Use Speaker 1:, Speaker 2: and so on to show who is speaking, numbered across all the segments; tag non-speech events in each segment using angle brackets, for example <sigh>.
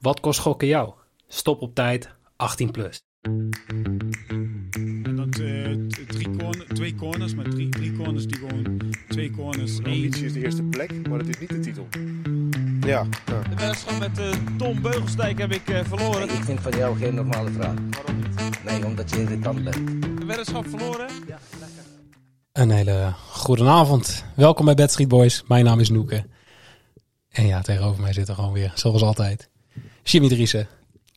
Speaker 1: Wat kost gokken jou? Stop op tijd, 18 plus.
Speaker 2: En dat eh, t- drie corner, twee corners, maar drie, drie corners die gewoon twee corners.
Speaker 3: De
Speaker 2: één.
Speaker 3: ambitie is de eerste plek, maar dat is niet de titel. Ja, ja.
Speaker 4: De wedstrijd met eh, Tom Beugelsdijk heb ik eh, verloren.
Speaker 5: Ik vind van jou geen normale vraag.
Speaker 4: Waarom niet?
Speaker 5: Nee, omdat je irritant bent.
Speaker 4: De weddenschap verloren.
Speaker 1: Een hele goede avond. Welkom bij Bad Street Boys. Mijn naam is Noeke. En ja, tegenover mij zit er gewoon weer, zoals altijd, Jimmy Driessen.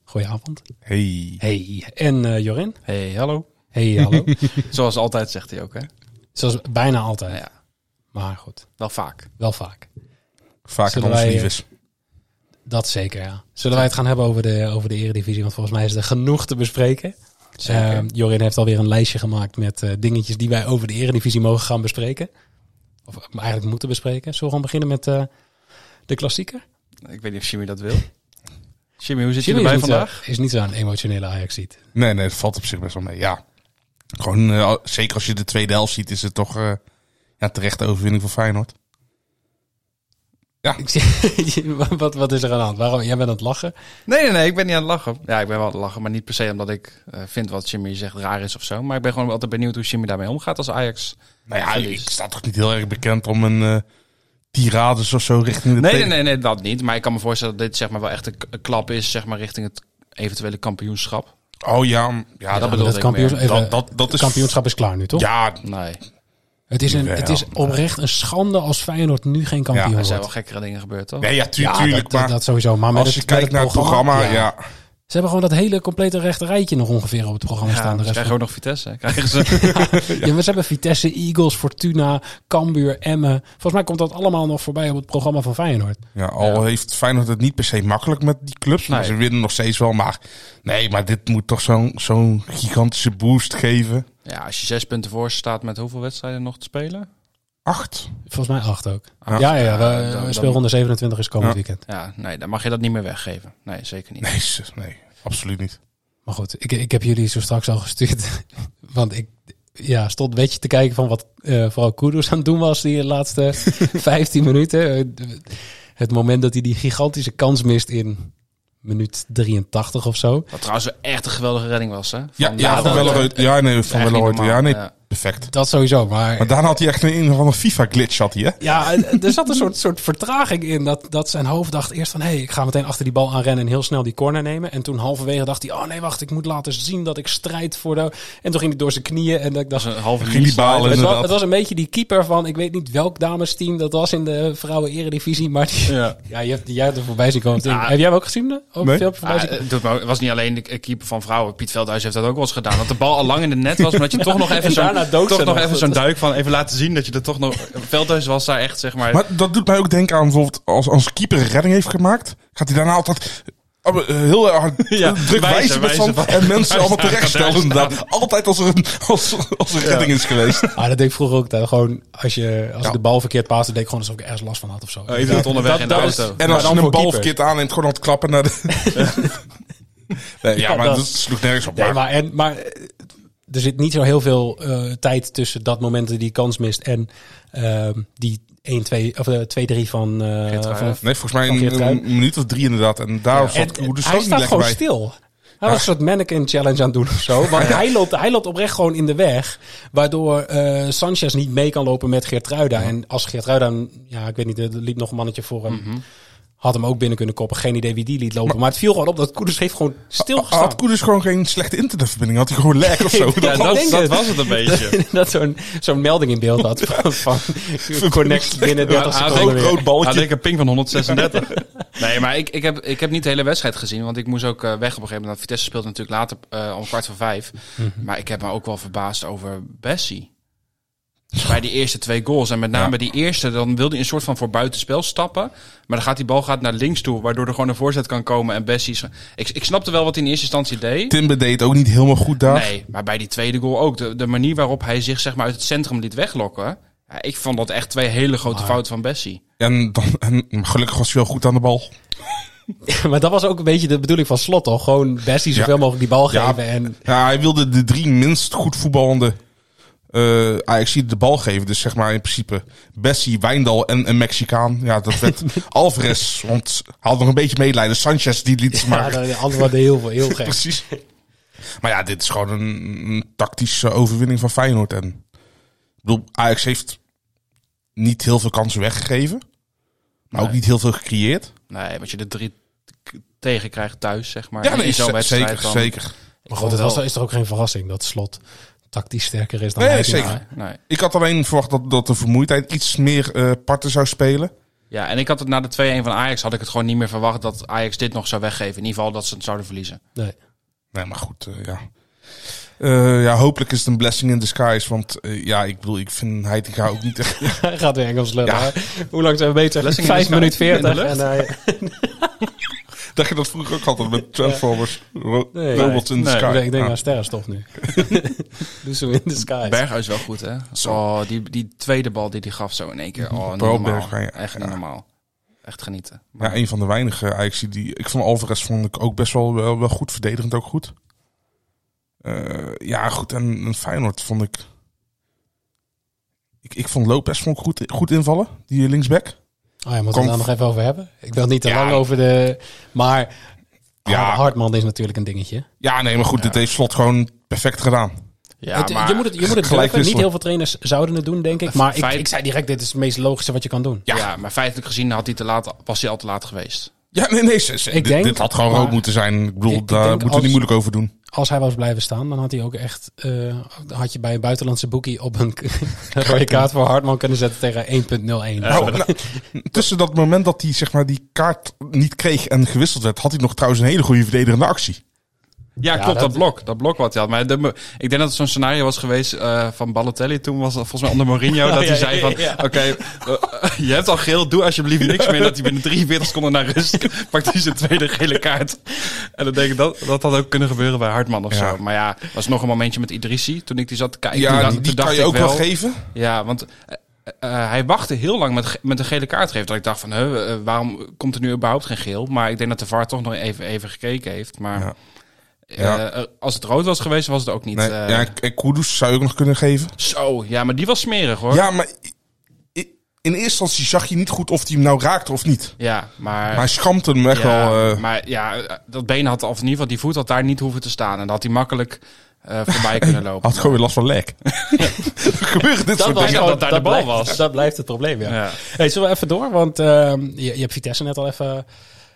Speaker 1: Goedenavond.
Speaker 6: Hey.
Speaker 1: Hey. En eh, Jorin.
Speaker 7: Hey, hallo.
Speaker 1: Hey, hallo.
Speaker 7: <laughs> Zoals altijd zegt hij ook, hè?
Speaker 1: zoals bijna altijd.
Speaker 7: Nou ja,
Speaker 1: Maar goed,
Speaker 7: wel vaak.
Speaker 1: wel vaak.
Speaker 6: Vaak
Speaker 1: Zullen
Speaker 6: hebben ons
Speaker 1: wij, eh,
Speaker 6: liefes.
Speaker 1: Dat zeker, ja. Zullen wij het gaan hebben over de, over de eredivisie? Want volgens mij is er genoeg te bespreken. Eh, Jorin heeft alweer een lijstje gemaakt met eh, dingetjes die wij over de eredivisie mogen gaan bespreken. Of eh, maar eigenlijk moeten bespreken. Zullen we gewoon beginnen met eh, de klassieker?
Speaker 7: ik weet niet of Jimmy dat wil. <laughs> Jimmy, hoe zit
Speaker 1: Jimmy
Speaker 7: je
Speaker 1: is
Speaker 7: erbij
Speaker 1: niet, zo-
Speaker 7: vandaag?
Speaker 1: is niet zo'n emotionele Ajaxiet.
Speaker 6: Nee, nee, dat valt op zich best wel mee. Ja. Gewoon, eh, al- zeker als je de tweede helft ziet, is het toch eh ja, terechte overwinning van Feyenoord.
Speaker 1: <laughs> Ik zie- <laughs> wat, wat is er aan de hand? Waarom? Jij bent aan het lachen.
Speaker 7: Nee, nee, nee, ik ben niet aan het lachen. Ja, ik ben wel aan het lachen, maar niet per se omdat ik eh, vind wat Jimmy zegt raar is of zo. Maar ik ben gewoon altijd benieuwd hoe Jimmy daarmee omgaat als Ajax.
Speaker 6: Nou ja,
Speaker 7: verliest.
Speaker 6: ik sta toch niet heel erg bekend om een eh tirades of zo richting de
Speaker 7: Nee, nee,
Speaker 6: tegen-
Speaker 7: nee, nee, dat niet. Maar ik kan me voorstellen dat dit zeg maar wel echt een k- een klap is, zeg maar, richting het eventuele kampioenschap.
Speaker 6: Oh ja, m- ja,
Speaker 7: Ja,
Speaker 6: dat,
Speaker 7: bedoel
Speaker 1: dat
Speaker 7: ik
Speaker 1: kampioens-
Speaker 7: meer.
Speaker 1: even-
Speaker 6: dat, dat, dat is...
Speaker 1: Het kampioenschap is klaar nu, toch?
Speaker 6: Ja,
Speaker 7: Nee,
Speaker 1: Het, is een,
Speaker 6: Jawel.
Speaker 1: het is oprecht een schande als Feyenoord nu geen kampioen
Speaker 6: Ja,
Speaker 7: er
Speaker 1: wordt.
Speaker 7: zijn wel gekkere dingen gebeurd, toch?
Speaker 6: nee, ja, tu-
Speaker 1: Ja,
Speaker 6: tuurlijk,
Speaker 1: dat, dat-
Speaker 6: maar
Speaker 1: dat sowieso. Maar met
Speaker 6: als je
Speaker 1: het, met
Speaker 6: kijkt naar het programma, ja.
Speaker 1: Ze hebben gewoon dat hele complete rechte rijtje nog ongeveer op het programma
Speaker 7: Ja,
Speaker 1: staan. De
Speaker 7: ze
Speaker 1: rest van-
Speaker 7: krijgen ook nog Vitesse. hè. Krijgen ze.
Speaker 1: Ja, maar ze hebben Vitesse, Eagles, Fortuna, Cambuur, Emmen. Volgens mij komt dat allemaal nog voorbij op het programma van Feyenoord.
Speaker 6: Ja, al heeft Feyenoord het niet per se makkelijk met die clubs. Maar
Speaker 7: Nee.
Speaker 6: ze winnen nog steeds wel. Maar nee, maar dit moet toch zo'n zo'n gigantische boost geven.
Speaker 7: ja, als je zes punten voor staat met hoeveel wedstrijden nog te spelen?
Speaker 6: Acht.
Speaker 1: Volgens mij acht ook.
Speaker 6: Acht,
Speaker 1: ja, ja, ja,
Speaker 7: ja,
Speaker 1: we-
Speaker 7: dan- dan-
Speaker 1: speelronde 27 is komend
Speaker 6: Ja.
Speaker 1: weekend.
Speaker 7: Ja, nee, dan mag je dat niet meer weggeven. Nee, zeker niet.
Speaker 6: Nee, ze- nee absoluut niet.
Speaker 1: Maar goed, ik, ik heb jullie zo straks al gestuurd. <laughs> Want ik ja, stond een beetje te kijken van wat eh, vooral Kudus aan het doen was die <laughs> laatste 15 minuten. Eh, d- Het moment dat hij die gigantische kans mist in minuut 83 of zo.
Speaker 7: Wat trouwens echt een geweldige redding was, hè? Van
Speaker 6: Ja, ja, van
Speaker 7: dat-
Speaker 6: Welleroy. Ja, nee,
Speaker 7: is
Speaker 6: van
Speaker 7: echt
Speaker 6: Welleroy.
Speaker 7: niet
Speaker 6: Ja,
Speaker 7: normaal,
Speaker 6: nee,
Speaker 7: ja.
Speaker 6: perfect.
Speaker 1: Dat sowieso, maar...
Speaker 6: Maar daarna had hij echt een, een of andere FIFA-glitch, had hij, hè?
Speaker 1: Ja, en er zat een soort, soort vertraging in. Dat, dat zijn hoofd dacht eerst van... hé, hey, ik ga meteen achter die bal aanrennen en heel snel die corner nemen. En toen halverwege dacht hij... oh nee, wacht, ik moet laten zien dat ik strijd voor de... En toen ging hij door zijn knieën en dat ik
Speaker 7: Dat
Speaker 1: dacht...
Speaker 7: was een halve
Speaker 6: Ging die
Speaker 7: knieslide.
Speaker 6: balen.
Speaker 1: Het was,
Speaker 6: inderdaad.
Speaker 1: het was een beetje die keeper van... ik weet niet welk damesteam dat was in de vrouwen-eredivisie... maar die, <laughs> ja.
Speaker 7: Ja.
Speaker 1: je hebt, jij hebt er voorbij zien komen.
Speaker 7: Ja.
Speaker 1: Heb jij hem ook gezien? eh, hè? Ook
Speaker 6: Nee.
Speaker 1: een filmpje voorbij
Speaker 7: Ah,
Speaker 1: zien
Speaker 7: het doet me ook- het was niet alleen de eh, keeper van vrouwen. Piet Veldhuis heeft dat ook wel eens gedaan. Dat de bal al lang in het net was. Maar <laughs> dat je toch nog even zo'n
Speaker 1: daarna dood
Speaker 7: toch
Speaker 1: zijn
Speaker 7: nog
Speaker 1: nog.
Speaker 7: even zo'n duik van even laten zien dat je er toch nog. Veldhuis was daar echt, zeg maar.
Speaker 6: Maar dat doet mij ook denken aan bijvoorbeeld als, als keeper een redding heeft gemaakt. Gaat hij daarna altijd eh, eh, heel erg hard
Speaker 7: Ja,
Speaker 6: druk
Speaker 7: wijzen,
Speaker 6: wijzen. met
Speaker 7: wijzen.
Speaker 6: z'n- en mensen allemaal terechtstellen. Inderdaad. Altijd als er een, als, als er een redding is geweest.
Speaker 1: Ah, dat deed ik vroeger ook. Dat gewoon, als je, als
Speaker 6: Ja. Eh,
Speaker 1: ik de bal verkeerd paasde, deed ik gewoon alsof ik ergens last van had of zo.
Speaker 7: Even het onderweg in de
Speaker 1: dat
Speaker 7: auto.
Speaker 6: En
Speaker 1: Maar
Speaker 6: als
Speaker 1: dan
Speaker 6: je een
Speaker 1: voor
Speaker 6: bal
Speaker 1: keepers.
Speaker 6: verkeerd aanneemt, gewoon aan het klappen naar de... nee, ja,
Speaker 1: Ja,
Speaker 6: maar
Speaker 1: dat-
Speaker 6: dat, sloeg nergens op.
Speaker 1: Nee,
Speaker 6: maar-
Speaker 1: maar, en, maar eh, er zit niet zo heel veel eh, tijd tussen dat moment dat die kans mist en ehm, die 1, 2, of eh, 2-3 van, eh,
Speaker 7: Geertruida.
Speaker 1: van
Speaker 6: Nee, volgens mij
Speaker 1: Van
Speaker 6: een,
Speaker 1: Geertruida.
Speaker 6: een minuut of drie inderdaad. En daar
Speaker 1: En
Speaker 6: zat Koeders ook
Speaker 1: hij
Speaker 6: niet
Speaker 1: staat
Speaker 6: lekker
Speaker 1: gewoon
Speaker 6: bij.
Speaker 1: stil. Hij was een soort mannequin challenge aan het doen of zo.
Speaker 6: <laughs>
Speaker 1: Want hij, loopt, hij loopt oprecht gewoon in de weg. Waardoor eh, Sanchez niet mee kan lopen met Geertruida. En als Geertruida, ja, ik weet niet, er liep nog een mannetje voor hem.
Speaker 6: Mhm.
Speaker 1: Had hem ook binnen kunnen koppen. Geen idee wie die liet lopen. Maar, het viel gewoon op dat Koeders heeft gewoon stilgestaan.
Speaker 6: Had Koeders gewoon geen slechte internetverbinding? Had hij gewoon lek of zo?
Speaker 1: Nee,
Speaker 7: <laughs>
Speaker 6: Dat
Speaker 7: Ja,
Speaker 1: ik
Speaker 7: dat,
Speaker 1: denk
Speaker 7: dat
Speaker 1: het.
Speaker 7: was het een
Speaker 1: <laughs>
Speaker 7: beetje.
Speaker 1: dat zo'n zo'n melding in beeld had
Speaker 6: <laughs>
Speaker 1: van, van connect binnen 30
Speaker 7: Ja,
Speaker 1: seconden
Speaker 7: AD
Speaker 1: weer.
Speaker 6: rood balletje.
Speaker 7: AD een ping van 136. nee, maar ik, ik, heb, ik heb niet de hele wedstrijd gezien. Want ik moest ook eh, weg op een gegeven moment. Vitesse speelt natuurlijk later eh, om kwart voor vijf. Maar ik heb me ook wel verbaasd over Bessie. Bij die eerste twee goals. En met name bij die eerste, dan wil hij een soort van voor buitenspel stappen. Maar dan gaat die bal gaat naar links toe. Waardoor er gewoon een voorzet kan komen. En Bessie... is- Ik, ik snapte wel wat hij in eerste instantie deed.
Speaker 6: Timber deed het ook niet helemaal goed daar.
Speaker 7: Nee, maar bij die tweede goal ook. De, de manier waarop hij zich zeg maar, uit het centrum liet weglokken. Ja, ik vond dat echt twee hele grote fouten van Bessie.
Speaker 6: En, dan, en gelukkig was hij wel goed aan de bal.
Speaker 1: <laughs> Maar dat was ook een beetje de bedoeling van Slot toch? Gewoon Bessie zoveel
Speaker 6: Ja.
Speaker 1: mogelijk die bal
Speaker 6: Ja.
Speaker 1: geven. En
Speaker 6: Ja, hij wilde de drie minst goed voetballende eh Ajax de bal geven. Dus zeg maar in principe Bessie, Wijndal en een Mexicaan. Ja,
Speaker 7: <laughs>
Speaker 6: dat werd Alvarez, want hij had nog een beetje medelijden. Sanchez, die liet ze
Speaker 1: Maar
Speaker 6: maar.
Speaker 1: de anderen waren heel, veel- heel gek.
Speaker 6: <laughs> Precies. Maar ja, dit is gewoon een, een tactische overwinning van Feyenoord. En, ik bedoel, Ajax heeft niet heel veel kansen weggegeven. Maar ook
Speaker 7: Nee.
Speaker 6: niet heel veel gecreëerd.
Speaker 7: Nee, want je de drie k- tegen krijgt thuis, zeg maar.
Speaker 6: Ja,
Speaker 7: in
Speaker 6: nee,
Speaker 7: zo'n
Speaker 6: z-
Speaker 7: wedstrijd
Speaker 6: zeker,
Speaker 7: dan-
Speaker 6: zeker.
Speaker 1: Maar goed, dat was- is toch ook geen verrassing dat Slot tactisch sterker is dan
Speaker 6: Nee,
Speaker 1: hij.
Speaker 6: zeker.
Speaker 7: Nee, nee.
Speaker 6: Ik had alleen verwacht dat, dat de vermoeidheid iets meer eh parten zou spelen.
Speaker 7: Ja, en ik had het na de 2-1 van Ajax had ik het gewoon niet meer verwacht dat Ajax dit nog zou weggeven. In ieder geval dat ze het zouden verliezen.
Speaker 1: Nee.
Speaker 6: Nee, maar goed, eh, ja. Eh, ja, hopelijk is het een blessing in disguise. Want eh, ja, ik bedoel, ik vind Heitinga ook niet echt... <laughs>
Speaker 1: Hij gaat weer Engels lullen.
Speaker 6: Ja.
Speaker 1: hè? Hoe lang zijn we bezig?
Speaker 7: Blessing in
Speaker 1: Vijf
Speaker 7: the sky.
Speaker 1: minuten
Speaker 7: In
Speaker 1: veertig.
Speaker 7: de
Speaker 1: En eh, hij
Speaker 6: dat je dat vroeger ook altijd met Transformers, ro-
Speaker 1: Nee.
Speaker 6: robots in the
Speaker 7: Nee,
Speaker 6: sky.
Speaker 1: ik denk
Speaker 6: Ja.
Speaker 1: aan sterrenstof nu. Dus in de sky.
Speaker 7: Berghuis wel goed, hè? Oh, die, die tweede bal die hij gaf zo in één keer. Oh, niet
Speaker 6: Paul
Speaker 7: normaal.
Speaker 6: Berghuis, ja.
Speaker 7: Echt niet
Speaker 6: Ja.
Speaker 7: normaal. Echt genieten.
Speaker 6: Ja, een van de weinige Ajax die... Ik vond Alvarez vond ik ook best wel, wel, wel goed. Verdedigend ook goed. Eh, ja, goed. En, en Feyenoord vond ik... Ik, ik vond Lopez vond ik goed, goed invallen. Die linksback.
Speaker 1: Oh, ja, moeten we
Speaker 6: Kom-
Speaker 1: het daar nog even over hebben? Ik wil niet te
Speaker 6: Ja.
Speaker 1: lang over de... Maar
Speaker 6: Ja.
Speaker 1: Hartman is natuurlijk een dingetje.
Speaker 6: Ja, nee, maar goed. Dit heeft Slot gewoon perfect gedaan.
Speaker 7: Ja,
Speaker 1: Het- je moet het, je moet het
Speaker 6: gelijk
Speaker 1: durven. Niet
Speaker 6: wisselen.
Speaker 1: heel veel trainers zouden het doen, denk ik. Maar ik,
Speaker 7: Feit-
Speaker 1: ik zei direct, dit is het meest logische wat je kan doen.
Speaker 7: ja. maar feitelijk gezien had hij te laat, was hij al te laat geweest.
Speaker 6: Ja, nee, nee. ze- ze-
Speaker 1: Ik
Speaker 6: dit,
Speaker 1: denk-
Speaker 6: dit had gewoon rood
Speaker 1: maar-
Speaker 6: moeten zijn. Ik bedoel,
Speaker 1: Ik- ik
Speaker 6: daar
Speaker 1: denk
Speaker 6: moeten
Speaker 1: als-
Speaker 6: we niet moeilijk over doen.
Speaker 1: Als hij was blijven staan, dan had hij ook echt... eh, had je bij een buitenlandse boekie op een een <laughs> rode kaart voor Hartman kunnen zetten tegen 1.01.
Speaker 6: Nou, nou, tussen dat moment dat hij zeg maar, die kaart niet kreeg en gewisseld werd... had hij nog trouwens een hele goede verdedigende actie.
Speaker 7: Ja,
Speaker 1: Ja,
Speaker 7: klopt, dat,
Speaker 1: dat-
Speaker 7: blok. Dat blok wat hij had. Maar de- ik denk dat het zo'n scenario was geweest eh, van Balotelli. Toen was dat volgens mij onder
Speaker 6: <laughs>
Speaker 7: Mourinho. dat hij zei van, oké, eh, je hebt al geel. Doe alsjeblieft niks meer. Dat hij binnen 43 seconden naar rust <laughs> pakt hij zijn tweede gele kaart. En dan denk ik, dat, dat had ook kunnen gebeuren bij Hartman of
Speaker 6: Ja.
Speaker 7: zo. Maar ja, was nog een momentje met Idrissi. Toen ik die zat te kijken, toen
Speaker 6: ja,
Speaker 7: dacht-
Speaker 6: die, die
Speaker 7: toen dacht
Speaker 6: kan je
Speaker 7: ik
Speaker 6: ook wel geven.
Speaker 7: Ja, want eh, eh, hij wachtte heel lang met, ge- met een gele kaart geven. Dat ik dacht van, huh, eh, waarom komt er nu überhaupt geen geel? Maar ik denk dat de VAR toch nog even, even gekeken heeft. Maar
Speaker 6: Ja.
Speaker 7: eh,
Speaker 6: Ja.
Speaker 7: eh, als het rood was geweest, was het ook niet.
Speaker 6: Nee,
Speaker 7: eh,
Speaker 6: ja, en Kudus zou je ook nog kunnen geven.
Speaker 7: Zo, ja, maar die was smerig hoor. Ja,
Speaker 6: Ja, maar i- i- in eerste instantie zag je niet goed of hij hem nou raakte of niet.
Speaker 7: maar...
Speaker 6: Maar hij schampte hem echt
Speaker 7: ja,
Speaker 6: wel. eh,
Speaker 7: maar ja, eh, dat been had, of in ieder geval die voet had daar niet hoeven te staan. En dan had hij makkelijk eh, voorbij
Speaker 6: <laughs>
Speaker 7: kunnen lopen.
Speaker 6: had gewoon weer last van
Speaker 7: <laughs>
Speaker 6: lek. <laughs> Gebeurt dit soort dingen.
Speaker 7: was- dat daar de bal
Speaker 1: blijft,
Speaker 7: was.
Speaker 1: Dat blijft het probleem, ja.
Speaker 7: Ja.
Speaker 1: Hey, zullen we even door? Want ehm, je, je hebt Vitesse net al even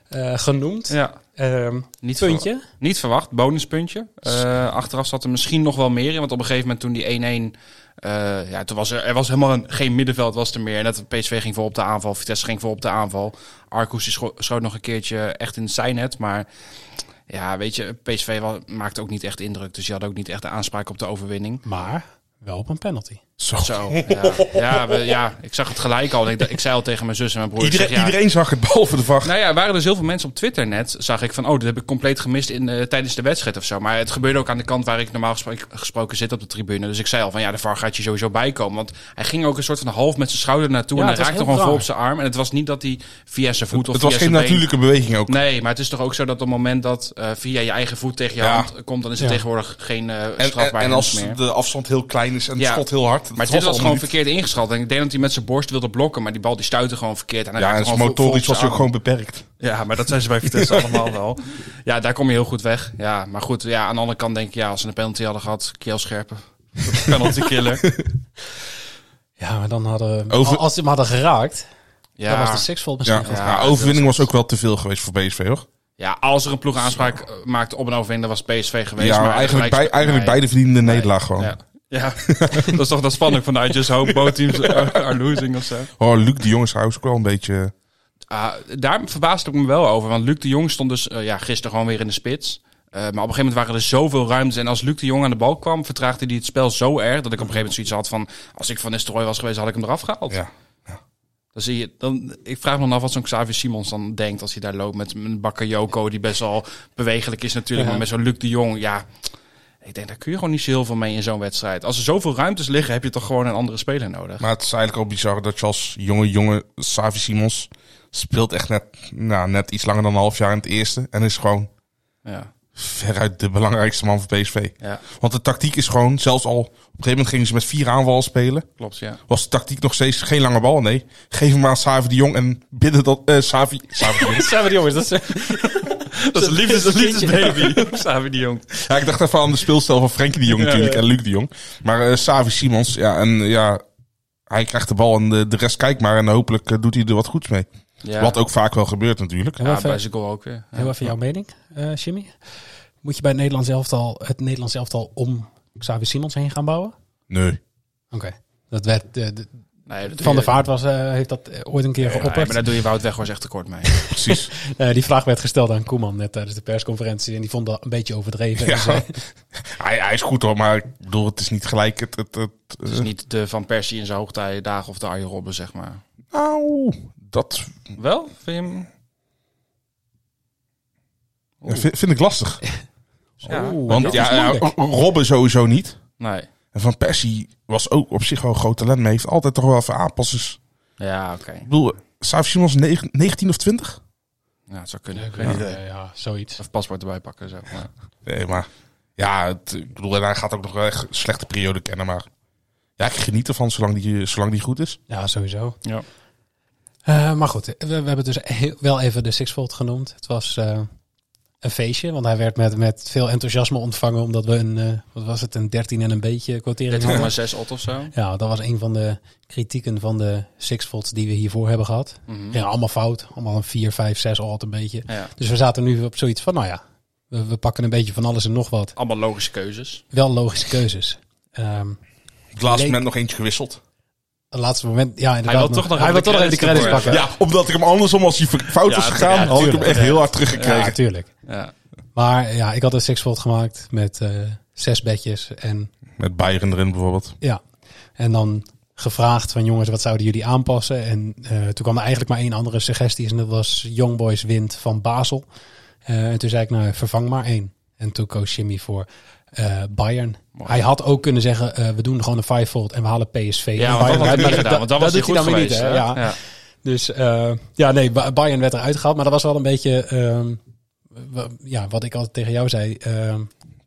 Speaker 1: eh, genoemd.
Speaker 7: Ja,
Speaker 1: Ehm,
Speaker 7: niet
Speaker 1: puntje.
Speaker 7: Niet verwacht, bonuspuntje. Eh, achteraf zat er misschien nog wel meer in. Want op een gegeven moment toen die 1-1... eh, ja, toen was er, er was helemaal een- geen middenveld was er meer. Net PSV ging voor op de aanval. Vitesse ging voor op de aanval. Arcus die scho- schoot nog een keertje echt in het zijnet. Maar ja, weet je, PSV wa- maakte ook niet echt indruk. Dus die had ook niet echt de aanspraak op de overwinning.
Speaker 1: Maar wel op een penalty.
Speaker 6: Zo.
Speaker 7: Zo, ja. Ja, we- ja, ik zag het gelijk al. Ik, dacht- ik zei al tegen mijn zus en mijn broer. ik
Speaker 6: Iedereen,
Speaker 7: zeg, ja,
Speaker 6: iedereen zag het, behalve de vacht.
Speaker 7: nou ja, er waren dus heel veel mensen op Twitter net, zag ik van, oh, dat heb ik compleet gemist in, eh, tijdens de wedstrijd of zo. Maar het gebeurde ook aan de kant waar ik normaal gesproken, gesproken zit op de tribune. Dus ik zei al van, ja, de VAR gaat je sowieso bijkomen. Want hij ging ook een soort van half met zijn schouder naartoe
Speaker 1: Ja,
Speaker 7: en
Speaker 1: het
Speaker 7: hij
Speaker 1: was
Speaker 7: raakte
Speaker 1: heel
Speaker 7: gewoon vol op
Speaker 1: raar.
Speaker 7: zijn arm. En het was niet dat hij via zijn voet of
Speaker 6: het was
Speaker 7: via
Speaker 6: geen
Speaker 7: zijn been-
Speaker 6: natuurlijke beweging ook.
Speaker 7: Nee, maar het is toch ook zo dat op het moment dat eh, via je eigen voet tegen je
Speaker 6: Ja.
Speaker 7: hand komt, dan is het
Speaker 1: Ja.
Speaker 7: tegenwoordig geen eh
Speaker 6: en, en,
Speaker 7: strafbaar
Speaker 6: en als
Speaker 7: meer.
Speaker 6: de afstand heel klein is en het
Speaker 7: Ja.
Speaker 6: schot heel hard.
Speaker 7: Maar
Speaker 6: het
Speaker 7: dit was
Speaker 6: al
Speaker 7: gewoon
Speaker 6: niet.
Speaker 7: verkeerd ingeschat. En ik denk dat hij met zijn borst wilde blokken, maar die bal die stuitte gewoon verkeerd. En hij
Speaker 6: Ja,
Speaker 7: raakte
Speaker 6: en zijn
Speaker 7: gewoon vol- vol op
Speaker 6: motorisch was
Speaker 7: zijn
Speaker 6: hij ook
Speaker 7: arm.
Speaker 6: gewoon beperkt.
Speaker 7: Ja, maar dat zijn ze bij
Speaker 6: <laughs>
Speaker 7: Vitesse allemaal wel. Ja, daar kom je heel goed weg. Ja, maar goed, ja, aan de andere kant denk ik, ja, als ze een penalty hadden gehad, keel scherpen. Penalty
Speaker 6: <laughs>
Speaker 7: killer.
Speaker 1: Ja, maar dan hadden...
Speaker 6: Over-
Speaker 1: Als ze hem hadden geraakt,
Speaker 7: Ja,
Speaker 1: dan was de sixfold
Speaker 6: Ja.
Speaker 1: misschien.
Speaker 6: Ja,
Speaker 7: Ja, dat
Speaker 6: overwinning was ook wel te veel geweest voor PSV, hoor.
Speaker 7: ja, als er een ploeg aanspraak eh, maakte op een overwinning, dan was PSV geweest.
Speaker 6: ja,
Speaker 7: maar
Speaker 6: eigenlijk, bij,
Speaker 7: gelijk-
Speaker 6: eigenlijk
Speaker 7: nee.
Speaker 6: beide verdienden de nederlaag gewoon.
Speaker 7: Ja. Ja, <laughs> dat is toch dat spanning van I just hope both
Speaker 6: <laughs>
Speaker 7: teams are, are losing of zo.
Speaker 6: Oh, Luc de Jong is trouwens ook wel een beetje...
Speaker 7: Ah, daar verbaasde ik me wel over. Want Luc de Jong stond dus eh, ja, gisteren gewoon weer in de spits. Eh, maar op een gegeven moment waren er zoveel ruimtes. En als Luc de Jong aan de bal kwam, vertraagde hij het spel zo erg... dat ik op een gegeven moment zoiets had van... als ik van Nistelrooy was geweest, had ik hem eraf gehaald.
Speaker 6: Ja.
Speaker 7: Dan zie je, dan, ik vraag me dan af wat zo'n Xavier Simons dan denkt... als hij daar loopt met een Bakayoko... die best wel bewegelijk is natuurlijk.
Speaker 1: Ja.
Speaker 7: Maar met zo'n Luc de Jong, ja... Ik denk, daar kun je gewoon niet zo heel veel mee in zo'n wedstrijd. Als er zoveel ruimtes liggen, heb je toch gewoon een andere speler nodig.
Speaker 6: Maar het is eigenlijk al bizar dat je als jonge jongen, Savi Simons, speelt echt net, nou, net iets langer dan een half jaar in het eerste. En is gewoon
Speaker 7: Ja.
Speaker 6: veruit de belangrijkste man van PSV.
Speaker 7: Ja,
Speaker 6: Want de tactiek is gewoon, zelfs al op een gegeven moment gingen ze met vier aanvallen spelen.
Speaker 7: klopt, ja.
Speaker 6: Was de tactiek nog steeds geen lange bal? Nee. Geef hem aan Savi de Jong en bidden dat. eh Savi. Savi de
Speaker 7: <laughs>
Speaker 6: Jong.
Speaker 7: Samen die jongens, dat is... Dat is een liefdes,
Speaker 1: Dat is een
Speaker 7: <laughs> liefdesbaby. Samen die jong.
Speaker 6: Ja, ik dacht even aan de speelstijl van Frenkie de Jong natuurlijk en Luc de Jong. Maar eh Savi Simons, ja, en ja. Hij krijgt de bal en de, de rest kijkt maar. En hopelijk eh, doet hij er wat goeds mee.
Speaker 7: Ja,
Speaker 6: Wat ook vaak wel gebeurt natuurlijk.
Speaker 1: Heel
Speaker 7: Ja,
Speaker 1: even,
Speaker 7: bij zijn goal ook weer.
Speaker 1: heel even jouw mening, eh, Jimmy. Moet je bij het Nederlands elftal, het Nederlands elftal om Xavier Simons heen gaan bouwen? Oké.
Speaker 6: Nee.
Speaker 1: Dat werd, eh, de- de-
Speaker 7: Nee, dat doe
Speaker 1: van
Speaker 7: je-
Speaker 1: der Vaart was, eh, heeft dat eh, ooit een keer
Speaker 7: Ja, maar
Speaker 1: geopperd.
Speaker 7: daar doe je Wout Weghorst echt tekort mee.
Speaker 1: <laughs>
Speaker 6: Precies. <laughs>
Speaker 1: Eh, die vraag werd gesteld aan Koeman net tijdens de persconferentie. En die vond dat een beetje overdreven. Dus, eh,
Speaker 6: Ja.
Speaker 1: En zei-
Speaker 6: hij, hij is goed hoor, maar ik bedoel, het is niet gelijk het. het, het,
Speaker 7: Het is Dus niet de Van Persie in zijn hoogtijdagen of de Arjen Robben, zeg maar.
Speaker 6: Nou, dat
Speaker 7: Wel? Vind je hem...
Speaker 6: ja, vind, vind ik lastig.
Speaker 7: Ja.
Speaker 1: Oeh,
Speaker 6: Want
Speaker 1: dit
Speaker 6: ja,
Speaker 1: is
Speaker 6: ja, eh,
Speaker 1: moeilijk.
Speaker 6: Robben sowieso niet.
Speaker 7: Nee.
Speaker 6: En Van Persie was ook op zich wel een groot talent, maar heeft altijd toch wel even aanpassers.
Speaker 7: Ja, oké.
Speaker 6: Ik bedoel, Saaf Simons negen- 19 of 20?
Speaker 7: Ja, het zou kunnen. <laughs> Ik weet
Speaker 1: Ja,
Speaker 7: niet.
Speaker 1: eh, ja, zoiets.
Speaker 7: Of paspoort erbij
Speaker 1: <laughs>
Speaker 7: pakken, zeg maar.
Speaker 6: Nee, maar ja, het, ik bedoel, en hij gaat ook nog wel echt een slechte periode kennen, maar ja, ik geniet ervan zolang die, zolang die goed is.
Speaker 1: Ja, sowieso.
Speaker 7: Ja.
Speaker 1: Eh, maar goed, we, we hebben dus heel- wel even de Sixfold genoemd. Het was eh, een feestje, want hij werd met, met veel enthousiasme ontvangen. Omdat we een, eh, wat was het, een 13 en een beetje quotering hadden.
Speaker 7: 13,6 ot of zo.
Speaker 1: Ja, dat was een van de kritieken van de Sixfolds die we hiervoor hebben gehad.
Speaker 7: Mhm.
Speaker 1: Ja, allemaal fout. Allemaal een 4, 5, 6 alt een beetje.
Speaker 7: Ja.
Speaker 1: Dus we zaten nu op zoiets van, nou ja, we, we pakken een beetje van alles en nog wat.
Speaker 7: Allemaal logische keuzes.
Speaker 1: Wel logische keuzes. Ehm,
Speaker 6: Op het laatste
Speaker 1: Leek-
Speaker 6: moment nog eentje gewisseld.
Speaker 1: het laatste moment, ja inderdaad.
Speaker 7: wil toch nog
Speaker 1: hij wil
Speaker 7: even
Speaker 1: toch nog
Speaker 7: de
Speaker 1: even de
Speaker 7: credits
Speaker 1: credits pakken.
Speaker 6: Ja, omdat ik hem andersom, als hij fout was
Speaker 7: Ja,
Speaker 6: gegaan,
Speaker 7: ja,
Speaker 6: had ik hem
Speaker 1: tuurlijk.
Speaker 6: echt heel hard teruggekregen.
Speaker 1: Ja, tuurlijk.
Speaker 7: Ja.
Speaker 1: Maar ja, ik had een sixfold gemaakt met eh, zes bedjes. En,
Speaker 6: Met Bayern erin bijvoorbeeld.
Speaker 1: ja. en dan gevraagd van jongens, wat zouden jullie aanpassen? En eh, toen kwam er eigenlijk maar één andere suggestie. En dat was Young Boys wint van Basel. Eh, en toen zei ik, nou vervang maar één. En toen koos Jimmy voor eh, Bayern.
Speaker 7: Mooi.
Speaker 1: Hij had ook kunnen zeggen, eh, we doen gewoon een fivefold en we halen PSV.
Speaker 7: Ja,
Speaker 1: En
Speaker 7: want dat had
Speaker 1: Bayern-
Speaker 7: hij niet
Speaker 1: maar
Speaker 7: gedaan. Want dan was hij
Speaker 1: doet
Speaker 7: goed
Speaker 1: dan weer
Speaker 7: geweest.
Speaker 1: niet, hè?
Speaker 7: hè?
Speaker 1: ja. Dus eh, ja, nee, Ba- Bayern werd eruit gehaald. Maar dat was wel een beetje, ehm, wa- ja, wat ik altijd tegen jou zei. ehm,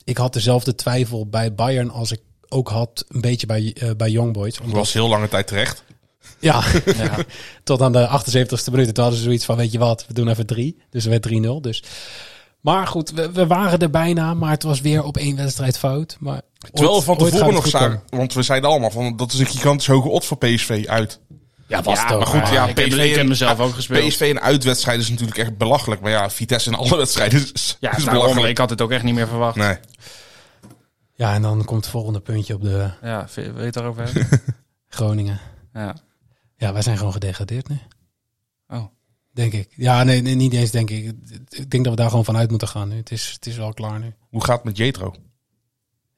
Speaker 1: ik had dezelfde twijfel bij Bayern als ik ook had een beetje bij, eh, bij Young Boys.
Speaker 6: Dat
Speaker 1: Omdat-
Speaker 6: was heel lange tijd terecht.
Speaker 1: ja,
Speaker 7: Ja.
Speaker 1: <laughs> tot aan de 78ste minuut. Toen hadden ze zoiets van, weet je wat, we doen even drie. Dus het werd 3-0. Dus. Maar goed, we, we waren er bijna. Maar het was weer op één wedstrijd fout. Maar
Speaker 6: Terwijl we
Speaker 1: ooit-
Speaker 6: van
Speaker 1: ooit gaat
Speaker 6: tevoren
Speaker 1: het
Speaker 6: nog
Speaker 1: goed
Speaker 6: zagen.
Speaker 1: komen.
Speaker 6: Want we zeiden allemaal van dat is een gigantisch hoge odds voor PSV uit. Ah,
Speaker 1: Ja, was het ook.
Speaker 6: Maar goed, ja,
Speaker 7: ik heb-
Speaker 6: PSV
Speaker 7: ik heb
Speaker 6: en-
Speaker 7: mezelf ook
Speaker 6: ja,
Speaker 7: gespeeld.
Speaker 6: PSV en uitwedstrijden is natuurlijk echt belachelijk. Maar ja, Vitesse en alle wedstrijden is,
Speaker 7: Ja,
Speaker 6: is
Speaker 7: dus daarom,
Speaker 6: belachelijk.
Speaker 7: ik had het ook echt niet meer verwacht.
Speaker 6: Nee.
Speaker 1: Ja, en dan komt het volgende puntje op de
Speaker 7: Ja, vind- wil je
Speaker 1: <laughs>
Speaker 7: het daarover hebben?
Speaker 1: Groningen.
Speaker 7: ja.
Speaker 1: Ja, wij zijn gewoon gedegradeerd nu.
Speaker 7: Oh.
Speaker 1: Denk ik. Ja, nee, nee, niet eens denk ik. Ik denk dat we daar gewoon vanuit moeten gaan nu. Het is, het is wel klaar nu.
Speaker 6: Hoe gaat het met Jetro?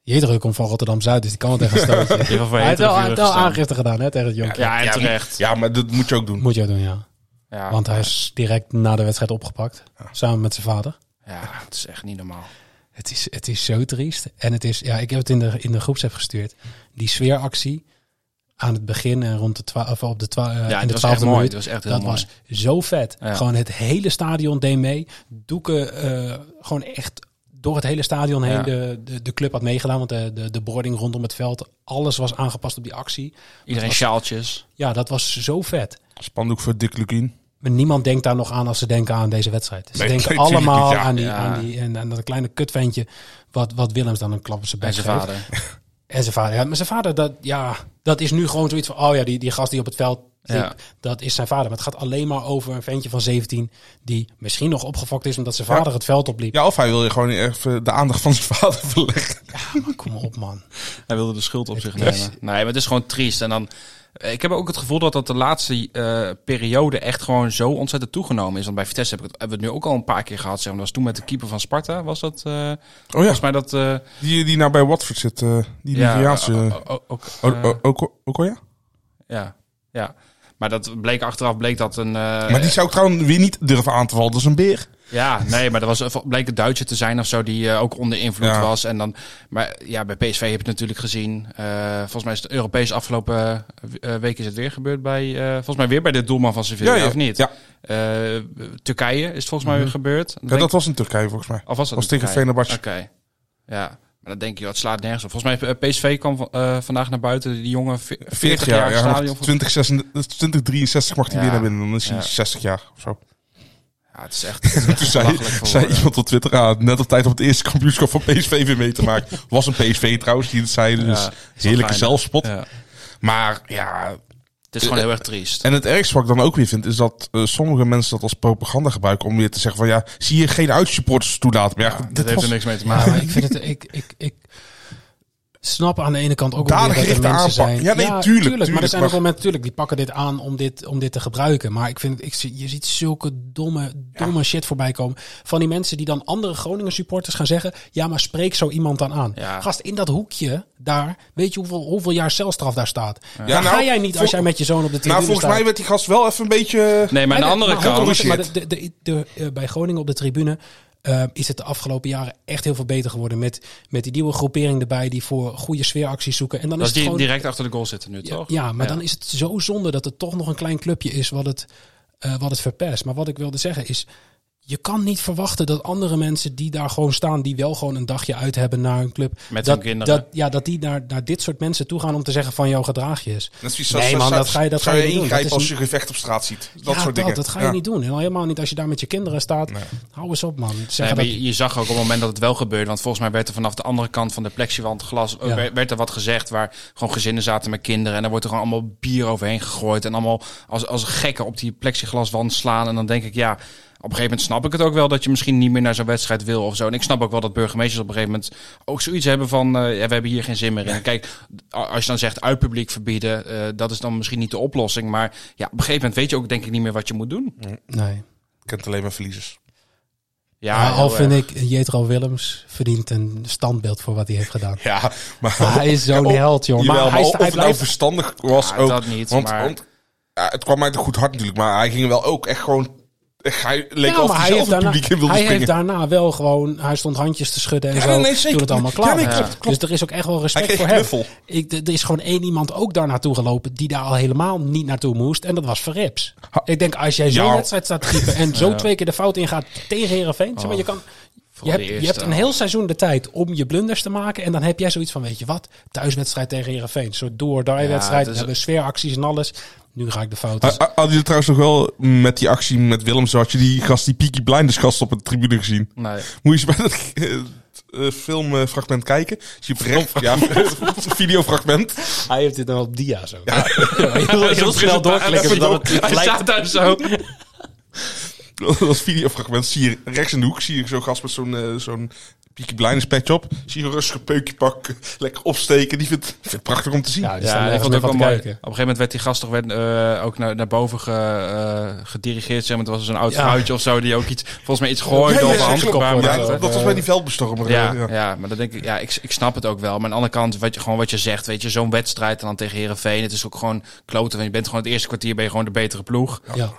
Speaker 1: Jedruk komt van Rotterdam-Zuid, dus die kan wel tegen
Speaker 7: <laughs>
Speaker 1: een stootje.
Speaker 7: ieder geval
Speaker 1: Hij heeft wel, hij heeft wel
Speaker 7: gestaan.
Speaker 1: aangifte gedaan hè, tegen het jonkie.
Speaker 7: Ja, en
Speaker 6: Ja,
Speaker 7: terecht.
Speaker 6: Ja, maar dat moet je ook doen.
Speaker 1: Moet je ook doen, ja.
Speaker 7: Ja,
Speaker 1: Want hij is direct na de wedstrijd opgepakt. Samen met zijn vader.
Speaker 7: ja, het is echt niet normaal.
Speaker 1: Het is, het is zo triest. En het is, ja, ik heb het in de, in de groepsapp gestuurd. Die sfeeractie aan het begin en rond de twa- of op de twa- eh,
Speaker 7: Ja,
Speaker 1: in de
Speaker 7: het was echt
Speaker 1: twaalfde
Speaker 7: mooi.
Speaker 1: minuut.
Speaker 7: Het was echt heel
Speaker 1: Dat
Speaker 7: mooi.
Speaker 1: was zo vet.
Speaker 7: Ja.
Speaker 1: Gewoon het hele stadion deed mee. Doeken eh, gewoon echt door het hele stadion heen.
Speaker 7: Ja.
Speaker 1: De, de, de club had meegedaan, want de, de, de boarding rondom het veld. Alles was aangepast op die actie.
Speaker 7: Iedereen sjaaltjes.
Speaker 1: Ja, dat was zo vet.
Speaker 6: Spandoek voor Dick Lukien.
Speaker 1: Maar niemand denkt daar nog aan als ze denken aan deze wedstrijd. Ze
Speaker 7: <laughs>
Speaker 6: Nee,
Speaker 1: denken
Speaker 6: nee, tuurlijk
Speaker 1: allemaal
Speaker 6: niet, ja.
Speaker 1: aan, die,
Speaker 7: Ja.
Speaker 1: aan, die, en, aan dat kleine kutventje wat, wat Willems dan een klap op zijn bek
Speaker 7: En zijn
Speaker 1: geeft.
Speaker 7: vader.
Speaker 1: En zijn vader. Ja, maar zijn vader, dat, ja, dat is nu gewoon zoiets van... Oh ja, die, die gast die op het veld liep,
Speaker 7: Ja.
Speaker 1: dat is zijn vader. Maar het gaat alleen maar over een ventje van 17... die misschien nog opgefokt is omdat zijn vader het veld opliep.
Speaker 6: Ja, of hij wil je gewoon even de aandacht van zijn vader <laughs> verleggen.
Speaker 1: Ja, maar kom op, man.
Speaker 7: Hij wilde de schuld op zich
Speaker 1: is-
Speaker 7: nemen. Nee, maar het is gewoon triest. En dan, eh, ik heb ook het gevoel dat dat de laatste eh, periode echt gewoon zo ontzettend toegenomen is. Want bij Vitesse heb ik het, hebben we het nu ook al een paar keer gehad. Zeg maar. Dat was toen met de keeper van Sparta. Was dat eh,
Speaker 6: Oh ja,
Speaker 7: volgens mij dat... eh
Speaker 6: die, die nou bij Watford zit. eh, die
Speaker 7: ja,
Speaker 6: Nigeriaanse...
Speaker 7: o-
Speaker 6: Ja, Oh,
Speaker 7: o- o- ook, eh,
Speaker 6: ook, ook, ja?
Speaker 7: ja, ja. Maar dat bleek achteraf bleek dat een... eh,
Speaker 6: Maar die zou ik trouwens weer niet durven aan te vallen. Dat is een beer.
Speaker 7: Ja, nee, maar dat was, eh, bleek een Duitser te zijn of zo, die eh, ook onder invloed
Speaker 6: Ja.
Speaker 7: was. En dan, maar ja, bij PSV heb je het natuurlijk gezien. Eh, volgens mij is het Europees afgelopen eh, week is het weer gebeurd bij, eh, volgens mij weer bij de doelman van Sevilla, of niet?
Speaker 6: Ja. Mhm.
Speaker 7: Eh, Turkije is het volgens mij weer gebeurd. Dan
Speaker 6: Ja,
Speaker 7: denk-
Speaker 6: dat was in Turkije volgens mij.
Speaker 7: of was dat
Speaker 6: was tegen
Speaker 7: Turkije?
Speaker 6: Fenerbahçe.
Speaker 7: Oké, ja. Maar dan denk je, dat slaat nergens op. Volgens mij eh, PSV kwam van- eh, vandaag naar buiten, die jongen, ve- 40 jaar
Speaker 6: ja,
Speaker 7: stadion.
Speaker 6: nog 20, 36, 2063 mag hij
Speaker 7: Ja.
Speaker 6: weer naar binnen. Dan is hij
Speaker 7: Ja.
Speaker 6: 60 jaar of zo.
Speaker 7: Ja, het is echt, het is echt
Speaker 6: <laughs> Toen zei,
Speaker 7: belachelijk voor eh,
Speaker 6: zei
Speaker 7: woorden.
Speaker 6: iemand op Twitter, ah, net op tijd om het eerste kampioenschap van PSV weer mee te
Speaker 7: <laughs>
Speaker 6: maken. Was een PSV trouwens die het zei, dus
Speaker 7: Ja,
Speaker 6: heerlijke
Speaker 7: geinig.
Speaker 6: zelfspot.
Speaker 7: Ja.
Speaker 6: Maar ja,
Speaker 7: Het is gewoon heel erg triest.
Speaker 6: en het ergste wat ik dan ook weer vind, is dat eh, sommige mensen dat als propaganda gebruiken om weer te zeggen van ja, zie je geen uitsupporters toelaten. Maar ja,
Speaker 7: dat
Speaker 6: dit
Speaker 7: heeft
Speaker 6: was
Speaker 7: er niks mee te
Speaker 1: Ja,
Speaker 7: maken.
Speaker 6: <laughs>
Speaker 1: maar ik vind het. Ik, ik, ik snap aan de ene kant ook wel weer dat er
Speaker 6: Dadelijk
Speaker 1: mensen
Speaker 6: gerichte
Speaker 1: zijn.
Speaker 6: aanpak. Ja, nee, tuurlijk,
Speaker 1: Maar er
Speaker 6: tuurlijk,
Speaker 1: zijn ook
Speaker 6: maar-
Speaker 1: wel mensen natuurlijk die pakken dit aan om dit, om dit te gebruiken. Maar ik vind, ik, zie- je ziet zulke domme, domme shit voorbij komen. Van die mensen die dan andere Groningen supporters gaan zeggen. Ja, maar spreek zo iemand dan aan.
Speaker 7: Ja.
Speaker 1: Gast, in dat hoekje daar, weet je hoeveel, hoeveel jaar celstraf daar staat? Daar
Speaker 6: Ja,
Speaker 1: ga
Speaker 6: nou,
Speaker 1: jij niet als
Speaker 6: vol-
Speaker 1: jij met je zoon op de tribune
Speaker 6: Nou, volgens
Speaker 1: staat.
Speaker 6: mij werd die gast wel even een beetje... eh,
Speaker 7: Nee, maar aan de andere
Speaker 1: eh, maar
Speaker 7: kant...
Speaker 1: ook omdat-
Speaker 6: shit.
Speaker 1: maar de, de, de, de- eh, bij Groningen op de tribune eh, is het de afgelopen jaren echt heel veel beter geworden. Met, met die nieuwe groepering erbij die voor goede sfeeracties zoeken. En dan
Speaker 7: Dat
Speaker 1: is
Speaker 7: die
Speaker 1: het gewoon,
Speaker 7: direct achter de goal zitten nu, toch?
Speaker 1: ja, maar dan is het zo zonde dat het toch nog een klein clubje is wat het, eh, wat het verpest. Maar wat ik wilde zeggen is. Je kan niet verwachten dat andere mensen die daar gewoon staan, die wel gewoon een dagje uit hebben naar een club.
Speaker 7: Met
Speaker 1: dat,
Speaker 7: hun kinderen.
Speaker 1: Dat, ja, dat die naar, naar dit soort mensen toe gaan om te zeggen van jouw gedraag je eens.
Speaker 6: Dat is,
Speaker 1: Nee, man, dat ga je- dat
Speaker 6: zou
Speaker 1: ga je
Speaker 6: je
Speaker 1: niet doen. Dat
Speaker 6: ingrijpen
Speaker 1: is
Speaker 6: als
Speaker 1: niet-
Speaker 6: je gevecht op straat ziet. Dat
Speaker 1: ja,
Speaker 6: soort dingen.
Speaker 1: Dat ga je
Speaker 6: Ja.
Speaker 1: niet doen. En al helemaal niet als je daar met je kinderen staat. Hou eens op, man.
Speaker 7: Nee,
Speaker 1: Zeggen
Speaker 7: maar
Speaker 1: dat-
Speaker 7: je, je zag ook op het moment dat het wel gebeurde. Want volgens mij werd er vanaf de andere kant van de plexiwand glas. eh,
Speaker 1: Ja.
Speaker 7: werd- werd er wat gezegd waar gewoon gezinnen zaten met kinderen. En daar wordt er gewoon allemaal bier overheen gegooid. En allemaal als, als gekken op die plexiglaswand slaan. En dan denk ik, ja. Op een gegeven moment snap ik het ook wel dat je misschien niet meer naar zo'n wedstrijd wil of zo. En ik snap ook wel dat burgemeesters op een gegeven moment ook zoiets hebben van... eh, ja, we hebben hier geen zin meer in. Kijk, a- als je dan zegt uitpubliek verbieden, eh, dat is dan misschien niet de oplossing. Maar ja, op een gegeven moment weet je ook denk ik niet meer wat je moet doen.
Speaker 1: Nee.
Speaker 6: Je kent alleen maar verliezers.
Speaker 7: Ja,
Speaker 1: Maar Nou, al
Speaker 7: heel
Speaker 1: vind
Speaker 7: erg.
Speaker 1: ik, Jetro Willems verdient een standbeeld voor wat hij heeft gedaan.
Speaker 6: Ja, maar...
Speaker 1: Maar hij is zo'n
Speaker 6: Ja, op-
Speaker 1: held, joh.
Speaker 6: Jawel,
Speaker 1: Maar hij is-
Speaker 6: of
Speaker 1: hij
Speaker 6: het nou
Speaker 1: blijft- Nou,
Speaker 6: verstandig was
Speaker 7: Ja,
Speaker 6: ook.
Speaker 7: dat niet,
Speaker 6: want,
Speaker 7: maar-
Speaker 6: want, ja, het kwam uit een goed hart natuurlijk. Maar hij ging wel ook echt gewoon... echt, Hij <laughs> leek
Speaker 1: Ja,
Speaker 6: wel of
Speaker 1: maar hij
Speaker 6: hij zelf
Speaker 1: heeft,
Speaker 6: het
Speaker 1: daarna,
Speaker 6: publiek in wilde
Speaker 1: hij
Speaker 6: springen.
Speaker 1: heeft daarna wel gewoon... Hij stond handjes te schudden en
Speaker 6: Ja,
Speaker 1: zo
Speaker 6: nee, zeker.
Speaker 1: toen het allemaal
Speaker 6: Ja,
Speaker 1: klaar
Speaker 6: nee,
Speaker 1: was.
Speaker 6: klopt, klopt.
Speaker 1: Dus er is ook echt wel
Speaker 6: Hij
Speaker 1: respect
Speaker 6: kreeg
Speaker 1: voor
Speaker 6: knuffel.
Speaker 1: hem. Ik, d- er is gewoon één iemand ook daar naartoe gelopen die daar al helemaal niet naartoe moest. En dat was Verrips.
Speaker 6: Ha-
Speaker 1: Ik denk, als jij zo'n
Speaker 6: Ja.
Speaker 1: wedstrijd staat te typen en
Speaker 7: <laughs>
Speaker 1: zo twee keer de fout ingaat tegen Heerenveen... zeg maar, je kan... Je
Speaker 7: Oh. de
Speaker 1: hebt, je
Speaker 7: eerste
Speaker 1: hebt een heel seizoen de tijd om je blunders te maken. En dan heb jij zoiets van, weet je wat? Thuiswedstrijd tegen Heerenveen. Een soort
Speaker 7: Ja,
Speaker 1: door-die-wedstrijd.
Speaker 7: het
Speaker 1: we
Speaker 7: is-
Speaker 1: hebben sfeeracties en alles. Nu ga ik de fout.
Speaker 6: Ha- ha- Hadden jullie trouwens nog wel met die actie met Willem... Zo had je die gast, die Peaky Blinders gast op de tribune gezien.
Speaker 1: Nou.
Speaker 7: Nee.
Speaker 6: Moet je eens bij dat eh, eh, filmfragment kijken. Zie je op rechts- ja, <laughs> videofragment.
Speaker 1: Hij heeft dit dan op dia zo. <laughs>
Speaker 7: <laughs>
Speaker 1: Ja. heel heel snel doorklikken.
Speaker 6: Even
Speaker 1: zodat
Speaker 6: door-
Speaker 1: het
Speaker 7: Hij
Speaker 1: lijkt-
Speaker 7: staat daar <laughs> zo.
Speaker 6: <laughs> dat videofragment zie je rechts in de hoek. Zie je zo'n gast met zo'n eh, zo'n Peaky Blinders patch op. Zie je een rustig peukje pakken. <laughs> Lekker opsteken. Die vindt vindt het prachtig om te zien.
Speaker 1: Ja, die
Speaker 7: Ja,
Speaker 1: staan
Speaker 7: ik
Speaker 1: ergens
Speaker 7: vond
Speaker 1: meer
Speaker 7: het ook
Speaker 1: van
Speaker 7: wel
Speaker 1: te
Speaker 7: mooi. Op een
Speaker 1: kijken.
Speaker 7: gegeven moment werd die gast toch werd, eh, ook naar, naar boven ge, eh, gedirigeerd. Zeg maar, het was zo'n oud
Speaker 1: Ja.
Speaker 7: vrouwtje of zo die ook iets, volgens mij iets gooide
Speaker 6: ja,
Speaker 7: of een
Speaker 6: ja, klopt.
Speaker 7: handgebaar
Speaker 6: Ja,
Speaker 7: maakte.
Speaker 1: eh,
Speaker 6: dat was bij die veldbestormer. eh,
Speaker 7: Ja,
Speaker 6: ja.
Speaker 7: ja. maar dan denk ik, ja, ik, ik snap het ook wel. Maar aan de andere kant, wat je, gewoon wat je zegt, weet je, zo'n wedstrijd en dan tegen Herenveen, het is ook gewoon kloten. Want je bent gewoon het eerste kwartier ben je gewoon de betere ploeg.
Speaker 1: Ja.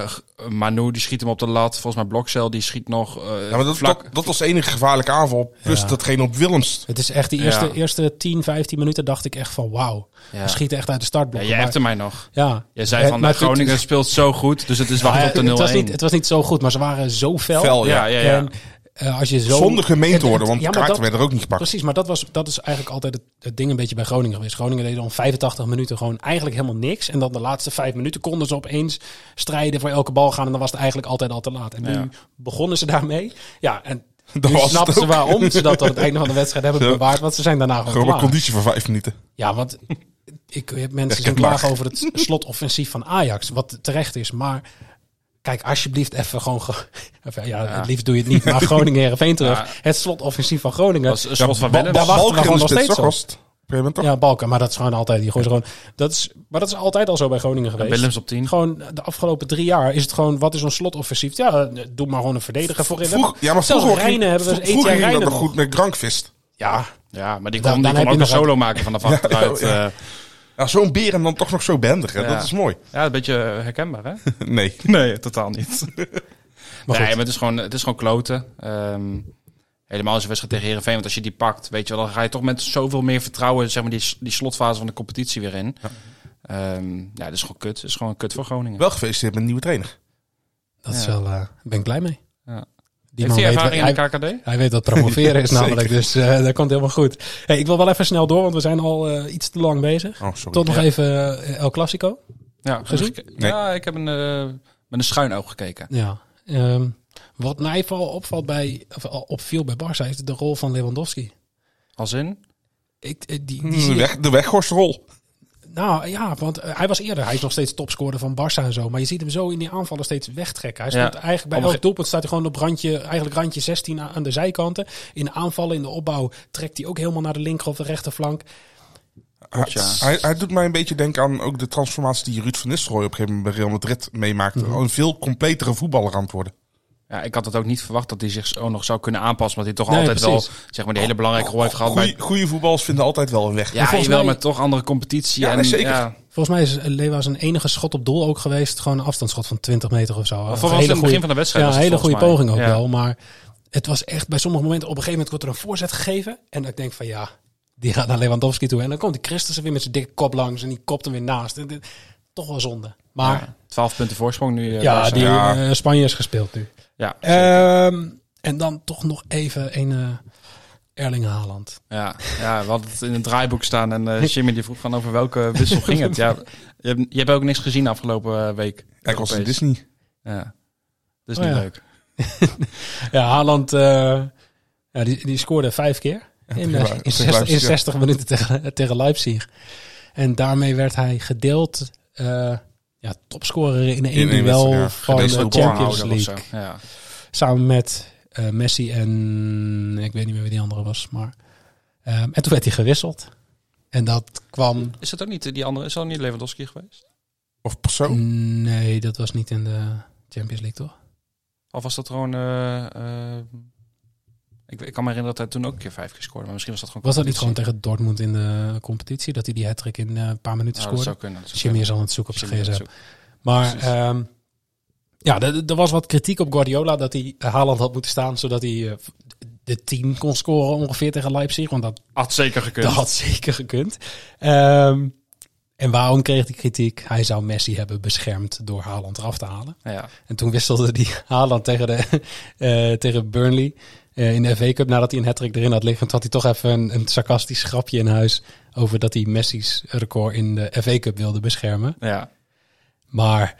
Speaker 7: Eh, g- Manu die schiet hem op de lat. Volgens mij Blokcel die schiet nog. eh,
Speaker 6: Ja, maar dat,
Speaker 7: vlak.
Speaker 6: dat, dat was de enige gevaarlijke aanval. Plus
Speaker 1: Ja.
Speaker 6: datgene op Willems.
Speaker 1: Het is echt die eerste,
Speaker 7: Ja.
Speaker 1: eerste 10, 15 minuten dacht ik echt van wauw.
Speaker 7: Ja.
Speaker 1: We schieten echt uit de startblok.
Speaker 7: ja, jij hebt er mij nog.
Speaker 1: ja.
Speaker 7: Je zei
Speaker 1: Eh,
Speaker 7: van
Speaker 1: maar het-
Speaker 7: Groningen speelt zo goed, dus het is wachten
Speaker 1: Ja,
Speaker 7: op de 0-1.
Speaker 1: het, was niet, het was niet zo goed, maar ze waren zo fel.
Speaker 6: Fel,
Speaker 7: Oh, ja, ja, ja.
Speaker 1: En eh, als je zo...
Speaker 6: Zonder gemeend
Speaker 1: het-
Speaker 6: te worden, want
Speaker 1: ja, maar
Speaker 6: kaarten
Speaker 1: dat-
Speaker 6: werden er ook niet gepakt.
Speaker 1: Precies, maar dat, was, dat is eigenlijk altijd het, het ding een beetje bij Groningen geweest. Groningen deed dan 85 minuten gewoon eigenlijk helemaal niks. En dan de laatste vijf minuten konden ze opeens strijden voor elke bal gaan. En dan was het eigenlijk altijd al te laat. En nu
Speaker 7: Ja.
Speaker 1: begonnen ze daarmee. Ja, en
Speaker 6: <laughs> Dat
Speaker 1: nu
Speaker 6: was het
Speaker 1: snapten ze
Speaker 6: ook.
Speaker 1: waarom ze dat aan het einde van de wedstrijd hebben
Speaker 6: Zo.
Speaker 1: bewaard. Want ze zijn daarna gewoon
Speaker 6: Gewoon maar
Speaker 1: klaar.
Speaker 6: conditie van vijf minuten.
Speaker 1: Ja, want ik heb mensen
Speaker 6: ken
Speaker 1: zien klagen
Speaker 6: Bach.
Speaker 1: over het slotoffensief van Ajax, wat terecht is. Maar kijk, alsjeblieft even gewoon... ge- <laughs> Enfin, ja, het liefst doe je het niet, maar Groningen Heerenveen terug.
Speaker 7: Ja.
Speaker 1: Het slotoffensief van Groningen.
Speaker 7: Dat is een schot van
Speaker 1: Ba-
Speaker 7: Willems.
Speaker 1: Daar wachten we
Speaker 6: Balken
Speaker 1: gewoon
Speaker 6: was
Speaker 1: nog
Speaker 6: dit,
Speaker 1: steeds
Speaker 6: toch?
Speaker 1: op.
Speaker 6: was het? Op een gegeven moment toch?
Speaker 1: Ja, Balken, maar dat is gewoon altijd. Die gooien ze gewoon, dat is, maar dat is altijd al zo bij Groningen geweest.
Speaker 7: Willems op 10.
Speaker 1: Gewoon de afgelopen drie jaar is het gewoon, wat is ons slotoffensief? Ja, eh, doe maar gewoon een verdediger voorin.
Speaker 6: Vroeg, ja, maar
Speaker 1: Zelfs
Speaker 6: vroeger ging,
Speaker 1: Reijnen hebben we eens
Speaker 6: vroeger
Speaker 1: Etienne
Speaker 6: ging
Speaker 1: Reijnen
Speaker 6: dat nog
Speaker 1: nog.
Speaker 6: goed met Grankvist.
Speaker 1: Ja,
Speaker 7: Ja, maar die
Speaker 1: Dan-
Speaker 7: kon,
Speaker 1: dan
Speaker 7: die
Speaker 1: heb
Speaker 7: kon
Speaker 1: je
Speaker 7: ook
Speaker 1: nog
Speaker 7: een
Speaker 1: oh,
Speaker 7: solo maken
Speaker 1: <laughs>
Speaker 7: vanaf achteruit.
Speaker 6: ja,
Speaker 7: Ja,
Speaker 6: Ja, zo'n beer en dan toch nog zo behendig. Hè?
Speaker 7: Ja. eh,
Speaker 6: Dat is mooi.
Speaker 1: <laughs>
Speaker 7: <laughs> een beetje herkenbaar, hè?
Speaker 6: Nee.
Speaker 7: <laughs> Nee, totaal niet.
Speaker 1: Maar goed.
Speaker 7: nee, maar het is gewoon, het is gewoon kloten. Ehm, helemaal als je wedstrijd tegen Herenveen. Want als je die pakt, weet je wel, dan ga je toch met zoveel meer vertrouwen zeg maar, die, die slotfase van de competitie weer in. Ja, ja dat is gewoon kut. Dat is gewoon kut voor Groningen.
Speaker 6: Wel gefeliciteerd met een nieuwe trainer.
Speaker 1: Dat is
Speaker 7: Ja.
Speaker 1: wel, eh, ben ik blij mee.
Speaker 7: Ja.
Speaker 1: Die
Speaker 7: Heeft
Speaker 1: man
Speaker 7: hij
Speaker 1: weet,
Speaker 7: ervaring in
Speaker 1: hij,
Speaker 7: de KKD?
Speaker 1: hij weet wat promoveren
Speaker 7: <laughs>
Speaker 1: is namelijk, dus eh dat komt helemaal goed. Hey, ik wil wel even snel door, want we zijn al eh, iets te lang bezig.
Speaker 6: Oh, sorry.
Speaker 1: Tot nog
Speaker 7: Ja.
Speaker 1: even eh, El Clasico.
Speaker 7: Ja,
Speaker 1: Gezien?
Speaker 7: heb ik- ja ik heb een, eh, met een schuin oog gekeken.
Speaker 1: Ja. Ehm, wat mij vooral opvalt bij, of al opviel bij Barca is de rol van Lewandowski.
Speaker 7: Als in?
Speaker 1: Ik, eh, die,
Speaker 7: Hmm,
Speaker 1: die zie
Speaker 6: De,
Speaker 1: ik-
Speaker 6: weg, de weghorstrol.
Speaker 1: nou ja, want eh, hij was eerder. Hij is nog steeds topscorer van Barça en zo. Maar je ziet hem zo in die aanvallen steeds wegtrekken. Hij
Speaker 7: Ja.
Speaker 1: stond eigenlijk
Speaker 7: Op
Speaker 1: bij
Speaker 7: een
Speaker 1: elk doelpunt staat hij gewoon op randje, eigenlijk randje 16 aan aan de zijkanten. In de aanvallen, in de opbouw trekt hij ook helemaal naar de linker of de rechterflank.
Speaker 6: Hij,
Speaker 7: ja.
Speaker 6: hij, hij doet mij een beetje denken aan ook de transformatie die Ruud van Nistelrooy op een gegeven moment bij Real Madrid
Speaker 1: Mhm.
Speaker 6: meemaakte. Een veel completere voetballer aan het worden.
Speaker 7: Ja, ik had het ook niet verwacht dat hij zich zo nog zou kunnen aanpassen. Want hij toch
Speaker 1: Nee,
Speaker 7: altijd
Speaker 1: precies. Oh,
Speaker 7: wel zeg maar, die hele belangrijke rol heeft gehad. bij-
Speaker 6: Goede voetballers vinden altijd wel een weg.
Speaker 1: Maar
Speaker 7: Ja,
Speaker 1: volgens
Speaker 7: jawel, wel
Speaker 1: mij-
Speaker 7: maar toch andere competitie.
Speaker 6: Ja,
Speaker 7: en,
Speaker 6: nee, zeker.
Speaker 7: Ja,
Speaker 1: Volgens mij is eh, Lewa zijn enige schot op doel ook geweest. Gewoon een afstandsschot van 20 meter of zo. Een
Speaker 7: was het in het begin van de wedstrijd
Speaker 1: Ja,
Speaker 7: was
Speaker 1: een
Speaker 7: het
Speaker 1: hele goede
Speaker 7: volgens mij.
Speaker 1: poging ook
Speaker 7: Ja.
Speaker 1: wel. Maar het was echt bij sommige momenten... Op een gegeven moment wordt er een voorzet gegeven. En dan denk ik van ja, die gaat naar Lewandowski toe. En dan komt die Christensen weer met zijn dikke kop langs. En die kopt hem weer naast. En dit- toch wel zonde. Maar
Speaker 7: ja, 12 punten voorsprong nu. eh,
Speaker 1: ja,
Speaker 7: Barca.
Speaker 1: die
Speaker 6: Ja.
Speaker 1: eh, Spanje is gespeeld nu.
Speaker 7: ja,
Speaker 1: Ehm, en dan toch nog even een eh, Erling Haaland.
Speaker 7: Ja, ja, we hadden het in het draaiboek staan en eh, Jimmy die vroeg van over welke wissel ging
Speaker 1: <laughs>
Speaker 7: het. Ja, je, hebt, je hebt ook niks gezien de afgelopen eh, week.
Speaker 6: Kijk, als in
Speaker 7: Europees.
Speaker 6: Disney.
Speaker 7: Ja. Dat is
Speaker 1: Oh,
Speaker 7: niet
Speaker 1: ja.
Speaker 7: leuk.
Speaker 1: Ja, Haaland eh, ja, die, die scoorde vijf keer in, eh,
Speaker 6: tegen
Speaker 1: in,
Speaker 6: Lu- tegen
Speaker 1: 60, in
Speaker 6: Leipzig, ja.
Speaker 1: 60 minuten tegen, tegen Leipzig. En daarmee werd hij gedeeld eh, ja, topscorer in één
Speaker 6: één
Speaker 1: duel
Speaker 6: wedstrijd, ja.
Speaker 1: van de
Speaker 6: Gedeeld door
Speaker 1: Champions
Speaker 7: Bornhouder of
Speaker 1: League.
Speaker 7: zo. Ja.
Speaker 1: Samen met eh, Messi en ik weet niet meer wie die andere was. Maar, ehm, en toen werd hij gewisseld. En dat kwam...
Speaker 7: Is dat ook niet eh, die andere? Is dat niet Lewandowski geweest?
Speaker 6: Of
Speaker 1: Mhm.
Speaker 6: persoon.
Speaker 1: Nee, dat was niet in de Champions League, toch?
Speaker 7: Of was dat gewoon... eh, eh, ik, ik kan me herinneren dat hij toen ook een keer vijf keer scoorde. Maar misschien was dat gewoon...
Speaker 1: Was dat niet gewoon tegen Dortmund in de competitie? Dat hij die hat in eh, een paar minuten
Speaker 7: Nou,
Speaker 1: scoorde?
Speaker 7: dat zou kunnen. dat zou
Speaker 1: Jimmy
Speaker 7: kunnen.
Speaker 1: is al aan het zoeken op zijn
Speaker 7: Jimmy is
Speaker 1: gsm.
Speaker 7: aan het
Speaker 1: Maar
Speaker 7: Precies.
Speaker 1: ehm, ja, er er was wat kritiek op Guardiola dat hij eh, Haaland had moeten staan, zodat hij eh, de 10 kon scoren ongeveer tegen Leipzig. Want dat,
Speaker 7: zoeken. Had zeker gekund.
Speaker 1: dat had zeker gekund. Ehm, en waarom kreeg hij kritiek? Hij zou Messi hebben beschermd door Haaland eraf te halen.
Speaker 7: Ja.
Speaker 1: En toen wisselde die <laughs> Haaland tegen, de, <laughs> eh, tegen Burnley eh, in de FA Cup nadat hij een hattrick erin had liggen. Toen had hij toch even een, een sarcastisch grapje in huis over dat hij Messi's record in de FA Cup wilde beschermen.
Speaker 7: Ja.
Speaker 1: Maar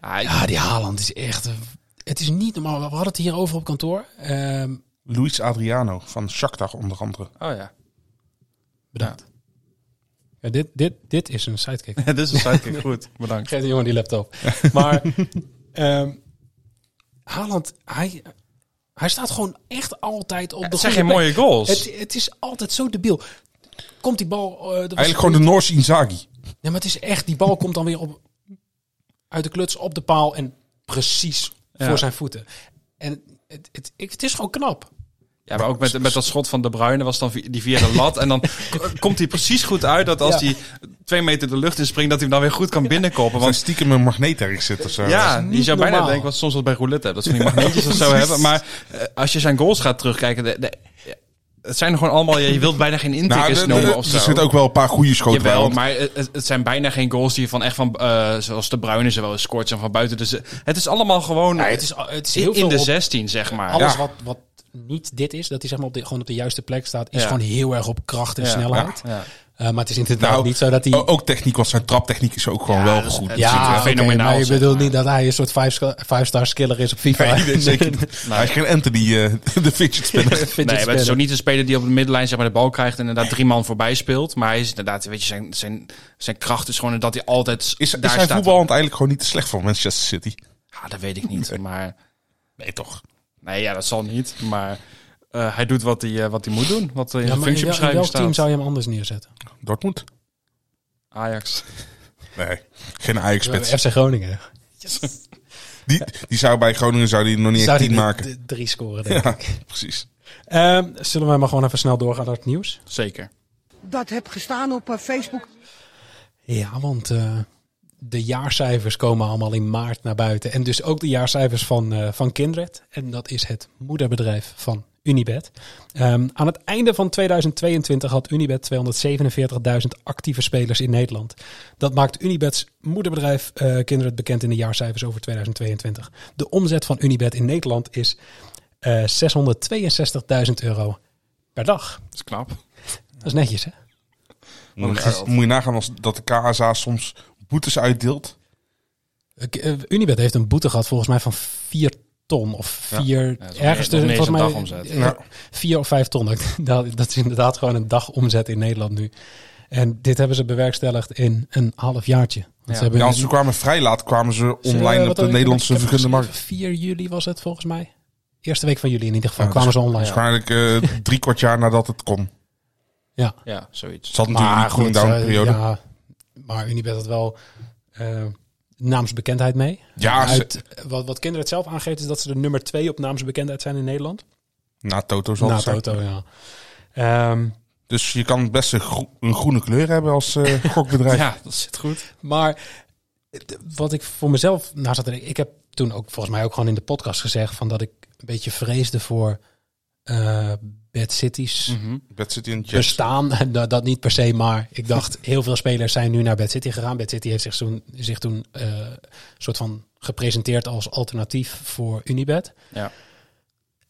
Speaker 7: Ah, ik-
Speaker 1: ja, die Haaland is echt... eh, Het is niet normaal. We hadden het hier over op kantoor. Ehm,
Speaker 6: Luis Adriano van Shakhtar onder andere.
Speaker 7: Oh ja.
Speaker 1: bedankt. Ja, dit, dit, dit is een <laughs> sidekick.
Speaker 7: <laughs> Dit is een sidekick. Goed, bedankt.
Speaker 1: Geef die jongen die laptop. Maar ehm, Haaland, hij, hij staat gewoon echt altijd op de
Speaker 7: Het zijn geen
Speaker 1: goede plek.
Speaker 7: mooie goals.
Speaker 1: Het, het is altijd zo debiel. Komt die bal... eh, er was-
Speaker 6: Eigenlijk gewoon de Noorse Inzaghi.
Speaker 1: Ja, maar het is echt... Die bal komt dan weer op, uit de kluts op de paal en precies
Speaker 7: Ja.
Speaker 1: voor zijn voeten. En het, het, ik- het is gewoon knap.
Speaker 7: Ja, maar ook met, met dat schot van De Bruyne was dan vi- die via
Speaker 1: <laughs>
Speaker 7: de lat. En dan k- komt hij precies goed uit dat als
Speaker 1: Ja.
Speaker 7: hij twee meter de lucht in springt, dat hij hem dan weer goed kan binnenkoppen.
Speaker 6: Want
Speaker 7: Want
Speaker 6: stiekem een magneet ergens zit of zo.
Speaker 7: ja,
Speaker 1: niet
Speaker 7: je zou bijna
Speaker 1: normaal.
Speaker 7: denken wat soms wat bij roulette hebt.
Speaker 1: <laughs>
Speaker 7: Dat ze die magneetjes of zo hebben. Maar eh, als je zijn goals gaat terugkijken, de, de- het zijn er gewoon allemaal, je wilt bijna geen
Speaker 6: Nou,
Speaker 7: intikkers
Speaker 6: de- de-
Speaker 7: noemen of zo.
Speaker 6: er zitten ook wel een paar goede schoten bij.
Speaker 7: Jawel,
Speaker 6: want-
Speaker 7: maar het, het zijn bijna geen goals die je van echt van, eh, zoals De Bruyne ze wel eens scoort, zijn van buiten. Dus eh, het is allemaal gewoon
Speaker 1: Ja, het, is, het is
Speaker 7: in,
Speaker 1: heel
Speaker 7: in
Speaker 1: veel
Speaker 7: de
Speaker 1: op-
Speaker 7: 16, zeg maar.
Speaker 1: Alles
Speaker 6: Ja.
Speaker 1: wat, wat niet dit is, dat hij zeg maar op de, gewoon op de juiste plek staat, is
Speaker 7: Ja.
Speaker 1: gewoon heel erg op kracht en
Speaker 7: Ja.
Speaker 1: snelheid.
Speaker 7: Ja.
Speaker 1: Eh, maar het is inderdaad
Speaker 6: Nou,
Speaker 1: niet zo dat hij...
Speaker 6: O- Ook techniek, want zijn traptechniek is ook gewoon
Speaker 7: Ja,
Speaker 6: wel
Speaker 7: dat is-
Speaker 6: goed.
Speaker 7: dat is-
Speaker 1: ja,
Speaker 7: natuurlijk
Speaker 1: oké,
Speaker 7: fenomenaal,
Speaker 1: maar je
Speaker 7: zeg
Speaker 1: bedoelt
Speaker 7: maar.
Speaker 1: niet dat hij een soort five- five-star skiller is op FIFA.
Speaker 6: <laughs> Nee, nee,
Speaker 1: <laughs>
Speaker 7: <laughs>
Speaker 6: zeker niet. Hij is geen Anthony, eh, <laughs> de fidget spinner.
Speaker 1: Fidget
Speaker 7: nee, maar het is
Speaker 1: spinner.
Speaker 7: ook niet een speler die op de middenlijn zeg maar, de bal krijgt en inderdaad drie man voorbij speelt. Maar hij is inderdaad, weet je, zijn, zijn, zijn kracht is gewoon dat hij altijd
Speaker 6: Is,
Speaker 7: daar
Speaker 6: is zijn
Speaker 7: staat.
Speaker 6: voetbal eigenlijk gewoon niet te slecht voor Manchester City?
Speaker 7: Ja, dat weet ik niet, maar...
Speaker 6: Nee, toch?
Speaker 7: Nee, ja, dat zal niet, maar... eh, hij doet wat hij, eh, wat hij moet doen, wat er
Speaker 1: Ja,
Speaker 7: in zijn
Speaker 1: maar in wel- in
Speaker 7: functiebeschrijving
Speaker 1: welk team
Speaker 7: staat.
Speaker 1: zou je hem anders neerzetten?
Speaker 6: Dortmund?
Speaker 7: Ajax.
Speaker 6: Nee, geen Ajax-spits.
Speaker 1: FC Groningen.
Speaker 6: Die, die zou bij Groningen zou die nog niet echt
Speaker 1: Zou hij
Speaker 6: tien
Speaker 1: de-
Speaker 6: maken.
Speaker 1: de Drie scoren, denk ik.
Speaker 6: Ja, precies.
Speaker 1: Ehm, zullen wij maar gewoon even snel doorgaan naar het nieuws?
Speaker 7: Zeker.
Speaker 8: dat heb gestaan op eh, Facebook.
Speaker 1: Ja, want eh, de jaarcijfers komen allemaal in maart naar buiten. En dus ook de jaarcijfers van, eh, van Kindred. En dat is het moederbedrijf van Unibed. Ehm, aan het einde van 2022 had Unibed 247.000 actieve spelers in Nederland. Dat maakt Unibeds moederbedrijf eh Kindred bekend in de jaarcijfers over 2022. De omzet van Unibed in Nederland is eh 662.000 euro per dag.
Speaker 7: Dat is knap.
Speaker 1: Dat is netjes, hè?
Speaker 6: Moet je,
Speaker 7: geld.
Speaker 6: moet je nagaan als dat de KSA soms boetes uitdeelt.
Speaker 1: Ik, eh, Unibet heeft een boete gehad volgens mij van 4 ton of
Speaker 6: Ja.
Speaker 1: 4
Speaker 7: dat is nog
Speaker 1: ergens
Speaker 7: meer- nog
Speaker 1: tussen
Speaker 7: meer
Speaker 1: volgens
Speaker 7: dan
Speaker 1: mij
Speaker 7: dagomzet.
Speaker 1: eh,
Speaker 6: Ja.
Speaker 1: vier of 5 ton. <laughs> Dat, dat is inderdaad gewoon een dagomzet in Nederland nu. En dit hebben ze bewerkstelligd in een half jaartje. Want
Speaker 7: Ja.
Speaker 1: hebben
Speaker 6: Ja, als ze kwamen vrij laat, kwamen ze
Speaker 1: ze, eh,
Speaker 6: online
Speaker 1: wat
Speaker 6: op de
Speaker 1: had ik-
Speaker 6: Nederlandse
Speaker 1: ik heb
Speaker 6: vergunde markt.
Speaker 1: geschreven, 4 juli was het volgens mij. Eerste week van juli in ieder geval
Speaker 6: Ja,
Speaker 1: kwamen
Speaker 6: dus-
Speaker 1: ze online.
Speaker 6: Waarschijnlijk
Speaker 1: <laughs>
Speaker 6: eh, drie kwart jaar nadat het kon.
Speaker 1: Ja.
Speaker 7: Ja, zoiets.
Speaker 6: Ze had natuurlijk een
Speaker 1: goed,
Speaker 6: cooldown
Speaker 1: eh,
Speaker 6: periode. Ja,
Speaker 1: ja, maar Unibet had wel eh, naamsbekendheid mee.
Speaker 6: ze-
Speaker 1: Uit, wat, wat kinderen het zelf aangeeft is dat ze de nummer 2 op naamsbekendheid zijn in Nederland.
Speaker 6: na Toto zal
Speaker 1: Na
Speaker 6: het zijn.
Speaker 1: Toto, ja. Ehm,
Speaker 6: Dus je kan best een, gro- een groene kleur hebben
Speaker 1: <laughs>
Speaker 6: als eh, gokbedrijf.
Speaker 7: Ja, dat zit goed.
Speaker 1: maar het- wat ik voor mezelf na zat te denken, ik heb toen ook volgens mij ook gewoon in de podcast gezegd van dat ik een beetje vreesde voor eh bad cities
Speaker 6: Bad City
Speaker 1: Dus
Speaker 6: en Jets.
Speaker 1: bestaan. <laughs> En dat, dat niet per se, maar ik
Speaker 6: <laughs>
Speaker 1: dacht heel veel spelers zijn nu naar Bad City gegaan. Bad City heeft zich toen, zich toen eh, soort van gepresenteerd als alternatief voor Unibet.
Speaker 7: Ja.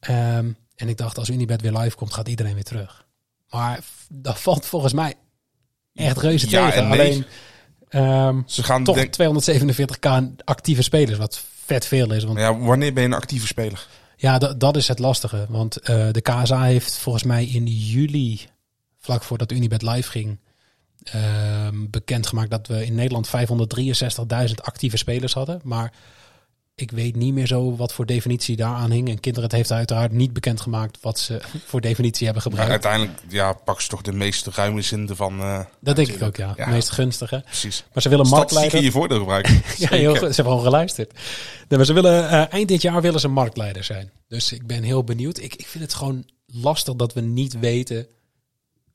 Speaker 1: Ehm, en ik dacht als Unibet weer live komt, gaat iedereen weer terug. Maar f- dat <laughs> valt volgens mij echt reuze
Speaker 6: Ja
Speaker 1: tegen.
Speaker 6: en nee.
Speaker 1: Alleen ehm,
Speaker 6: Ze gaan
Speaker 1: toch
Speaker 6: denk-
Speaker 1: 247k actieve spelers, wat vet veel is. Want
Speaker 6: ja, wanneer ben je een actieve speler?
Speaker 1: ja, da- dat is het lastige. Want eh, de KSA heeft volgens mij in juli, vlak voordat Unibet live ging, ehm, bekendgemaakt dat we in Nederland 563.000 actieve spelers hadden. Maar ik weet niet meer zo wat voor definitie daaraan hing. En kinderen heeft uiteraard niet bekendgemaakt wat ze <laughs> voor definitie hebben
Speaker 6: Maar
Speaker 1: gebruikt.
Speaker 6: uiteindelijk ja, pak ze toch de meest ruime zin ervan. eh,
Speaker 1: dat denk ik ook, ja.
Speaker 6: Ja.
Speaker 1: Meest gunstige.
Speaker 6: precies.
Speaker 1: Maar ze willen
Speaker 6: Statistieken
Speaker 1: marktleider.
Speaker 6: in je voordeel gebruiken.
Speaker 1: <laughs> Ja, heel goed. Ze hebben gewoon geluisterd. Nee, maar ze willen, eh, eind dit jaar willen ze marktleider zijn. Dus ik ben heel benieuwd. Ik, ik vind het gewoon lastig dat we niet weten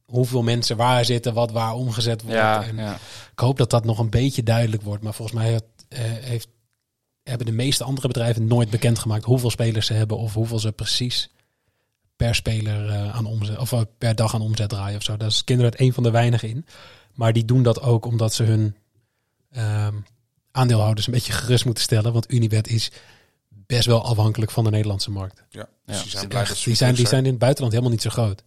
Speaker 1: hoeveel mensen waar zitten, wat waar omgezet wordt.
Speaker 7: Ja,
Speaker 1: en
Speaker 7: ja.
Speaker 1: Ik hoop dat dat nog een beetje duidelijk wordt. Maar volgens mij heeft- eh, heeft, hebben de meeste andere bedrijven nooit bekendgemaakt hoeveel spelers ze hebben of hoeveel ze precies per speler eh, aan omzet of eh, per dag aan omzet draaien of zo. Daar is kinderen het een van de weinigen in. Maar die doen dat ook omdat ze hun ehm, aandeelhouders een beetje gerust moeten stellen. Want Unibet is best wel afhankelijk van de Nederlandse markt.
Speaker 6: Ja,
Speaker 7: Ja,
Speaker 6: dus die zijn
Speaker 1: Echt,
Speaker 6: blij dat ze
Speaker 1: die, zijn, die
Speaker 6: succes
Speaker 1: zijn in het buitenland helemaal niet zo groot.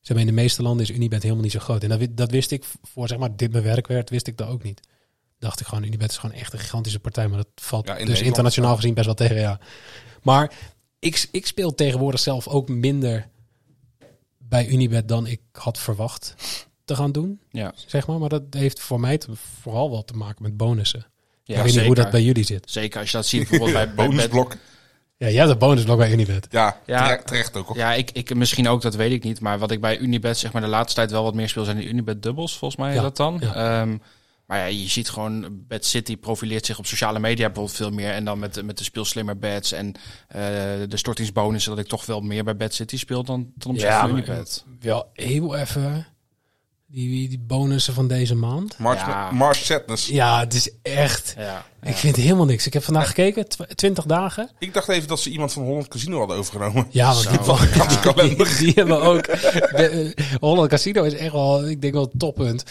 Speaker 1: Ze hebben in de meeste landen is Unibet helemaal niet zo groot. En dat, wi- dat wist ik voor zeg maar dit mijn werk werd, wist ik dat ook niet. Dacht ik gewoon, Unibet is gewoon echt een gigantische partij. Maar dat valt
Speaker 6: Ja, in
Speaker 1: dus
Speaker 6: Nederland
Speaker 1: internationaal gezien best wel tegen, ja. Maar ik, ik speel tegenwoordig zelf ook minder bij Unibet dan ik had verwacht te gaan doen,
Speaker 7: Ja,
Speaker 1: zeg maar. Maar dat heeft voor mij te- vooral wel te maken met bonussen.
Speaker 7: ja
Speaker 1: ik weet
Speaker 7: zeker.
Speaker 1: niet hoe dat bij jullie zit.
Speaker 7: Zeker als je dat ziet bijvoorbeeld bij,
Speaker 6: zijn.
Speaker 7: bij- bij-
Speaker 6: Bonusblok.
Speaker 1: Ja, jij hebt een bonusblok bij Unibet.
Speaker 6: Ja,
Speaker 7: Ja.
Speaker 6: terecht, terecht ook. hoor.
Speaker 7: Ja, ik, ik misschien ook, dat weet ik niet. Maar wat ik bij Unibet zeg maar de laatste tijd wel wat meer speel zijn de Unibet dubbels, volgens mij
Speaker 1: Ja,
Speaker 7: is dat dan.
Speaker 1: ja.
Speaker 7: Ehm, maar ja, je ziet gewoon, Bad City profileert zich op sociale media bijvoorbeeld veel meer. En dan met, met de speelslimmer bets en eh, de stortingsbonussen, dat ik toch wel meer bij Bad City speel dan ten opzichte van
Speaker 1: maar
Speaker 7: Unibet.
Speaker 1: wel heel even die, die bonussen van deze maand.
Speaker 6: March,
Speaker 7: Ja.
Speaker 6: March Sadness.
Speaker 1: Ja, het is echt.
Speaker 7: Ja,
Speaker 1: Ik vind helemaal niks. Ik heb vandaag gekeken, tw- 20 dagen.
Speaker 6: Ik dacht even dat ze iemand van Holland Casino hadden overgenomen.
Speaker 1: Ja, want <laughs> die,
Speaker 6: <laughs> Had ik al een-
Speaker 1: die hebben ook. De, eh, Holland Casino is echt wel, ik denk wel het toppunt.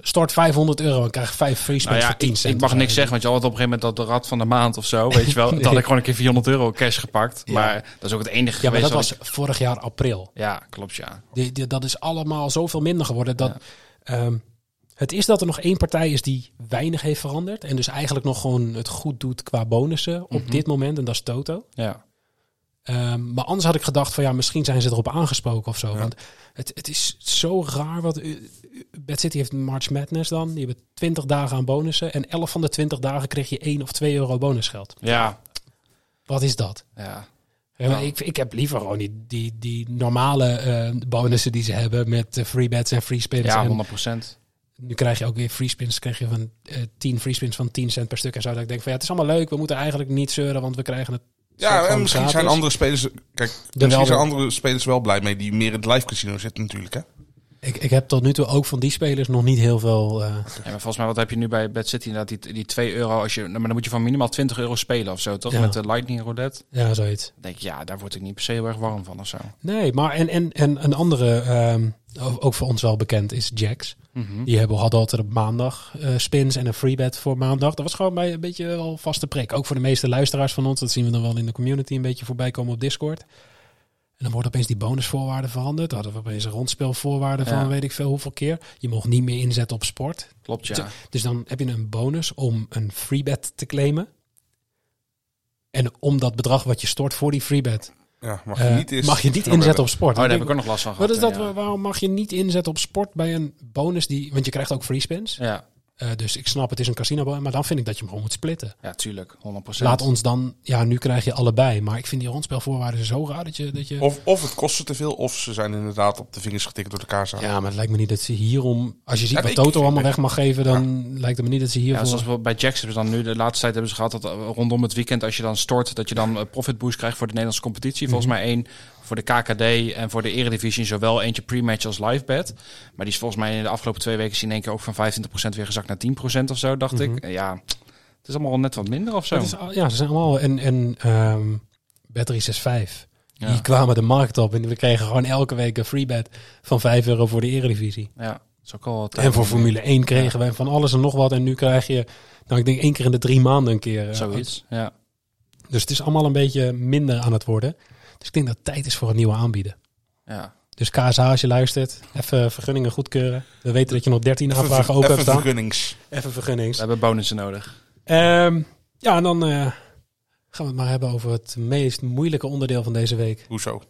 Speaker 1: Stort 500 euro en krijg 5 free spins
Speaker 7: Nou ja,
Speaker 1: voor 10
Speaker 7: ik,
Speaker 1: cent.
Speaker 7: ik mag niks zeggen, want je had op een gegeven moment dat de rad van de maand of
Speaker 1: <laughs>
Speaker 7: zo, weet je wel. Dat had ik gewoon een keer 400 euro cash gepakt. Maar dat is ook het enige
Speaker 1: Ja, maar
Speaker 7: geweest.
Speaker 1: dat
Speaker 7: wat
Speaker 1: was
Speaker 7: ik-
Speaker 1: vorig jaar april.
Speaker 7: Ja, klopt ja.
Speaker 1: Die- die- dat is allemaal zoveel minder geworden. Dat, ehm, het is dat er nog één partij is die weinig heeft veranderd. En dus eigenlijk nog gewoon het goed doet qua bonussen op dit moment. En dat is Toto.
Speaker 7: Ja,
Speaker 1: Ehm, maar anders had ik gedacht van ja, misschien zijn ze erop aangesproken of zo. Want het, het is zo raar. Wat, eh, eh, Bad City heeft March Madness dan. Die hebben 20 dagen aan bonussen. En 11 van de 20 dagen kreeg je 1 of 2 euro bonusgeld.
Speaker 7: ja,
Speaker 1: Wat is dat?
Speaker 7: ja.
Speaker 1: Ja, maar Ik, ik heb liever gewoon die, die, die normale eh, bonussen die ze hebben met eh, free bets en free spins.
Speaker 7: ja
Speaker 1: En
Speaker 7: 100 procent.
Speaker 1: nu krijg je ook weer free spins. Krijg je van eh 10 free spins van 10 cent per stuk en zo. Dat ik denk van ja, het is allemaal leuk. We moeten eigenlijk niet zeuren, want we krijgen het.
Speaker 6: Ja, en
Speaker 1: gewoon
Speaker 6: misschien zijn
Speaker 1: gratis.
Speaker 6: andere spelers... Kijk,
Speaker 1: wel
Speaker 6: misschien zijn
Speaker 1: weer.
Speaker 6: andere spelers wel blij mee die meer in het live casino zitten natuurlijk, hè?
Speaker 1: Ik, ik heb tot nu toe ook van die spelers nog niet heel veel... eh,
Speaker 7: Ja, maar volgens mij, wat heb je nu bij Bad City? Inderdaad, die, die 2 euro. Als je, nou, maar dan moet je van minimaal 20 euro spelen of zo, toch?
Speaker 1: Ja.
Speaker 7: Met de Lightning Roulette.
Speaker 1: ja, zoiets.
Speaker 7: Dan denk ik, ja, daar word ik niet per se heel erg warm van of zo.
Speaker 1: Nee, maar en, en, en een andere, ehm, o- ook voor ons wel bekend, is Jax. Die hebben, hadden altijd op maandag eh, spins en een freebet voor maandag. Dat was gewoon bij een beetje al vaste prik. Ook voor de meeste luisteraars van ons. Dat zien we dan wel in de community een beetje voorbij komen op Discord. En dan wordt opeens die bonusvoorwaarden veranderd. Dan hadden we opeens een rondspelvoorwaarde
Speaker 7: Ja.
Speaker 1: van weet ik veel hoeveel keer. Je mocht niet meer inzetten op sport.
Speaker 7: Klopt, ja. Oh,
Speaker 1: Dus dan heb je een bonus om een freebet te claimen. En om dat bedrag wat je stort voor die freebet...
Speaker 6: Ja, mag je
Speaker 1: eh,
Speaker 6: niet, Nou, eens-
Speaker 1: mag je niet inzetten op sport.
Speaker 7: Oh, daar
Speaker 1: Dan
Speaker 7: heb
Speaker 1: denk
Speaker 7: ik ook nog last van gehad.
Speaker 1: wat is
Speaker 7: hè,
Speaker 1: dat? Wa- Waarom mag je niet inzetten op sport bij een bonus die. Want je krijgt ook free spins.
Speaker 7: Ja. ja.
Speaker 1: Eh, dus ik snap, het is een casino. Maar dan vind ik dat je hem gewoon moet splitten.
Speaker 7: Ja, tuurlijk. 100%.
Speaker 1: Laat ons dan. Ja, nu krijg je allebei. Maar ik vind die rondspelvoorwaarden zo raar dat je. Dat je
Speaker 6: Of, of het kost ze te veel, of ze zijn inderdaad op de vingers getikt door de kaars.
Speaker 1: ja, maar het lijkt me niet dat ze hierom. Als je ziet
Speaker 6: Ja,
Speaker 1: wat
Speaker 6: ik-
Speaker 1: Toto allemaal weg mag geven, dan lijkt het me niet dat ze
Speaker 7: Ja,
Speaker 1: hiervoor.
Speaker 7: zoals we bij Jacks hebben ze dan nu de laatste tijd hebben ze gehad dat eh, rondom het weekend als je dan stort dat je dan eh, profit boost krijgt voor de Nederlandse competitie. Volgens mij één voor de KKD en voor de Eredivisie zowel eentje pre-match als live bet. Maar die is volgens mij in de afgelopen twee weken zien één keer ook van 25% weer gezakt naar 10% of zo dacht ik. Eh, Ja, het is allemaal net wat minder of zo.
Speaker 1: Het is al- ja, ze zijn allemaal. En, en ehm Battery 65.
Speaker 7: Ja.
Speaker 1: Die kwamen de markt op en we kregen gewoon elke week een free bet van 5 euro voor de Eredivisie.
Speaker 7: Ja, dat is ook al wat eh, tijd
Speaker 1: En voor
Speaker 7: om-
Speaker 1: Formule 1 kregen wij van alles en nog wat. En nu krijg je, nou ik denk één keer in de drie maanden een keer. eh,
Speaker 7: zoiets. Ja.
Speaker 1: Dus het is allemaal een beetje minder aan het worden. Dus ik denk dat het tijd is voor een nieuwe aanbieder.
Speaker 7: Ja.
Speaker 1: Dus KSH, als je luistert, even vergunningen goedkeuren. We weten dat je nog 13 aanvragen open hebt
Speaker 6: Even
Speaker 1: staan.
Speaker 6: vergunnings.
Speaker 1: Even
Speaker 7: We
Speaker 1: vergunnings.
Speaker 7: hebben bonussen nodig.
Speaker 1: Ehm, ja, en dan eh, gaan we het maar hebben over het meest moeilijke onderdeel van deze week.
Speaker 6: Hoezo?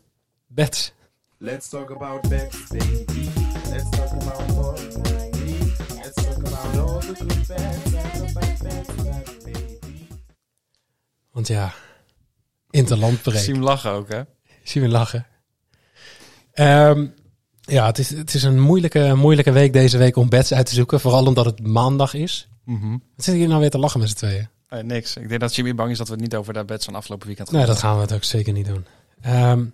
Speaker 1: Bets.
Speaker 8: Let's talk about bets, baby. Let's talk about ball, baby. Let's talk about all the good bets. Let's talk about bets, bets, baby.
Speaker 1: Want ja, interlandbreek.
Speaker 7: Zie hem lachen ook hè.
Speaker 1: Zien we lachen. Ehm, ja, het is, het is een moeilijke, moeilijke week deze week om bets uit te zoeken. Vooral omdat het maandag is.
Speaker 7: Mhm.
Speaker 1: Wat zit hier nou weer te lachen met z'n tweeën?
Speaker 7: Eh, niks. Ik denk dat Jimmy bang is dat we het niet over dat bed van afgelopen weekend gaan
Speaker 1: Nee, dat gaan we het ook zeker niet doen. Ehm,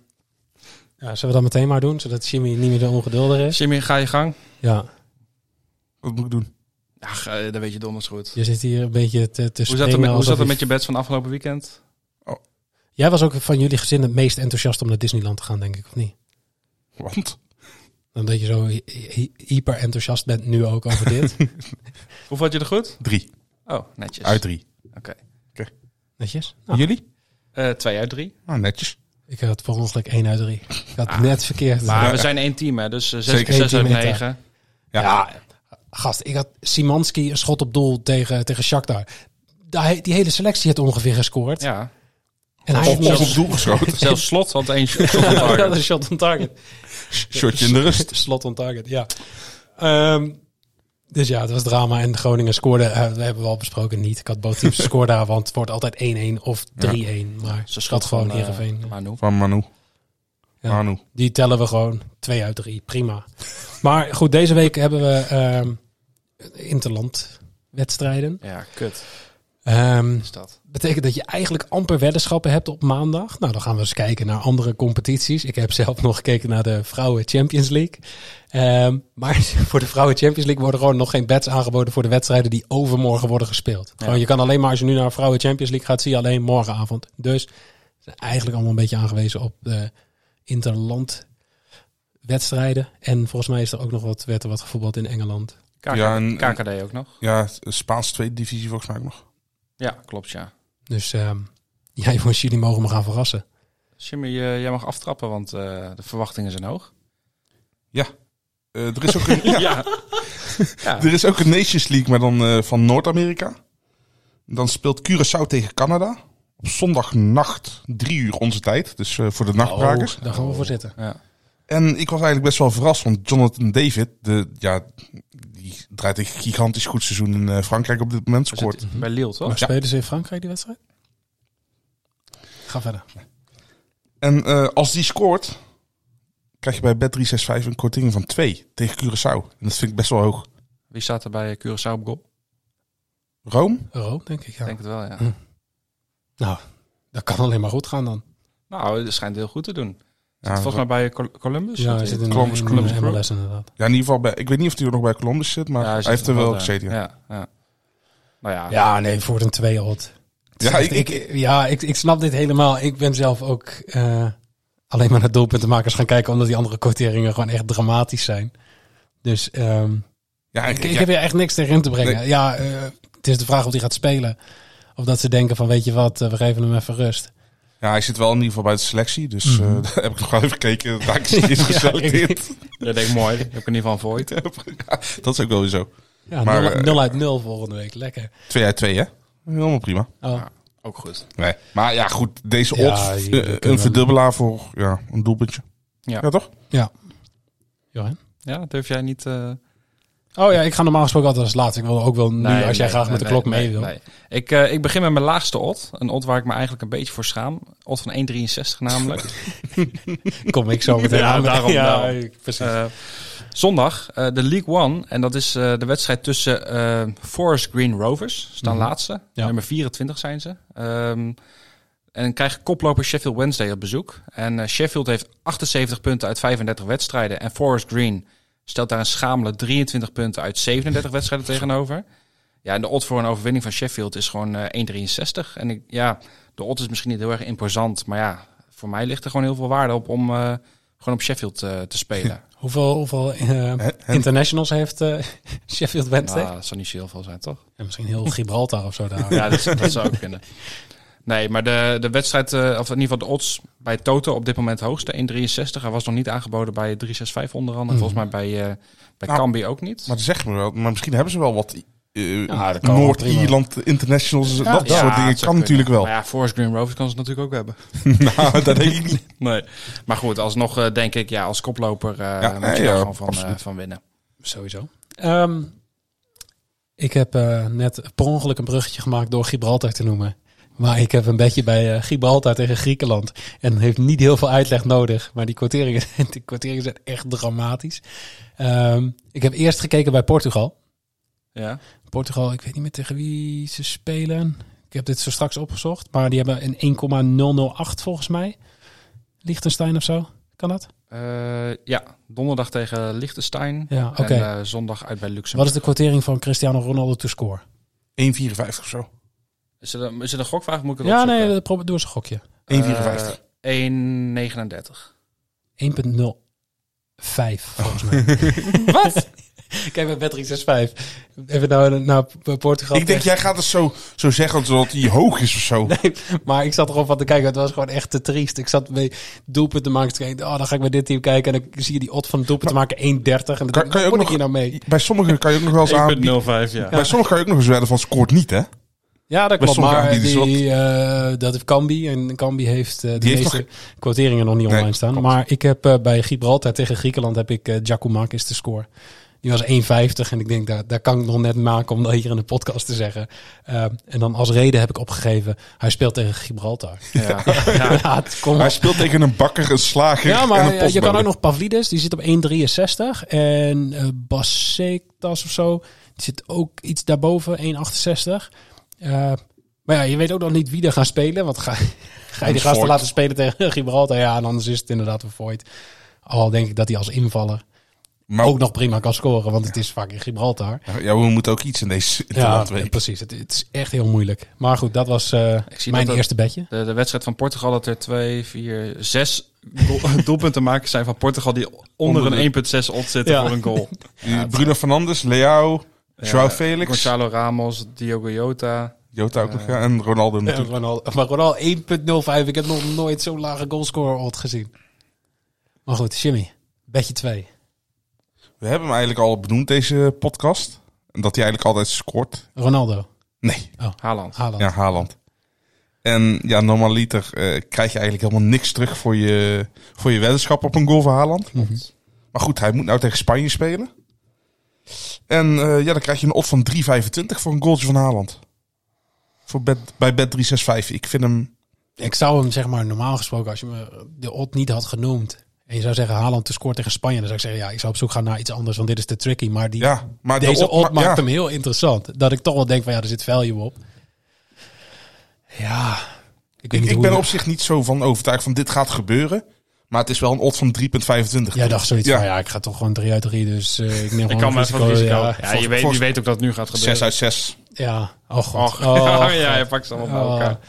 Speaker 1: ja, zullen we dat meteen maar doen, zodat Jimmy niet meer de ongeduldige is?
Speaker 7: Jimmy, ga je gang.
Speaker 1: Ja,
Speaker 6: Wat moet ik doen?
Speaker 7: Ach, eh, dat weet je donders goed.
Speaker 1: je zit hier een beetje te, te
Speaker 7: Hoe zat, het
Speaker 1: springen
Speaker 7: met, hoe
Speaker 1: alsof
Speaker 7: zat het
Speaker 1: je-
Speaker 7: met je bets van afgelopen weekend?
Speaker 1: Jij was ook van jullie gezin het meest enthousiast om naar Disneyland te gaan, denk ik, of niet?
Speaker 6: Want?
Speaker 1: Omdat je zo hy- hy- hyper enthousiast bent nu ook over dit.
Speaker 7: <laughs> Hoeveel had je er goed?
Speaker 6: Drie.
Speaker 7: Oh, netjes.
Speaker 6: Uit drie.
Speaker 1: Netjes? Nou,
Speaker 6: Jullie?
Speaker 7: Eh, twee uit drie.
Speaker 6: Nou, netjes.
Speaker 1: Ik had per ongeluk 1 uit 3. Ik had net verkeerd.
Speaker 7: Ah. Maar we zijn één team, hè? Dus eh, zes
Speaker 6: Zeker.
Speaker 7: keer zes
Speaker 1: Eén
Speaker 7: uit
Speaker 1: team
Speaker 7: negen.
Speaker 6: Ja.
Speaker 1: Gast, ik had Simanski een schot op doel tegen, tegen Shakhtar. Daar he- Die hele selectie had ongeveer gescoord.
Speaker 7: Ja.
Speaker 1: En hij
Speaker 6: Of,
Speaker 1: heeft
Speaker 6: of op
Speaker 1: nog
Speaker 6: doel
Speaker 1: <laughs>
Speaker 6: geschoten.
Speaker 7: Zelfs slot had één shot op
Speaker 1: Ja,
Speaker 7: target.
Speaker 1: dat is shot on target.
Speaker 6: Shotje in de rust.
Speaker 1: Slot on target, ja. Ehm, dus ja, het was drama. En Groningen scoorde, eh, we hebben we al besproken, niet. Ik had
Speaker 7: <laughs>
Speaker 1: Botief scoorde daar, want het wordt altijd 1-1 of 3-1. Maar
Speaker 7: Ze
Speaker 1: ze
Speaker 7: schot
Speaker 1: schat gewoon
Speaker 7: van, eh,
Speaker 1: Heerenveen.
Speaker 7: Manu.
Speaker 6: Van Manu.
Speaker 1: Ja.
Speaker 6: Manu.
Speaker 1: Die tellen we gewoon 2 uit 3. Prima. Maar goed, deze week hebben we ehm interland wedstrijden.
Speaker 7: Ja, kut
Speaker 1: Ehm,
Speaker 7: is dat.
Speaker 1: betekent dat je eigenlijk amper weddenschappen hebt op maandag. Nou, dan gaan we eens kijken naar andere competities. Ik heb zelf nog gekeken naar de Vrouwen Champions League. Ehm, maar <laughs> voor de Vrouwen Champions League worden gewoon nog geen bets aangeboden voor de wedstrijden die overmorgen worden gespeeld. Gewoon, je kan alleen maar als je nu naar de Vrouwen Champions League gaat, zie je alleen morgenavond. Dus ze zijn eigenlijk allemaal een beetje aangewezen op de interland wedstrijden. En volgens mij is er ook nog wat werd er wat gevoetbald in Engeland.
Speaker 7: KK,
Speaker 6: Ja, en-
Speaker 7: KKD ook nog.
Speaker 6: Ja, Spaans tweede divisie volgens mij ook nog.
Speaker 7: Ja, klopt, ja.
Speaker 1: Dus ehm <laughs> ja, jongens, jullie mogen me gaan verrassen.
Speaker 7: Jimmy, eh, jij mag aftrappen, want eh, de verwachtingen zijn hoog.
Speaker 6: Eh, er, is ook een, ja,
Speaker 7: Ja.
Speaker 6: er is ook een Nations League, maar dan eh, van Noord-Amerika. Dan speelt Curaçao tegen Canada. Op zondagnacht, drie uur onze tijd. Dus eh, voor de nachtbrakers.
Speaker 1: daar gaan we voor zitten.
Speaker 7: ja.
Speaker 6: En ik was eigenlijk best wel verrast, want Jonathan David, de, ja, die draait een gigantisch goed seizoen in eh, Frankrijk op dit moment.
Speaker 7: We zitten
Speaker 6: Scoort.
Speaker 7: Bij Lille, toch?
Speaker 1: Maar spelen ze in Frankrijk die wedstrijd? Ga verder.
Speaker 6: En eh, als die scoort, krijg je bij Bet365 een korting van 2 tegen Curaçao. En dat vind ik best wel hoog.
Speaker 7: Wie staat er bij eh, Curaçao op goal?
Speaker 6: Rome?
Speaker 1: Euro, denk ik. Ja. Hm.
Speaker 7: Ik denk het wel, ja.
Speaker 1: Nou, dat kan alleen maar goed gaan dan.
Speaker 7: Nou, het schijnt heel goed te doen.
Speaker 6: Ja,
Speaker 7: Volgens mij bij Col- Columbus.
Speaker 1: Ja, hij
Speaker 7: zit
Speaker 1: zit
Speaker 7: hij?
Speaker 1: in, eh,
Speaker 6: Columbus
Speaker 1: in,
Speaker 6: Cruise.
Speaker 1: in MLS inderdaad.
Speaker 6: Ja, in ieder geval bij, ik weet niet of hij nog bij Columbus zit, maar
Speaker 7: Ja,
Speaker 6: hij,
Speaker 7: zit
Speaker 6: heeft er wel
Speaker 7: daar.
Speaker 6: gezeten. Ja,
Speaker 7: Ja, ja. Nou ja,
Speaker 1: Ja, nee, voor een 2 odd.
Speaker 6: ja ik, ik,
Speaker 1: ja ik, ik snap dit helemaal. Ik ben zelf ook eh, alleen maar naar doelpuntenmakers gaan kijken, omdat die andere quoteringen gewoon echt dramatisch zijn. Dus ehm,
Speaker 6: ja, ik,
Speaker 1: ik, ik heb hier echt niks tegen in te brengen.
Speaker 6: Nee.
Speaker 1: Ja, eh, het is de vraag of die gaat spelen. Of dat ze denken van, weet je wat, eh, we geven hem even rust.
Speaker 6: ja, hij zit wel in ieder geval bij de selectie, dus eh, <laughs> daar heb ik nog wel even gekeken. Daar is hij is <laughs> geselecteerd.
Speaker 7: dat denk ik mooi. Heb ik in ieder geval een void.
Speaker 6: Dat is ook wel weer zo.
Speaker 1: Ja,
Speaker 6: Maar,
Speaker 1: nul-
Speaker 6: eh,
Speaker 1: nul uit nul volgende week. Lekker.
Speaker 6: Twee uit twee, hè? Helemaal prima.
Speaker 1: Oh.
Speaker 7: Ook goed.
Speaker 6: Nee. Maar ja, goed, deze
Speaker 1: Ja,
Speaker 6: odds,
Speaker 1: je- je
Speaker 6: eh,
Speaker 1: kunt wel-
Speaker 6: een verdubbelaar voor ja, een doelpuntje.
Speaker 7: Ja.
Speaker 6: ja toch?
Speaker 1: Johan?
Speaker 7: Ja, durf jij niet... eh,
Speaker 1: Oh ja, ik ga normaal gesproken altijd als laatste. Ik wil ook wel nu,
Speaker 7: Nee,
Speaker 1: als jij
Speaker 7: nee,
Speaker 1: graag
Speaker 7: nee,
Speaker 1: met de
Speaker 7: nee,
Speaker 1: klok mee
Speaker 7: nee,
Speaker 1: wil.
Speaker 7: nee. Ik, eh, ik begin met mijn laagste odd. Een odd waar ik me eigenlijk een beetje voor schaam. Odd van 1,63 namelijk.
Speaker 1: Kom ik
Speaker 7: <laughs>
Speaker 1: zo meteen
Speaker 7: Ja,
Speaker 1: aan.
Speaker 7: daarom, daarom.
Speaker 1: precies.
Speaker 7: Eh, zondag, eh, de League One. En dat is eh, de wedstrijd tussen eh, Forest Green Rovers. Staan
Speaker 1: Mhm.
Speaker 7: laatste.
Speaker 1: Ja.
Speaker 7: Nummer 24 zijn ze. Ehm, en krijgen koploper Sheffield Wednesday op bezoek. En eh, Sheffield heeft 78 punten uit 35 wedstrijden. En Forest Green stelt daar een schamele 23 punten uit 37
Speaker 1: <laughs>
Speaker 7: wedstrijden tegenover. Ja, en de odd voor een overwinning van Sheffield is gewoon eh, 1,63. En ik, ja, de odd is misschien niet heel erg imposant. Maar ja, voor mij ligt er gewoon heel veel waarde op om eh, gewoon op Sheffield eh, te
Speaker 1: <laughs>
Speaker 7: spelen.
Speaker 1: Hoeveel, hoeveel eh, internationals heeft eh, <laughs> Sheffield Wednesday?
Speaker 7: Nou, dat zou niet zo heel veel zijn, toch?
Speaker 1: En misschien heel Gibraltar of zo
Speaker 7: <laughs>
Speaker 1: daar.
Speaker 7: Ja, dat, dat zou ook kunnen. Nee, maar de, de wedstrijd, eh, of in ieder geval de odds bij Toto op dit moment hoogste, 1,63. Hij was nog niet aangeboden bij 365 onder andere. Volgens mij bij, eh bij
Speaker 6: Nou,
Speaker 7: Cambi ook niet.
Speaker 6: Mhm. Maar zeg me wel, maar misschien hebben ze wel wat eh,
Speaker 1: Ja, dat kan wel
Speaker 6: Noord-Ierland internationals. dat
Speaker 7: Ja,
Speaker 6: soort dingen
Speaker 7: het
Speaker 6: kan
Speaker 7: zou
Speaker 6: natuurlijk wel.
Speaker 7: Maar ja, Forest Green Rovers kan ze natuurlijk ook hebben.
Speaker 6: <laughs> nou, dat denk ik
Speaker 1: <laughs>
Speaker 6: niet.
Speaker 7: Nee. Maar goed, alsnog eh, denk ik, ja, als koploper eh, moet je
Speaker 6: nee,
Speaker 7: daar
Speaker 6: ja,
Speaker 7: gewoon van, eh,
Speaker 6: absoluut.
Speaker 7: van winnen.
Speaker 1: Sowieso. Ehm, ik heb eh, net per ongeluk een bruggetje gemaakt door Gibraltar te noemen. Maar ik heb een bedje bij eh, Gibraltar tegen Griekenland. En heeft niet heel veel uitleg nodig. Maar die kwarteringen, die kwarteringen <laughs> zijn echt dramatisch. Ehm, ik heb eerst gekeken bij Portugal.
Speaker 7: Ja.
Speaker 1: Portugal, ik weet niet meer tegen wie ze spelen. Ik heb dit zo straks opgezocht. Maar die hebben een 1,008 volgens mij. Liechtenstein of zo. Kan dat?
Speaker 7: Eh, ja, donderdag tegen Liechtenstein.
Speaker 1: Ja, oké.
Speaker 7: En eh, zondag uit bij Luxemburg.
Speaker 1: Wat is de kwartering van Cristiano Ronaldo to score?
Speaker 6: 1,54 of zo.
Speaker 7: Is het een, is het een gokvraag? Moet ik het
Speaker 1: Ja,
Speaker 7: opzoeken?
Speaker 6: eh,
Speaker 1: nee, dat probeer- doe eens een gokje.
Speaker 6: 1,54.
Speaker 7: Eh, 1,39.
Speaker 1: 1.05
Speaker 6: Oh.
Speaker 1: volgens
Speaker 6: <laughs>
Speaker 1: mij. Wat? Kijk bij Bet365. Even nou naar Portugal.
Speaker 6: ik denk, jij gaat het zo, zo zeggen zodat hij hoog is of zo.
Speaker 1: Maar ik zat erop van te kijken. Het was gewoon echt te triest. Ik zat bij doelpunten te maken. te kijken, Oh, dan ga ik bij dit team kijken. En dan zie je die odd van doelpunten te maken 1.30. En dan denk ik,
Speaker 6: kan je
Speaker 1: wat
Speaker 6: ook
Speaker 1: moet ik
Speaker 6: nog-
Speaker 1: hier nou mee?
Speaker 6: Bij sommigen kan je ook nog wel eens aan...
Speaker 7: 1,05, ja.
Speaker 6: Bij sommigen kan je ook nog eens werden van scoort niet, hè?
Speaker 1: Ja, dat
Speaker 6: Bij
Speaker 1: klopt.
Speaker 6: sommigen
Speaker 1: Maar
Speaker 6: die
Speaker 1: die,
Speaker 6: dus
Speaker 1: eh, dat heeft Cambi. En Cambi heeft eh, de
Speaker 6: Die heeft
Speaker 1: meeste quoteringen nog niet
Speaker 6: Nee,
Speaker 1: online staan.
Speaker 6: klopt.
Speaker 1: Maar ik heb eh, bij Gibraltar tegen Griekenland heb ik uh, Giacomakis te score. Die was 1,50 en ik denk, daar, daar kan ik nog net maken om dat hier in de podcast te zeggen. Eh, en dan als reden heb ik opgegeven, hij speelt tegen Gibraltar.
Speaker 7: Ja.
Speaker 1: <laughs> Ja, het komt
Speaker 6: <laughs> Hij speelt tegen een bakker, een slager
Speaker 1: ja, maar
Speaker 6: en een
Speaker 1: eh, je
Speaker 6: postbode.
Speaker 1: kan ook nog Pavlidis, die zit op 1,63. En eh Basektas of zo, die zit ook iets daarboven, 1,68. Eh, maar ja, je weet ook nog niet wie er gaan spelen. Want ga, <laughs> ga je die gasten
Speaker 6: Voort.
Speaker 1: laten spelen tegen <laughs> Gibraltar? Ja, en anders is het inderdaad een void. Al denk ik dat hij als invaller
Speaker 6: Maar
Speaker 1: ook nog prima kan scoren, want het is vaak in Gibraltar.
Speaker 6: Ja, we moeten ook iets in deze
Speaker 1: Ja,
Speaker 6: interland weten.
Speaker 1: precies. Het, het is echt heel moeilijk. Maar goed, dat was eh,
Speaker 7: Ik zie
Speaker 1: mijn
Speaker 7: dat het-
Speaker 1: eerste bedje.
Speaker 7: De, de wedstrijd van Portugal dat er 2, 4, 6 <laughs>
Speaker 6: <laughs>
Speaker 7: doelpunten maken zijn van Portugal die onder,
Speaker 6: Onder
Speaker 7: een 1,6 odd zitten
Speaker 1: Ja.
Speaker 7: voor een
Speaker 6: <laughs>
Speaker 7: goal.
Speaker 6: Eh, Bruno Fernandes, Leao, Joao
Speaker 7: Ja,
Speaker 6: Felix,
Speaker 7: Gonzalo Ramos, Diogo Jota.
Speaker 6: Jota ook nog, ja, en Ronaldo
Speaker 1: Ja,
Speaker 6: natuurlijk.
Speaker 1: Ronaldo, maar Ronaldo 1.05. Ik heb nog nooit zo'n lage goalscorer ooit gezien. Maar goed, Jimmy. Bedje 2.
Speaker 6: We hebben hem eigenlijk al benoemd, deze podcast. En dat hij eigenlijk altijd scoort.
Speaker 1: Ronaldo.
Speaker 6: Nee,
Speaker 7: Haaland.
Speaker 1: Haaland.
Speaker 6: ja, Haaland. En ja, normaliter eh, krijg je eigenlijk helemaal niks terug voor je, voor je weddenschap op een goal van Haaland.
Speaker 1: Mhm.
Speaker 6: Maar goed, hij moet nou tegen Spanje spelen. En eh, ja, dan krijg je een odd van 3,25 voor een goaltje van Haaland. Voor bed, bij bed 365. Ik vind hem...
Speaker 1: Ik zou hem, zeg maar, normaal gesproken, als je me de odd niet had genoemd. En je zou zeggen, Haaland te scoort tegen Spanje. Dan zou ik zeggen, ja, ik zou op zoek gaan naar iets anders. Want dit is te tricky. Maar die,
Speaker 6: Ja, maar de
Speaker 1: deze
Speaker 6: odd-
Speaker 1: odd
Speaker 6: maar-
Speaker 1: maakt
Speaker 6: ja.
Speaker 1: hem heel interessant. Dat ik toch wel denk van, ja, er zit value op. Ja. Ik, weet
Speaker 6: Ik,
Speaker 1: niet
Speaker 6: ik
Speaker 1: hoe
Speaker 6: ben
Speaker 1: je-
Speaker 6: op zich niet zo van overtuigd van dit gaat gebeuren. Maar het is wel een odd van 3,25.
Speaker 1: Jij dacht zoiets
Speaker 6: Ja.
Speaker 1: van, ja, ik ga toch gewoon 3 uit 3, dus eh, ik neem gewoon
Speaker 7: Ik
Speaker 6: Oh,
Speaker 7: kan maar even het risico. Ja,
Speaker 1: Ja,
Speaker 7: je, weet, je weet ook dat het nu gaat
Speaker 6: 6
Speaker 7: gebeuren.
Speaker 6: uit 6.
Speaker 1: ja. oh god.
Speaker 6: <laughs>
Speaker 7: Och,
Speaker 1: Oh,
Speaker 7: ja, <laughs> ja, je pakt ze allemaal bij
Speaker 1: Oh.
Speaker 7: elkaar.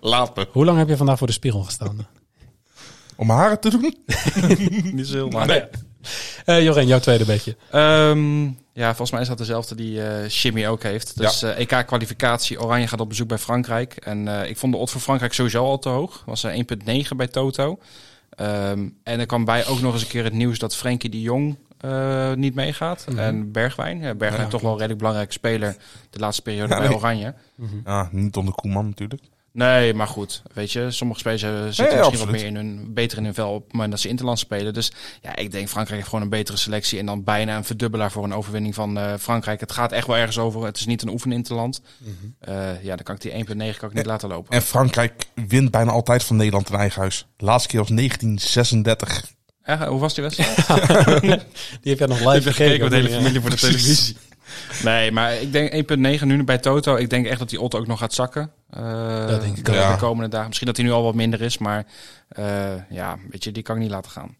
Speaker 6: Laat me.
Speaker 1: Hoe lang heb je vandaag voor de spiegel gestaan?
Speaker 6: Om mijn haren te doen?
Speaker 7: Niet zo heel maar.
Speaker 6: Oh. Nee.
Speaker 1: <laughs> Eh Jorén, jouw tweede beetje.
Speaker 7: Ehm, ja, volgens mij is dat dezelfde die eh Jimmy ook heeft. Dus eh, EK-kwalificatie. Oranje gaat op bezoek bij Frankrijk. En eh, ik vond de odd voor Frankrijk sowieso al te hoog. Was eh, 1,9 bij Toto. Ehm, en er kwam bij ook nog eens een keer het nieuws dat Frenkie de Jong eh, niet meegaat.
Speaker 6: Mhm.
Speaker 7: En Bergwijn. Ja, Bergwijn toch wel een redelijk belangrijke speler de laatste periode
Speaker 6: Ja,
Speaker 7: bij
Speaker 6: nee.
Speaker 7: Oranje.
Speaker 6: Ja, niet onder Koeman natuurlijk.
Speaker 7: Nee, maar goed. Weet je, sommige spelers eh, zitten
Speaker 6: ja,
Speaker 7: misschien
Speaker 6: absoluut.
Speaker 7: wat meer in hun, beter in hun vel op het moment dat ze interland spelen. Dus ja, ik denk Frankrijk heeft gewoon een betere selectie. En dan bijna een verdubbelaar voor een overwinning van eh, Frankrijk. Het gaat echt wel ergens over. Het is niet een oefeninterland. Eh, ja, dan kan ik die 1.9 kan ik niet laten lopen.
Speaker 6: Mhm. En Frankrijk wint bijna altijd van Nederland in eigen huis. De laatste keer was 1936.
Speaker 7: Eh, hoe was die
Speaker 6: <laughs>
Speaker 7: wedstrijd?
Speaker 1: Die heb jij nog live gekeken.
Speaker 7: met de hele
Speaker 6: eh,
Speaker 1: Ja.
Speaker 7: familie
Speaker 6: <laughs>
Speaker 7: voor de televisie. Nee, maar ik denk 1.9 nu bij Toto. Ik denk echt dat die Otto ook nog gaat zakken. eh,
Speaker 1: Dat denk ik
Speaker 7: de
Speaker 6: ook. Ja.
Speaker 7: komende dagen. Misschien dat hij nu al wat minder is. Maar eh, ja, weet je, die kan ik niet laten gaan.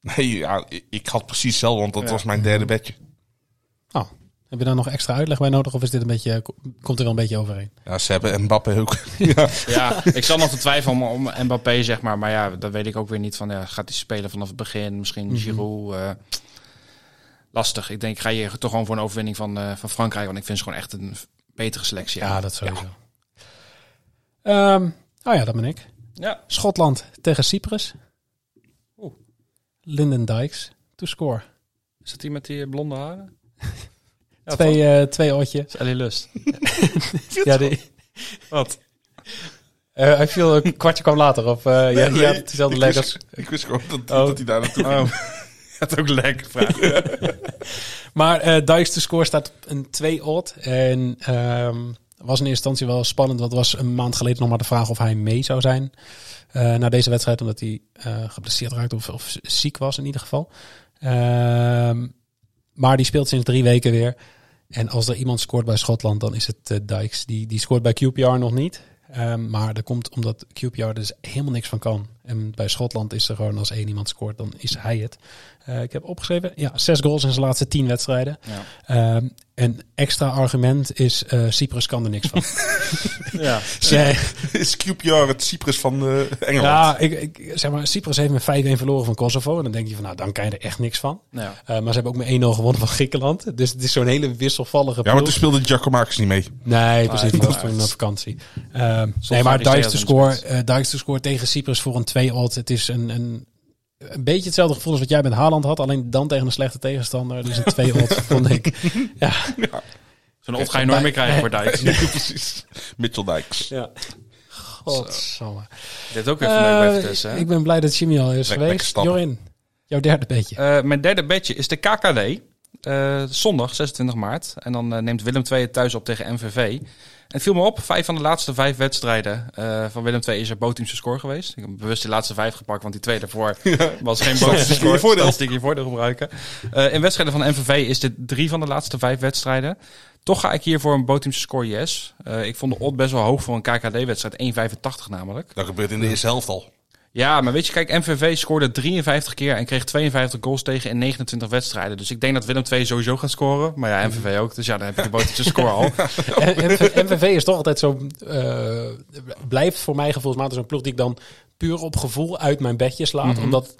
Speaker 6: Nee, ja, ik- ik had precies hetzelfde, want dat
Speaker 7: Ja.
Speaker 6: was mijn derde bedje.
Speaker 1: Heb je daar nog extra uitleg bij nodig? Of is dit een beetje, eh, ko- komt er wel een beetje overheen?
Speaker 6: Ja, ze hebben Mbappé ook. ja.
Speaker 7: Ja, ik zal nog te twijfelen om, om Mbappé, zeg maar. Maar ja, dat weet ik ook weer niet. Van, ja, gaat hij spelen vanaf het begin? Misschien Giroud. eh, lastig. Ik denk, ik ga je toch gewoon voor een overwinning van, eh, van Frankrijk. Want ik vind ze gewoon echt een betere selectie.
Speaker 1: Ja, dat sowieso. Ehm, oh ja, dat ben ik.
Speaker 7: Ja.
Speaker 1: Schotland tegen Cyprus. Linden Dykes to score.
Speaker 7: Is dat die met die eh, blonde
Speaker 1: <laughs>
Speaker 7: haren? Ja,
Speaker 1: twee,
Speaker 7: toch?
Speaker 1: eh twee otje.
Speaker 7: Dat is Ellie Lust.
Speaker 1: <laughs> Ja, die...
Speaker 7: Wat?
Speaker 1: Eh, hij viel een kwartje kwam later. Of eh ja, ja, het is wel de
Speaker 6: ik
Speaker 1: lekkers.
Speaker 6: wist, ik wist gewoon dat,
Speaker 1: Oh.
Speaker 6: dat hij daar naartoe ging.
Speaker 7: Oh. Dat ook lekker vraag.
Speaker 1: Maar eh Dijks te score staat op een 2 odd. En ehm, was in eerste instantie wel spannend. Want het was een maand geleden nog maar de vraag of hij mee zou zijn. eh, na deze wedstrijd, omdat hij eh, geblesseerd raakte of, of ziek was in ieder geval. Ehm, maar die speelt sinds drie weken weer. En als er iemand scoort bij Schotland, dan is het eh Dijks. Die, die scoort bij QPR nog niet. Ehm, maar dat komt omdat QPR er dus helemaal niks van kan. En bij Schotland is er gewoon als één iemand scoort, dan is hij het. Eh, ik heb opgeschreven, ja, zes goals in zijn laatste tien wedstrijden.
Speaker 7: Ja.
Speaker 1: Ehm, een extra argument is, eh, Cyprus kan er niks
Speaker 6: <laughs>
Speaker 1: van.
Speaker 7: Ja.
Speaker 1: Zij-
Speaker 6: Is QPR het Cyprus van eh, Engeland?
Speaker 1: ja, ik, ik, zeg maar, Cyprus heeft met 5-1 verloren van Kosovo. En dan denk je van, nou, dan kan je er echt niks van.
Speaker 7: Nou Ja.
Speaker 1: Eh, maar ze hebben ook met 1-0 gewonnen van Griekenland. Dus het is zo'n hele wisselvallige
Speaker 6: Ja, maar
Speaker 1: ploeg.
Speaker 6: toen speelde Giacomakis niet mee.
Speaker 1: Nee, precies.
Speaker 7: Nee,
Speaker 1: Die was
Speaker 7: maar-
Speaker 1: toen op vakantie. Ehm, nee,
Speaker 7: Soms
Speaker 1: maar
Speaker 7: waren die
Speaker 1: Dijks te
Speaker 7: zeeën
Speaker 1: score,
Speaker 7: aan de
Speaker 1: eh Dijks te score tegen Cyprus voor een 2-odd. Het is een, een, een beetje hetzelfde gevoel als wat jij met Haaland had. Alleen dan tegen een slechte tegenstander. Dus een
Speaker 6: <laughs>
Speaker 1: 2-odd vond ik. Ja.
Speaker 7: Zo'n op ga je nooit meer krijgen voor Dijk. <laughs> Dit
Speaker 6: <laughs> precies. Mitchell Dijks.
Speaker 1: ja. Godsamme.
Speaker 7: heeft ook weer verleuk bij
Speaker 1: Eh,
Speaker 7: Vitesse. dus, hè?
Speaker 1: ik ben blij dat Jimmy al is
Speaker 6: Lek- lekker
Speaker 1: geweest.
Speaker 6: stappen.
Speaker 1: Jorin, jouw derde
Speaker 7: <laughs>
Speaker 1: beetje.
Speaker 7: Eh, mijn derde bedje is de KKD. Eh, zondag 26 maart. En dan eh, neemt Willem II het thuis op tegen MVV. En het viel me op, vijf van de laatste vijf wedstrijden eh, van Willem II is er bootteamse score geweest. Ik heb bewust de laatste vijf gepakt, want die twee
Speaker 6: <laughs>
Speaker 7: daarvoor was geen bootteamse
Speaker 6: in je
Speaker 7: score.
Speaker 6: voordeel.
Speaker 7: Statistiek in je voordeel gebruiken. Eh, in wedstrijden van MVV is dit drie van de laatste vijf wedstrijden. Toch ga ik hier voor een bootteamse score yes. Eh, ik vond de odd best wel hoog voor een KKD-wedstrijd, 1,85 namelijk.
Speaker 6: Dat gebeurt in de eerste helft al.
Speaker 7: Ja, maar weet je, kijk, MVV scoorde 53 keer en kreeg 52 goals tegen in 29 wedstrijden. Dus ik denk dat Willem II sowieso gaat scoren. Maar ja,
Speaker 1: Mm.
Speaker 7: MVV ook. Dus ja, dan heb je de boterse
Speaker 1: <laughs>
Speaker 7: score al. Oh.
Speaker 1: En- en- MVV is toch altijd zo. eh, blijft voor mij gevoelsmatig zo'n ploeg die ik dan puur op gevoel uit mijn bedje slaat.
Speaker 7: Mhm.
Speaker 1: Omdat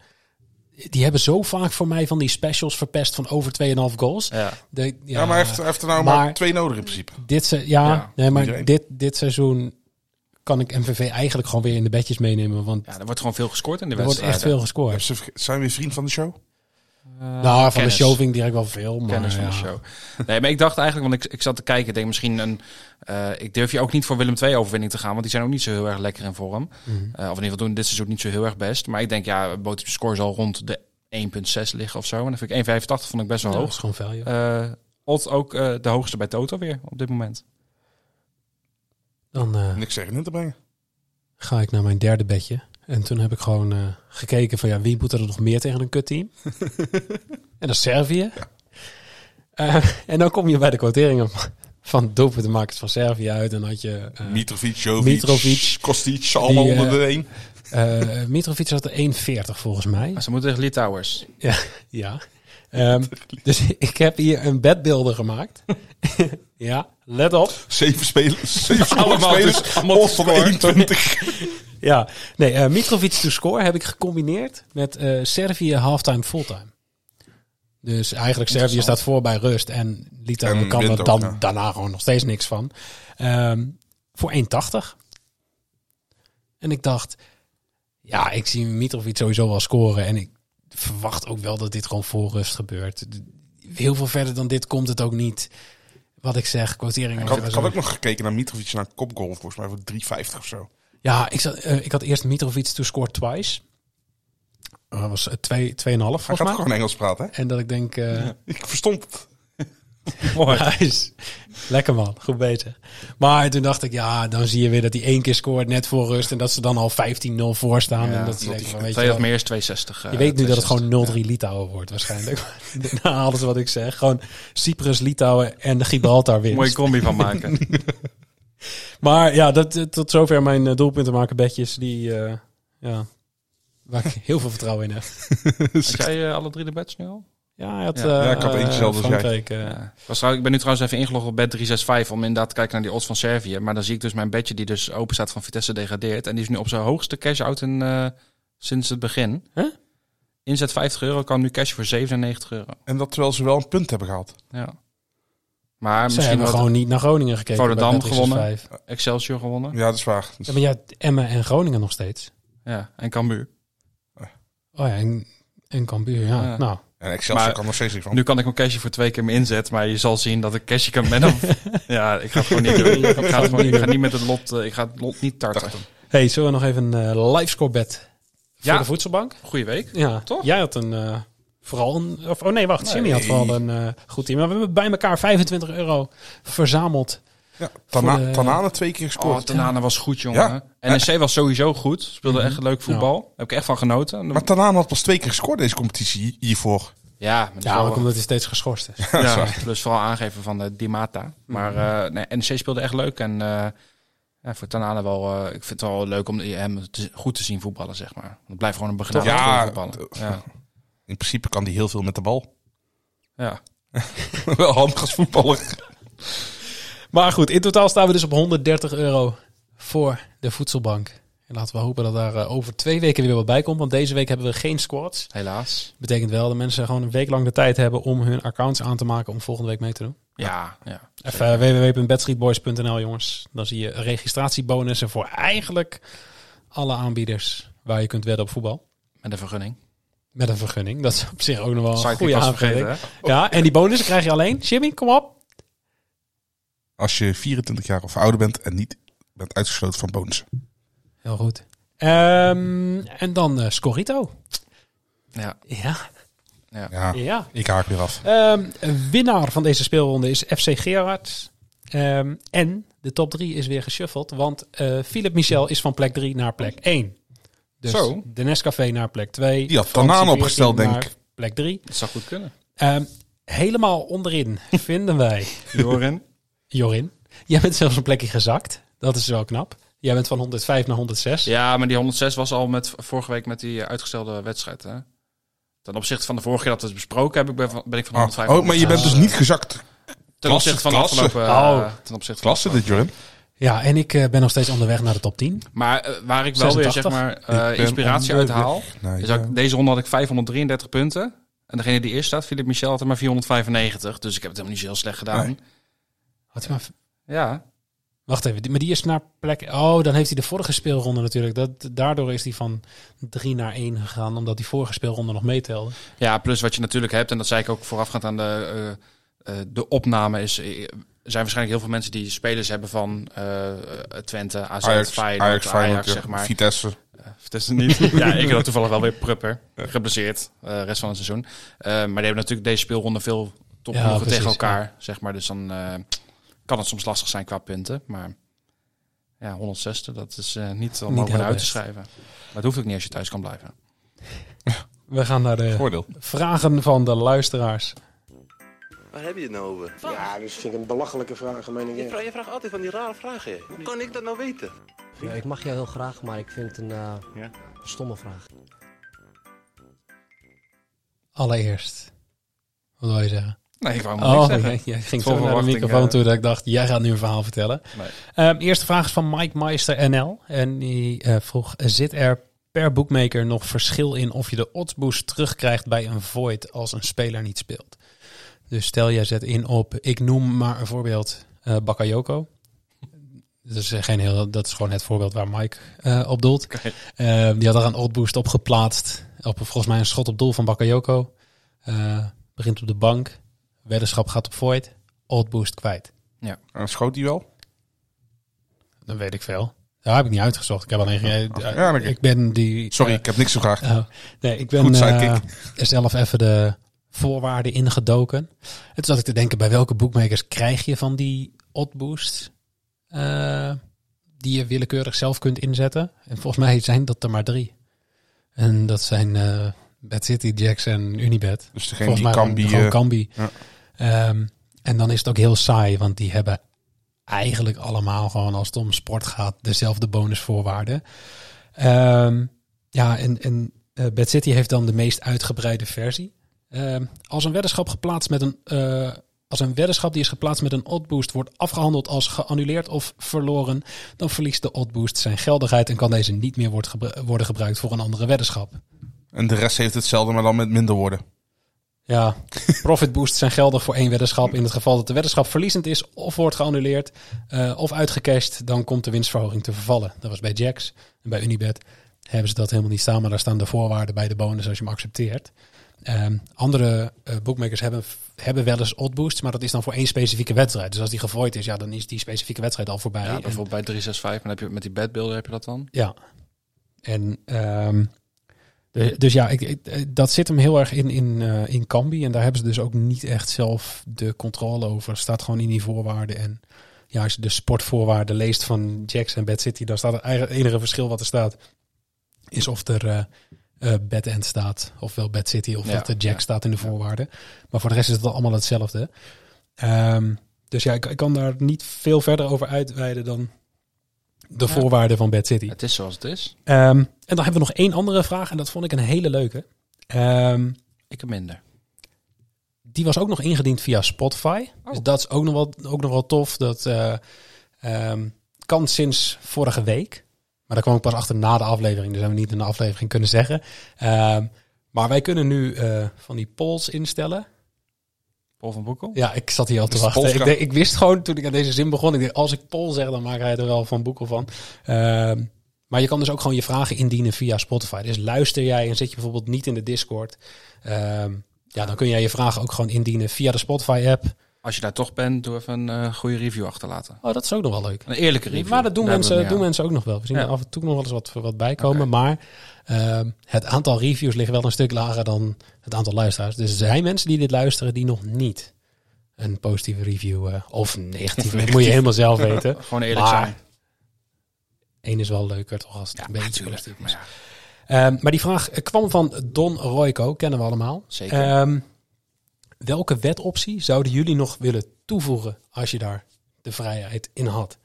Speaker 1: die hebben zo vaak voor mij van die specials verpest van over 2,5 goals.
Speaker 7: Ja.
Speaker 1: De- ja,
Speaker 6: Ja, maar hij heeft, hij heeft er nou maar,
Speaker 1: maar-
Speaker 6: twee nodig in principe.
Speaker 1: dit, se- ja,
Speaker 7: Ja,
Speaker 1: nee, maar
Speaker 6: iedereen.
Speaker 1: dit, dit seizoen kan ik MVV eigenlijk gewoon weer in de bedjes meenemen. Want
Speaker 7: Ja, er wordt gewoon veel gescoord in de
Speaker 1: er wordt
Speaker 7: wedstrijden. Eh,
Speaker 1: echt veel
Speaker 6: Heb
Speaker 1: gescoord.
Speaker 6: ze verge- Zijn we weer vriend van de show?
Speaker 1: nou, van
Speaker 7: kennis.
Speaker 1: de Shoving direct wel veel. Maar,
Speaker 7: kennis van de
Speaker 1: ja.
Speaker 7: show. Nee, maar ik dacht eigenlijk, want ik, ik zat te kijken, ik denk misschien een. eh, ik durf je ook niet voor Willem II overwinning te gaan, want die zijn ook niet zo heel erg lekker in vorm.
Speaker 1: mhm.
Speaker 7: Eh, of in ieder geval doen dit seizoen niet zo heel erg best. Maar ik denk, ja, boterse score zal rond de 1,6 liggen of zo. En dan vind ik 1,85 vond ik best wel
Speaker 1: Ja, dat
Speaker 7: hoog.
Speaker 1: is gewoon value.
Speaker 7: eh Odd ook eh, de hoogste bij Toto weer op dit moment.
Speaker 1: Dan eh,
Speaker 6: Niks zeggen in te brengen.
Speaker 1: ga ik naar mijn derde bedje. En toen heb ik gewoon eh, gekeken van ja, wie moet er nog meer tegen een kutteam? en dat is Servië. Eh, en dan kom je bij de quoteringen van doelpuntenmakers van Servië uit. En had je eh,
Speaker 6: Mitrovic, Jovic,
Speaker 1: Mitrovic.
Speaker 6: Kostic, allemaal
Speaker 1: Die, eh,
Speaker 6: onder de één.
Speaker 1: Eh Mitrovic had er 1,40 volgens mij.
Speaker 7: Maar ze moeten tegen <laughs> Litouwers.
Speaker 1: Ja. ja. Ehm, dus ik heb hier een bedbeelden gemaakt. ja, let op. <laughs>
Speaker 6: Zeven spelers. Zeven
Speaker 7: Allemaal
Speaker 6: spelers.
Speaker 7: dus, allemaal
Speaker 6: Of van
Speaker 7: te scoren.
Speaker 6: 21.
Speaker 1: Ja, nee, eh, Mitrovic to score heb ik gecombineerd met eh, Servië halftime fulltime. Dus eigenlijk Servië staat voor bij rust en Litouwen
Speaker 6: En
Speaker 1: kan
Speaker 6: wint
Speaker 1: er
Speaker 6: ook,
Speaker 1: dan,
Speaker 6: ja.
Speaker 1: daarna gewoon nog steeds niks van. Ehm, voor 1,80. En ik dacht, ja, ik zie Mitrovic sowieso wel scoren en ik verwacht ook wel dat dit gewoon voor rust gebeurt. Heel veel verder dan dit komt het ook niet. Wat ik zeg, quoteringen.
Speaker 6: Ik had, ik had ook nog gekeken naar Mitrovic naar kopgoal. Volgens mij voor 3,50 of zo.
Speaker 1: Ja, ik, zat, eh, ik had eerst Mitrovic to score twice. Dat was 2,5 twee, tweeënhalf
Speaker 6: Hij
Speaker 1: volgens mij.
Speaker 6: gaat gewoon Engels praten, hè?
Speaker 1: En dat ik denk, eh, <laughs>
Speaker 6: Ik verstond het.
Speaker 1: nice. Lekker man, goed bezig. Maar toen dacht ik, ja, dan zie je weer dat hij één keer scoort net voor rust. En dat ze dan al 15-0 voor staan. en dat ze denken van, weet je,
Speaker 7: Twee of
Speaker 1: wel,
Speaker 7: meer is 260. eh,
Speaker 1: je weet nu dat het
Speaker 7: 260.
Speaker 1: gewoon 0-3 Litouwen wordt waarschijnlijk. <laughs> Na alles wat ik zeg. Gewoon Cyprus, Litouwen en de Gibraltar winst.
Speaker 7: Mooie combi van
Speaker 1: <laughs>
Speaker 7: maken.
Speaker 1: Maar ja, dat, eh, tot zover mijn eh, doelpunten maken bedjes. Die, eh, ja, waar ik <laughs> heel veel vertrouwen in heb.
Speaker 7: Had jij eh, alle drie de bets nu al?
Speaker 1: Ja, hij had,
Speaker 7: Ja.
Speaker 1: eh,
Speaker 6: Ja, ik had eentje
Speaker 1: eh,
Speaker 6: zelf als jij.
Speaker 1: Frankrijk, eh,
Speaker 7: Ja. Was trouw- ik ben nu trouwens even ingelogd op bed 365 om inderdaad te kijken naar die odds van Servië. Maar dan zie ik dus mijn bedje die dus open staat van Vitesse degradeert. En die is nu op zijn hoogste cash-out in, eh, sinds het begin.
Speaker 1: Huh?
Speaker 7: Inzet 50 euro, kan nu cash voor 97 euro.
Speaker 6: En dat terwijl ze wel een punt hebben gehaald.
Speaker 7: Ja. Maar
Speaker 1: Ze
Speaker 7: misschien
Speaker 1: hebben
Speaker 7: had
Speaker 1: gewoon niet naar Groningen gekeken.
Speaker 7: Volendam
Speaker 1: bij Patrick's
Speaker 7: gewonnen.
Speaker 1: vijf.
Speaker 7: Excelsior gewonnen.
Speaker 6: Ja, dat is waar. Dus-
Speaker 1: Ja, maar ja, Emmen en Groningen nog steeds.
Speaker 7: Ja, en Cambuur.
Speaker 1: Oh ja, en, en Cambuur, ja.
Speaker 7: Ja.
Speaker 1: Nou,
Speaker 6: En Excelsior
Speaker 7: Maar-
Speaker 6: kan nog steeds niet van.
Speaker 7: Nu kan ik mijn cashje voor twee keer mijn inzet, maar je zal zien dat ik cashje kan met hem. ja, ik ga het gewoon niet doen. Ik ga, het gewoon, ik ga niet met het lot, eh, ik ga het lot niet tarten.
Speaker 1: hey, zullen we nog even een eh, livescore bed voor
Speaker 7: Ja.
Speaker 1: de voedselbank?
Speaker 7: Goeie week.
Speaker 1: Ja,
Speaker 7: Toch?
Speaker 1: Jij had een... eh, Vooral een, of, oh nee, wacht. Jimmy had
Speaker 6: Nee.
Speaker 1: vooral een eh, goed team. Maar we hebben bij elkaar 25 euro verzameld.
Speaker 6: Ja, Tana,
Speaker 1: voor de-
Speaker 6: Tanane twee keer
Speaker 7: Oh,
Speaker 6: gescoord.
Speaker 7: Tanane was goed, jongen. NEC was sowieso goed. Speelde echt leuk voetbal. Daar heb ik echt van genoten.
Speaker 6: maar Tanane had pas twee keer gescoord deze competitie hiervoor.
Speaker 7: ja, maar dat is
Speaker 1: Ja,
Speaker 7: wel-
Speaker 1: ook omdat hij steeds geschorst is. <laughs>
Speaker 7: ja, plus vooral aangeven van de Di Mata. Maar eh nee, NEC speelde echt leuk. En eh, ja, voor Tanane wel... eh, ik vind het wel leuk om hem te- goed te zien voetballen, zeg maar. Want het blijft gewoon een begenadigd
Speaker 6: Ja,
Speaker 7: voetballen.
Speaker 6: t-
Speaker 7: Ja,
Speaker 6: In principe kan die heel veel met de bal.
Speaker 7: ja.
Speaker 6: wel handig als voetballer.
Speaker 1: Maar goed, in totaal staan we dus op 130 euro voor de voedselbank. En laten we hopen dat daar eh, over twee weken weer wat bij komt. Want deze week hebben we geen squads.
Speaker 7: helaas.
Speaker 1: Betekent wel dat mensen gewoon een week lang de tijd hebben om hun accounts aan te maken om volgende week mee te doen.
Speaker 7: Ja, ja.
Speaker 1: Even eh, www.bedstreetboys.nl jongens. Dan zie je registratiebonussen voor eigenlijk alle aanbieders waar je kunt wedden op voetbal.
Speaker 7: Met een vergunning.
Speaker 1: Met een vergunning. Dat is op zich ook nog wel een
Speaker 7: Sidekick
Speaker 1: goede
Speaker 7: was
Speaker 1: aanvulling.
Speaker 7: vergeten, hè?
Speaker 1: Ja, en die bonussen krijg je alleen. Jimmy, kom op.
Speaker 6: Als je 24 jaar of ouder bent en niet bent uitgesloten van bonussen.
Speaker 1: Heel goed. Ehm, en dan eh, Scorito.
Speaker 7: Ja.
Speaker 1: Ja,
Speaker 6: Ja,
Speaker 1: ja.
Speaker 6: ik haak weer af.
Speaker 1: Ehm, winnaar van deze speelronde is FC Gerard. Ehm, en de top 3 is weer geshuffeld, want eh Philip Michel is van plek 3 naar plek 1. Dus
Speaker 6: Zo.
Speaker 1: de Nescafé naar plek 2.
Speaker 6: Die had
Speaker 1: Fransie
Speaker 6: Tanaan
Speaker 1: 14
Speaker 6: opgesteld, denk
Speaker 1: naar
Speaker 6: ik.
Speaker 1: Plek 3.
Speaker 7: Dat zou goed kunnen.
Speaker 1: Ehm, helemaal onderin <laughs> vinden wij
Speaker 7: Jorin.
Speaker 1: Jorin. Jij bent zelfs een plekje gezakt. Dat is wel knap. Jij bent van 105 naar 106.
Speaker 7: Ja, maar die 106 was al met, vorige week met die eh, uitgestelde wedstrijd. Hè? Ten opzichte van de vorige keer dat we het besproken hebben, ik ben, van- ben ik van
Speaker 6: Ah,
Speaker 7: 105.
Speaker 6: oh, maar je bent dus niet gezakt.
Speaker 7: ten opzichte van de
Speaker 6: klasse.
Speaker 7: afgelopen.
Speaker 1: Oh.
Speaker 7: eh, ten opzichte van
Speaker 6: Klasse dit, Jorin.
Speaker 1: Ja, en ik eh, ben nog steeds onderweg naar de top 10.
Speaker 7: Maar eh, waar ik wel weer
Speaker 1: 86.
Speaker 7: zeg maar eh,
Speaker 6: Ik ben
Speaker 7: inspiratie uit haal,
Speaker 6: Nee, eh,
Speaker 7: is
Speaker 6: ja.
Speaker 7: dat ik- deze ronde had ik 533 punten. En degene die eerst staat, Philip Michel, had er maar 495. Dus ik heb het helemaal niet zo heel slecht gedaan.
Speaker 6: Nee.
Speaker 1: Had hij maar
Speaker 7: Ja,
Speaker 1: Wacht even, die- maar die is naar plek... Oh, dan heeft hij de vorige speelronde natuurlijk. Dat, daardoor is hij van 3 naar 1 gegaan, omdat die vorige speelronde nog meetelde.
Speaker 7: Ja, plus wat je natuurlijk hebt, en dat zei ik ook voorafgaand aan de, eh, eh, de opname, is, eh, er zijn waarschijnlijk heel veel mensen die spelers hebben van eh, eh, Twente, AZ,
Speaker 6: Ajax,
Speaker 7: Feyenoord, Ajax,
Speaker 6: Ajax, Feyenoord, <laughs> ja.
Speaker 7: zeg maar.
Speaker 6: Vitesse.
Speaker 7: Vitesse niet. <laughs> ja, ik had toevallig wel weer Prupper,
Speaker 6: <laughs>
Speaker 7: geblesseerd, eh rest van het seizoen. Eh, maar die hebben natuurlijk deze speelronde veel
Speaker 1: Ja,
Speaker 7: topploegen
Speaker 1: precies,
Speaker 7: tegen elkaar, zeg maar. Dus dan eh, kan het soms lastig zijn qua punten, maar... Ja, 160, dat is eh, niet om
Speaker 1: Niet
Speaker 7: over
Speaker 1: heel
Speaker 7: uit te
Speaker 1: best.
Speaker 7: schrijven. Maar dat hoeft ook niet als je thuis kan blijven.
Speaker 1: We gaan naar de
Speaker 6: Voordeel.
Speaker 1: vragen van de luisteraars.
Speaker 9: Waar heb je het nou over?
Speaker 3: Ja, dat vind ik een belachelijke vraag, meen ik.
Speaker 9: Je vraagt, je vraagt altijd van die rare vragen. Hoe kan ik dat nou weten?
Speaker 10: Ja, ik mag jou heel graag, maar ik vind het een eh,
Speaker 3: Ja.
Speaker 10: stomme vraag.
Speaker 1: Allereerst. Wat wil je zeggen?
Speaker 7: Nee, ik wou maar niks
Speaker 1: Oh,
Speaker 7: zeggen.
Speaker 1: jij, jij ging
Speaker 7: Vol
Speaker 1: zo naar de
Speaker 7: verwachting,
Speaker 1: microfoon
Speaker 7: eh.
Speaker 1: toe dat ik dacht, jij gaat nu een verhaal vertellen.
Speaker 7: Nee.
Speaker 1: Ehm, eerste vraag is van Mike Meister NL. En die eh, vroeg, zit er per boekmaker nog verschil in of je de oddsboost terugkrijgt bij een void als een speler niet speelt? Dus stel jij zet in op, ik noem maar een voorbeeld, eh Bakayoko. Dat is, eh, geen heel, dat is gewoon het voorbeeld waar Mike eh, op doelt. Ehm, die had daar een oddboost op geplaatst. Op volgens mij een schot op doel van Bakayoko. Eh, begint op de bank. Weddenschap gaat op void. Oddboost kwijt.
Speaker 6: En Eh, schoot hij wel?
Speaker 1: Dan weet ik veel. Daar heb ik niet uitgezocht. Ik heb alleen geen.
Speaker 6: Oh, ja, oké.
Speaker 1: ik ben die.
Speaker 6: Sorry,
Speaker 1: eh,
Speaker 6: ik heb niks gevraagd.
Speaker 1: oh, nee, ik ben
Speaker 6: Goed,
Speaker 1: eh,
Speaker 6: sidekick.
Speaker 1: zelf even de voorwaarden ingedoken. En toen zat ik te denken: bij welke boekmakers krijg je van die oddboost? eh, die je willekeurig zelf kunt inzetten. En volgens mij zijn dat er maar drie. En dat zijn eh Bad City, Jacks en Unibet.
Speaker 6: Dus
Speaker 1: Volgens
Speaker 6: degene die
Speaker 1: mij
Speaker 6: kan
Speaker 1: gewoon- gewoon
Speaker 6: bieden.
Speaker 1: Kambi.
Speaker 6: ja.
Speaker 1: Ehm, en dan is het ook heel saai, want die hebben eigenlijk allemaal gewoon als het om sport gaat dezelfde bonusvoorwaarden. Ehm, ja, en, en eh, Bad City heeft dan de meest uitgebreide versie. Ehm, als een weddenschap geplaatst met een eh, als een weddenschap die is geplaatst met een oddboost wordt afgehandeld als geannuleerd of verloren, dan verliest de oddboost zijn geldigheid en kan deze niet meer wordt gebru- worden gebruikt voor een andere weddenschap.
Speaker 6: En de rest heeft hetzelfde, maar dan met minder woorden.
Speaker 1: Ja, <laughs> profit boosts zijn geldig voor één weddenschap. In het geval dat de weddenschap verliezend is of wordt geannuleerd eh, of uitgecashed, dan komt de winstverhoging te vervallen. Dat was bij Jax en bij Unibet hebben ze dat helemaal niet staan, maar daar staan de voorwaarden bij de bonus als je hem accepteert. Ehm, andere eh, bookmakers hebben, hebben wel eens oddboosts, maar dat is dan voor één specifieke wedstrijd. Dus als die gevooid is, ja, dan is die specifieke wedstrijd al voorbij.
Speaker 7: Ja,
Speaker 1: En-
Speaker 7: bijvoorbeeld bij 365, maar dan heb je met die bedbeelden heb je dat dan?
Speaker 1: ja. En ehm, de- dus ja, ik, ik- eh, dat zit hem heel erg in, in, eh, in Kambi. En daar hebben ze dus ook niet echt zelf de controle over. Staat gewoon in die voorwaarden. En ja, als je de sportvoorwaarden leest van Jax en Bad City, dan staat het eigenlijk- enige verschil wat er staat, is of er eh eh, Bad End staat, ofwel Bad City, of
Speaker 7: Ja,
Speaker 1: dat er Jax
Speaker 7: ja.
Speaker 1: staat in de voorwaarden. Maar voor de rest is het allemaal hetzelfde. Ehm, dus ja, ik, ik kan daar niet veel verder over uitweiden dan de voorwaarden van Bad City.
Speaker 7: Het is zoals het is.
Speaker 1: Ehm, en dan hebben we nog één andere vraag. En dat vond ik een hele leuke. Ehm,
Speaker 7: Ik heb minder.
Speaker 1: die was ook nog ingediend via Spotify. Dus dat is ook nog wel, ook nog wel tof. Dat eh, ehm, kan sinds vorige week. Maar daar kwam ik pas achter na de aflevering. Dus hebben we niet in de aflevering kunnen zeggen. Ehm, maar wij kunnen nu eh, van die polls instellen.
Speaker 7: Paul van Boekel?
Speaker 1: Ja, ik zat hier al te
Speaker 6: Dus de
Speaker 1: wachten.
Speaker 6: polls
Speaker 1: Ik,
Speaker 6: gaan-
Speaker 1: denk- ik wist gewoon toen ik aan deze zin begon. Ik dacht, als ik poll zeg, dan maakt hij er wel van boekel van. Ehm, maar je kan dus ook gewoon je vragen indienen via Spotify. Dus luister jij en zit je bijvoorbeeld niet in de Discord. ehm, ja, dan kun jij je vragen ook gewoon indienen via de Spotify-app.
Speaker 7: Als je daar toch bent, doe even een eh, goede review achterlaten.
Speaker 1: Oh, dat is ook nog wel leuk.
Speaker 7: Een eerlijke review.
Speaker 1: Maar dat doen,
Speaker 7: Daar
Speaker 1: mensen,
Speaker 7: hebben
Speaker 1: doen
Speaker 7: we
Speaker 1: mensen ook nog wel. We zien
Speaker 7: Ja.
Speaker 1: er af en toe nog wel eens wat, wat bijkomen. Maar ehm, het aantal reviews ligt wel een stuk lager dan het aantal luisteraars. Dus er zijn mensen die dit luisteren die nog niet een positieve review eh, of
Speaker 7: <laughs>
Speaker 1: negatieve. Dat moet je helemaal zelf weten.
Speaker 7: aan. Gewoon eerlijk
Speaker 1: Maar-
Speaker 7: zijn.
Speaker 1: Eén is wel leuker toch als het een beetje
Speaker 7: natuurlijk,
Speaker 1: positief
Speaker 7: maar
Speaker 1: is.
Speaker 7: ja.
Speaker 1: Ehm, maar die vraag kwam van Don Royko, kennen we allemaal.
Speaker 7: Zeker.
Speaker 1: Ehm, welke wetoptie zouden jullie nog willen toevoegen als je daar de vrijheid in had?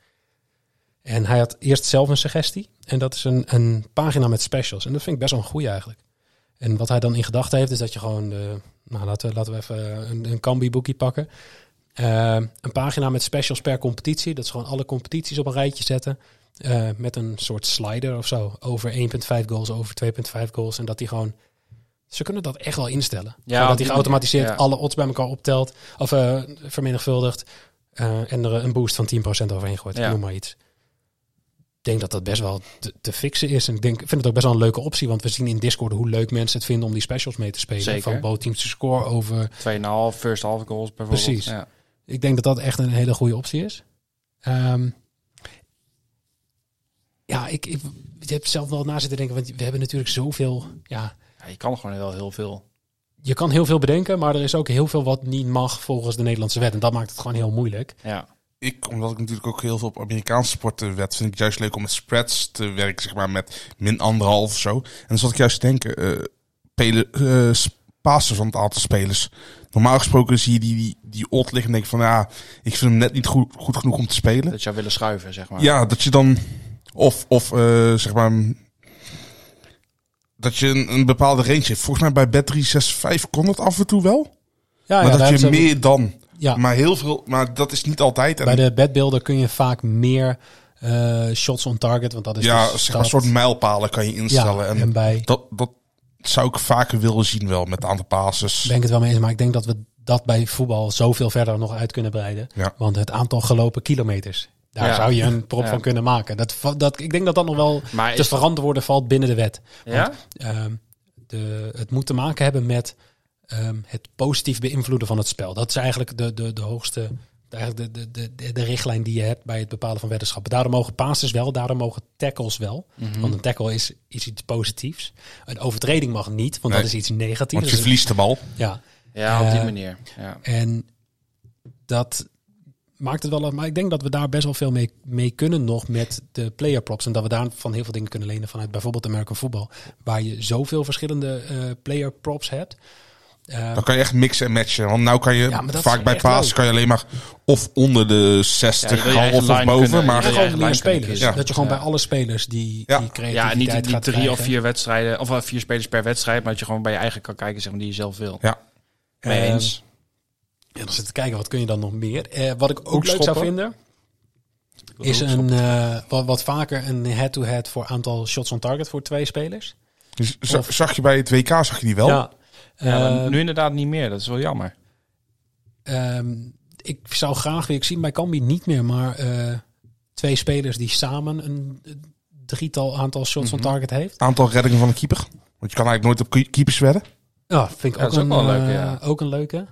Speaker 1: En hij had eerst zelf een suggestie. En dat is een, een pagina met specials. En dat vind ik best wel een goeie eigenlijk. En wat hij dan in gedachten heeft, is dat je gewoon... De, nou, laten we, laten we even een, een Kambi-boekie pakken. Ehm, een pagina met specials per competitie. Dat is gewoon alle competities op een rijtje zetten. Eh, met een soort slider of zo. Over 1,5 goals, over 2,5 goals. En dat die gewoon. Ze kunnen dat echt wel instellen.
Speaker 7: Ja,
Speaker 1: Ja,
Speaker 7: op
Speaker 1: dat
Speaker 7: die
Speaker 1: die geautomatiseerd
Speaker 7: manier, ja.
Speaker 1: alle odds bij elkaar optelt. Of eh, vermenigvuldigt. eh, en er een boost van 10% overheen gooit.
Speaker 7: Ja.
Speaker 1: Noem maar iets. Ik denk dat dat best wel te, te fixen is. En ik, denk, ik vind het ook best wel een leuke optie. Want we zien in Discord hoe leuk mensen het vinden om die specials mee te spelen.
Speaker 7: Zeker.
Speaker 1: Van both teams to score over.
Speaker 7: 2,5, first half goals bijvoorbeeld.
Speaker 1: Precies.
Speaker 7: Ja.
Speaker 1: Ik denk dat dat echt een hele goede optie is. Ehm, ja, ik, ik, ik heb zelf wel na zitten denken, want we hebben natuurlijk zoveel. Ja,
Speaker 7: Ja, je kan gewoon wel heel veel.
Speaker 1: je kan heel veel bedenken, maar er is ook heel veel wat niet mag volgens de Nederlandse wet. En dat maakt het gewoon heel moeilijk.
Speaker 7: Ja.
Speaker 6: Ik, omdat ik natuurlijk ook heel veel op Amerikaanse sporten wed, vind ik juist leuk om met spreads te werken, zeg maar met min anderhalf of zo. En dan zat ik juist te denken, eh pelen, eh, s- Pasen van het aantal spelers. Normaal gesproken zie je die, die, die odd liggen en denk ik van, ja, ik vind hem net niet goed, goed genoeg om te spelen.
Speaker 7: Dat je zou willen schuiven, zeg maar.
Speaker 6: Ja, dat je dan Of, of eh, zeg maar. mm, Dat je een, een bepaalde range hebt. Volgens mij bij Battery 65 kon dat af en toe wel.
Speaker 1: Ah Ja,
Speaker 6: maar
Speaker 1: daar
Speaker 6: dat je
Speaker 1: hebben ze-
Speaker 6: meer dan.
Speaker 1: Ja.
Speaker 6: Maar heel veel. Maar dat is niet altijd. En
Speaker 1: Bij de bedbeelden kun je vaak meer eh, shots on target, want dat is dus
Speaker 6: ja, zeg maar, een
Speaker 1: dat-
Speaker 6: soort mijlpalen kan je instellen.
Speaker 1: Ja,
Speaker 6: en
Speaker 1: en, bij
Speaker 6: dat, dat zou ik vaker willen zien wel met een aantal passes.
Speaker 1: ben ik het wel mee eens, maar ik denk dat we dat bij voetbal zoveel verder nog uit kunnen breiden.
Speaker 6: Ja.
Speaker 1: Want het aantal gelopen kilometers, daar
Speaker 7: Ja.
Speaker 1: zou je een prop
Speaker 7: Ja.
Speaker 1: van kunnen maken. Dat, va- dat, ik denk dat dat nog wel
Speaker 7: Maar
Speaker 1: te
Speaker 7: is-
Speaker 1: verantwoorden valt binnen de wet.
Speaker 7: Ja?
Speaker 1: Ehm, de, het moet te maken hebben met ehm, het positief beïnvloeden van het spel. Dat is eigenlijk de, de, de hoogste, eigenlijk de, de, de, de richtlijn die je hebt bij het bepalen van weddenschappen. Daarom mogen passes wel, daarom mogen tackles wel. Want een tackle is, is iets positiefs. Een overtreding mag niet, want
Speaker 6: Nee.
Speaker 1: dat is iets negatiefs.
Speaker 6: Want
Speaker 1: Dat
Speaker 6: je
Speaker 1: is-
Speaker 6: verliest de bal.
Speaker 1: Ja,
Speaker 7: Ja, op die
Speaker 1: Eh,
Speaker 7: manier. Ja.
Speaker 1: en dat maakt het wel... uit. Maar ik denk dat we daar best wel veel mee, mee kunnen nog met de player props. En dat we daarvan heel veel dingen kunnen lenen vanuit bijvoorbeeld American Football. Waar je zoveel verschillende eh, player props hebt. Eh,
Speaker 6: Dan kan je echt mixen en matchen. Want nou kan je
Speaker 1: Ja, maar dat
Speaker 6: vaak
Speaker 1: is
Speaker 6: bij
Speaker 1: echt
Speaker 6: paas
Speaker 1: leuk.
Speaker 6: kan je alleen maar of onder de 60
Speaker 7: Ja, je wil je
Speaker 6: half
Speaker 7: eigen
Speaker 6: of
Speaker 7: line
Speaker 6: boven.
Speaker 7: kunnen-
Speaker 6: maar
Speaker 7: je wil
Speaker 1: gewoon
Speaker 7: eigen
Speaker 1: meer
Speaker 7: lijn kunnen
Speaker 1: spelers.
Speaker 7: kiezen.
Speaker 1: Dat je gewoon
Speaker 7: Ja.
Speaker 1: bij alle spelers die,
Speaker 6: Ja.
Speaker 1: die
Speaker 7: Ja,
Speaker 1: creativiteit
Speaker 7: niet, niet drie
Speaker 1: gaat krijgen.
Speaker 7: of vier wedstrijden, of eh, vier spelers per wedstrijd, maar dat je gewoon bij je eigen kan kijken zeg maar, die je zelf wil.
Speaker 6: Ja.
Speaker 7: Mee
Speaker 1: Ehm,
Speaker 7: eens.
Speaker 1: En dan zit te kijken, wat kun je dan nog meer? Eh, wat ik ook leuk
Speaker 6: Hoekskoppen.
Speaker 1: zou vinden, is een, eh, wat, wat vaker een head-to-head voor aantal shots on target voor twee spelers.
Speaker 6: Dus za-
Speaker 1: Of-
Speaker 6: zag je bij het WK zag je die wel?
Speaker 1: Ja.
Speaker 7: Oh. Ja, maar
Speaker 1: Ehm,
Speaker 7: nu inderdaad niet meer, dat is wel jammer.
Speaker 1: Ehm, ik zou graag weer, ik zie bij Cambi niet meer, maar eh, twee spelers die samen een eh, drietal aantal shots
Speaker 7: Mhm.
Speaker 1: on target heeft.
Speaker 6: Aantal reddingen van de keeper. Want je kan eigenlijk nooit op ke- keepers wedden.
Speaker 1: Ja, vind ik
Speaker 7: Ja,
Speaker 1: ook,
Speaker 7: dat is
Speaker 1: een,
Speaker 7: ook wel leuk,
Speaker 1: eh,
Speaker 7: ja.
Speaker 1: ook een leuke.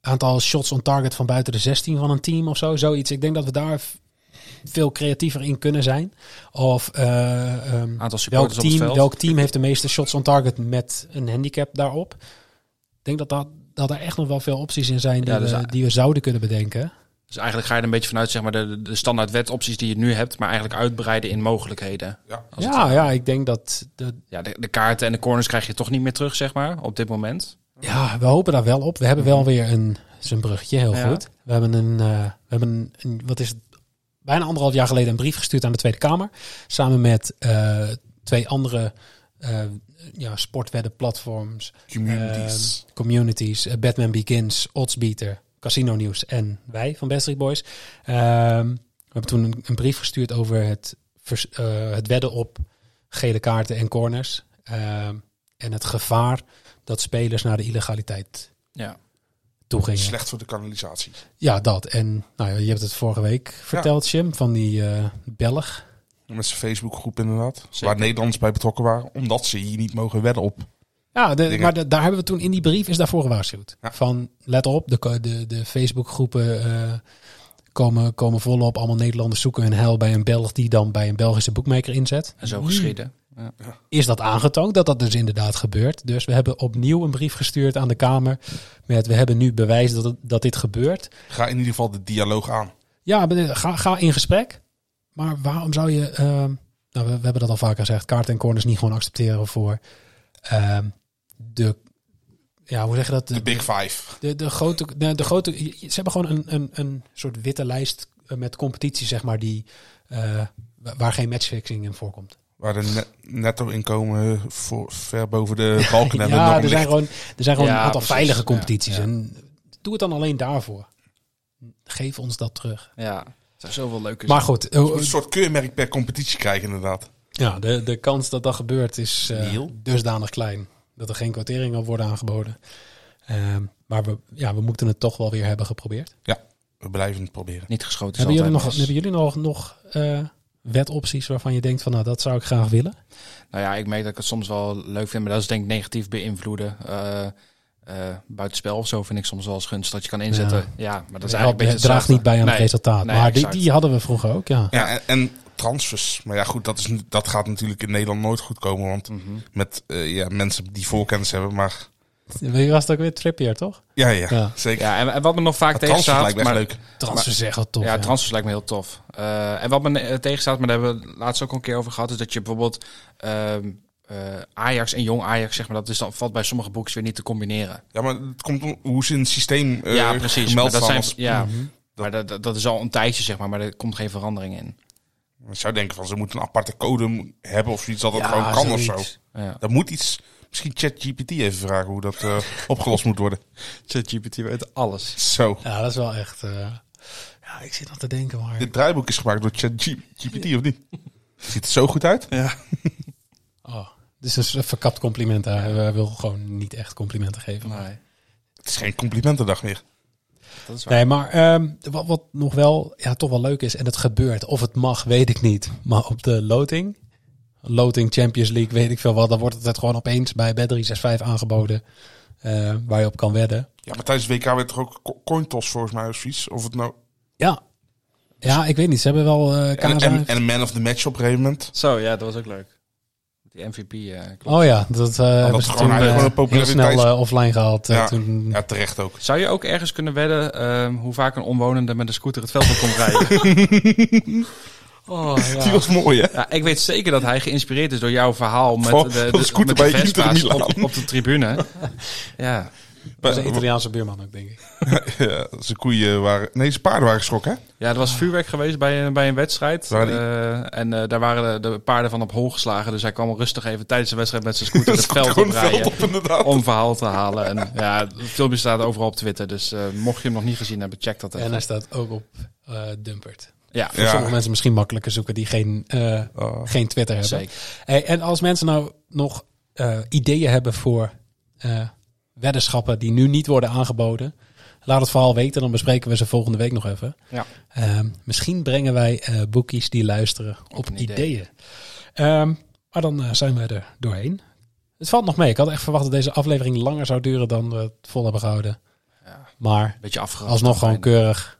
Speaker 1: Aantal shots on target van buiten de 16 van een team of zo, zoiets. Ik denk dat we daar v- veel creatiever in kunnen zijn. Of eh, ehm,
Speaker 7: Aantal supporters
Speaker 1: welk,
Speaker 7: op het
Speaker 1: team,
Speaker 7: veld.
Speaker 1: welk team heeft de meeste shots on target met een handicap daarop? Ik denk dat, dat, dat er echt nog wel veel opties in zijn die,
Speaker 7: Ja, dus
Speaker 1: we,
Speaker 7: a-
Speaker 1: die we zouden kunnen bedenken.
Speaker 7: Dus eigenlijk ga je er een beetje vanuit zeg maar, de, de standaard wetopties die je nu hebt, maar eigenlijk uitbreiden in mogelijkheden.
Speaker 6: Ja.
Speaker 7: Als het-
Speaker 1: Ja, ja, ik denk dat, dat,
Speaker 7: ja de, de kaarten en de corners krijg je toch niet meer terug, zeg maar, op dit moment.
Speaker 1: Ja, we hopen daar wel op. We hebben wel weer een, zijn bruggetje, heel
Speaker 7: Mhm. Ja.
Speaker 1: goed. We hebben een, eh, we hebben een, een- wat is het, bijna anderhalf jaar geleden een brief gestuurd aan de Tweede Kamer. Samen met eh, twee andere eh ja, sportweddenplatforms,
Speaker 6: Communities.
Speaker 1: eh, communities eh, Batman Begins, Oddsbeater, Casino Nieuws en wij van Best Street Boys. Ehm, we hebben toen een, een brief gestuurd over het, vers- eh, het wedden op gele kaarten en corners. Ehm, en het gevaar dat spelers naar de illegaliteit
Speaker 7: Ja.
Speaker 1: toe gingen.
Speaker 6: Slecht voor de kanalisatie.
Speaker 1: Ja, dat. En nou, ja, je hebt het vorige week verteld, Jim, van die eh, Belg.
Speaker 6: Met zijn Facebookgroep inderdaad. Waar Nederlanders bij betrokken waren. Omdat ze hier niet mogen wedden op.
Speaker 1: Ja, de,
Speaker 6: Dingen.
Speaker 1: maar de- daar hebben we toen in die brief is daarvoor gewaarschuwd.
Speaker 6: Ja.
Speaker 1: Van let op, de, ko- de, de Facebookgroepen eh, komen, komen volop. Allemaal Nederlanders zoeken hun hel bij een Belg die dan bij een Belgische boekmaker inzet.
Speaker 7: En zo geschieden.
Speaker 1: Is dat aangetoond dat dat dus inderdaad gebeurt? Dus we hebben opnieuw een brief gestuurd aan de Kamer. Met we hebben nu bewijs dat, het- dat dit gebeurt.
Speaker 6: Ga in ieder geval de dialoog aan.
Speaker 1: Ja, ben- ga, ga in gesprek. Maar waarom zou je. ehm, nou, we, we hebben dat al vaker gezegd. Kaarten en corners niet gewoon accepteren voor ehm, de. Ja, hoe zeg je dat?
Speaker 6: De Big Five.
Speaker 1: De, de grote, nou, de, de grote, ze hebben gewoon een, een, een soort witte lijst eh, met competitie, zeg maar, die, eh, wa- waar geen matchfixing in voorkomt.
Speaker 6: Waar de ne- netto-inkomen voor, ver
Speaker 1: <laughs>
Speaker 6: boven de balken en de norm
Speaker 1: ja, er zijn
Speaker 6: ligt.
Speaker 1: gewoon, er zijn gewoon
Speaker 7: Ja,
Speaker 1: een aantal
Speaker 7: precies.
Speaker 1: veilige
Speaker 7: Ja,
Speaker 1: competities.
Speaker 7: ja.
Speaker 1: En doe het dan alleen daarvoor. Geef ons dat terug.
Speaker 7: Ja. Het zou zoveel leuker
Speaker 1: Maar goed, eh,
Speaker 6: Een soort keurmerk per competitie krijgen inderdaad.
Speaker 1: ja, de, de kans dat dat gebeurt is eh, dusdanig klein. Dat er geen quotering op worden aangeboden. Ehm, maar we, ja, we moeten het toch wel weer hebben geprobeerd.
Speaker 6: We blijven het proberen.
Speaker 7: niet geschoten.
Speaker 1: Hebben
Speaker 7: is
Speaker 1: jullie, nog,
Speaker 7: altijd mis.
Speaker 1: hebben jullie nog, nog eh, wetopties waarvan je denkt van nou dat zou ik graag willen?
Speaker 7: Nou ja, ik merk dat ik het soms wel leuk vind, maar dat is denk ik negatief beïnvloeden. Eh eh buitenspel of zo vind ik soms wel eens gunstig dat je kan inzetten. Ja, maar dat is Dus eigenlijk een
Speaker 1: het
Speaker 7: beetje
Speaker 1: draagt niet bij aan het
Speaker 7: hetzelfde.
Speaker 1: resultaat.
Speaker 7: Nee,
Speaker 1: maar die,
Speaker 7: exact.
Speaker 1: die hadden we vroeger ook, ja.
Speaker 6: Ja, en, en transfers. Maar ja, goed, dat, is, nu- dat gaat natuurlijk in Nederland nooit goed komen. Want
Speaker 7: Mhm.
Speaker 6: met eh, ja, mensen die voorkennis hebben, maar...
Speaker 1: Wie was het ook weer? Trippier, toch?
Speaker 6: Ja, ja,
Speaker 1: Ja.
Speaker 6: zeker.
Speaker 7: Ja, en, en wat me nog vaak
Speaker 6: Maar transfers
Speaker 7: tegenstaat...
Speaker 6: lijkt me echt
Speaker 7: maar-
Speaker 6: leuk.
Speaker 1: Transfer zeggen, toch?
Speaker 7: ja, transfers lijkt me heel tof. Eh, en wat me eh, tegenstaat, maar daar hebben we het laatst ook al een keer over gehad, is dat je bijvoorbeeld ehm, eh, Ajax en jong Ajax, zeg maar, dat is dan, valt bij sommige boekjes weer niet te combineren.
Speaker 6: Ja, maar het komt om hoe ze in het systeem eh
Speaker 7: ja, precies. Maar
Speaker 6: gemeld
Speaker 7: dat
Speaker 6: staan.
Speaker 7: zijn,
Speaker 6: als-
Speaker 7: ja, maar dat, dat, dat is al een tijdje, zeg maar, maar er komt geen verandering in.
Speaker 6: Je zou denken van ze moeten een aparte code m- hebben of zoiets dat het gewoon kan of zo.
Speaker 7: Ja.
Speaker 6: Dat moet iets. Misschien ChatGPT even vragen hoe dat eh, <laughs> opgelost moet worden.
Speaker 11: ChatGPT weet alles.
Speaker 6: Zo.
Speaker 1: Ja, dat is wel echt... eh, ja, ik zit nog te denken, maar...
Speaker 6: Dit draaiboek is gemaakt door ChatGPT of niet? Ziet het zo goed uit?
Speaker 1: Oh, dit is een verkapt compliment. Hij eh, wil gewoon niet echt complimenten geven.
Speaker 11: Nee.
Speaker 6: Het is geen complimentendag meer.
Speaker 7: Dat is waar.
Speaker 1: Nee, maar ehm, wat, wat nog wel ja, toch wel leuk is, en het gebeurt, of het mag, weet ik niet. Maar op de loting, loting Champions League, weet ik veel wat, dan wordt het het gewoon opeens bij Bet365 aangeboden, eh, waar je op kan wedden.
Speaker 6: Ja, maar tijdens WK werd er ook co- cointos volgens mij of zoiets. Of het nou...
Speaker 1: Ja, ja ik weet niet, ze hebben wel eh
Speaker 6: En,
Speaker 1: kaas
Speaker 6: en, en een man of the match op een gegeven moment.
Speaker 11: Zo, ja, dat was ook leuk.
Speaker 7: Die MVP. eh, klopt.
Speaker 1: Oh ja, dat eh hebben ze
Speaker 6: gewoon
Speaker 1: toen
Speaker 6: eigenlijk
Speaker 1: eh,
Speaker 6: gewoon een
Speaker 1: heel
Speaker 6: populariteits-
Speaker 1: snel eh, offline gehaald. eh,
Speaker 6: Ja.
Speaker 1: toen.
Speaker 6: Ja, terecht ook.
Speaker 7: Zou je ook ergens kunnen wedden ehm, hoe vaak een omwonende met een scooter het veld op komt rijden?
Speaker 1: Oh,
Speaker 6: Die
Speaker 1: ja.
Speaker 6: was mooi, hè?
Speaker 7: ja, ik weet zeker dat hij geïnspireerd is door jouw verhaal met
Speaker 6: Van-
Speaker 7: de,
Speaker 6: van
Speaker 7: de,
Speaker 6: de scooter
Speaker 7: met de
Speaker 6: bij Inter
Speaker 7: Vespa's
Speaker 6: Milaan.
Speaker 7: op, op de tribune. ja.
Speaker 1: Dat is een Italiaanse buurman ook, denk ik.
Speaker 6: <laughs> Ja, zijn koeien waren... Nee, zijn paarden waren geschrokken, hè?
Speaker 7: ja, er was vuurwerk geweest bij, een- bij een wedstrijd.
Speaker 6: Waar die-
Speaker 7: Eh, en eh, daar waren de, de paarden van op hol geslagen. Dus hij kwam rustig even tijdens de wedstrijd met zijn
Speaker 6: <laughs>
Speaker 7: scooter
Speaker 6: Dat
Speaker 7: het
Speaker 6: is gewoon
Speaker 7: veld op
Speaker 6: het
Speaker 7: rijden.
Speaker 6: veld op, inderdaad.
Speaker 7: om verhaal te halen. En ja, het filmpje staat overal op Twitter. Dus eh, mocht je hem nog niet gezien hebben, check dat
Speaker 1: En
Speaker 7: even.
Speaker 1: hij staat ook op eh Dumpert.
Speaker 7: ja,
Speaker 1: Voor
Speaker 6: Ja.
Speaker 1: sommige mensen misschien makkelijker zoeken die geen, eh,
Speaker 6: Oh.
Speaker 1: geen Twitter hebben.
Speaker 7: zeker.
Speaker 1: Hey, en als mensen nou nog eh, ideeën hebben voor eh, weddenschappen die nu niet worden aangeboden, laat het vooral weten. Dan bespreken we ze volgende week nog even.
Speaker 7: Ja.
Speaker 1: Ehm, misschien brengen wij eh boekies die luisteren op,
Speaker 7: een idee.
Speaker 1: ideeën. Ehm, maar dan eh, zijn we er doorheen. Het valt nog mee. Ik had echt verwacht dat deze aflevering langer zou duren dan we het vol hebben gehouden.
Speaker 7: Ja.
Speaker 1: Maar
Speaker 7: Beetje afgerond.
Speaker 1: alsnog gewoon
Speaker 7: Bijna.
Speaker 1: keurig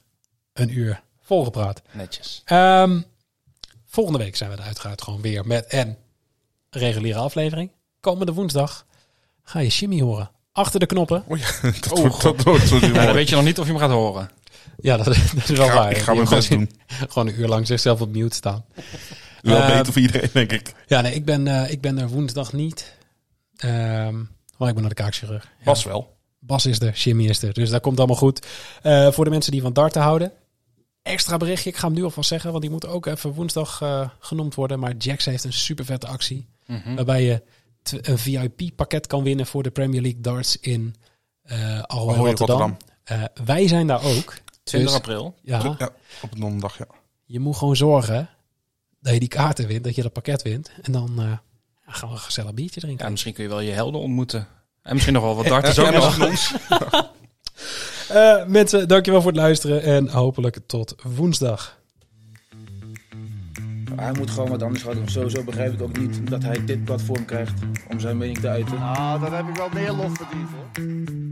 Speaker 1: een uur volgepraat.
Speaker 7: Netjes.
Speaker 1: Ehm, volgende week zijn we er uiteraard gewoon weer met een reguliere aflevering. Komende woensdag ga je Jimmy horen. Achter de knoppen.
Speaker 6: Oh ja, dat wordt, dat wordt zo
Speaker 7: Ja,
Speaker 6: mooi.
Speaker 7: dan weet je nog niet of je hem gaat horen.
Speaker 1: Ja, dat, <laughs> dat is wel
Speaker 6: Ik ga-
Speaker 1: waar.
Speaker 6: ik ga mijn
Speaker 1: Gewoon-
Speaker 6: best doen.
Speaker 1: <laughs> Gewoon een uur lang zichzelf op mute staan.
Speaker 6: Wel
Speaker 1: Eh,
Speaker 6: beter voor iedereen, denk ik.
Speaker 1: Ja, nee, ik ben, eh, ik ben er woensdag niet. Ehm maar ik ben naar de kaakchirurg.
Speaker 6: Pas wel.
Speaker 1: Bas is er, Jimmy is er. Dus dat komt allemaal goed. Eh, voor de mensen die van darten houden. Extra berichtje, ik ga hem nu alvast zeggen, want die moet ook even woensdag eh, genoemd worden. Maar Jax heeft een super vette actie. Waarbij je tw- een VIP-pakket kan winnen voor de Premier League darts in eh Alhoy,
Speaker 6: Ahoy,
Speaker 1: Rotterdam.
Speaker 6: Rotterdam.
Speaker 1: Eh, wij zijn daar ook.
Speaker 7: 20
Speaker 1: Dus,
Speaker 7: april.
Speaker 1: ja,
Speaker 6: Ja, op een donderdag, ja.
Speaker 1: je moet gewoon zorgen dat je die kaarten wint, dat je dat pakket wint. En dan eh, gaan we een gezellig biertje drinken.
Speaker 7: Ja, misschien kun je wel je helden ontmoeten. En misschien nog wel wat darters
Speaker 6: Eh,
Speaker 7: ook
Speaker 6: en
Speaker 7: nog.
Speaker 6: <laughs> van ons.
Speaker 1: Eh, mensen, dankjewel voor het luisteren en hopelijk tot woensdag.
Speaker 5: Hij moet gewoon wat anders houden. Sowieso begrijp ik ook niet dat hij dit platform krijgt om zijn mening te uiten.
Speaker 8: Ah, dan heb ik wel meer lof verdiend hoor.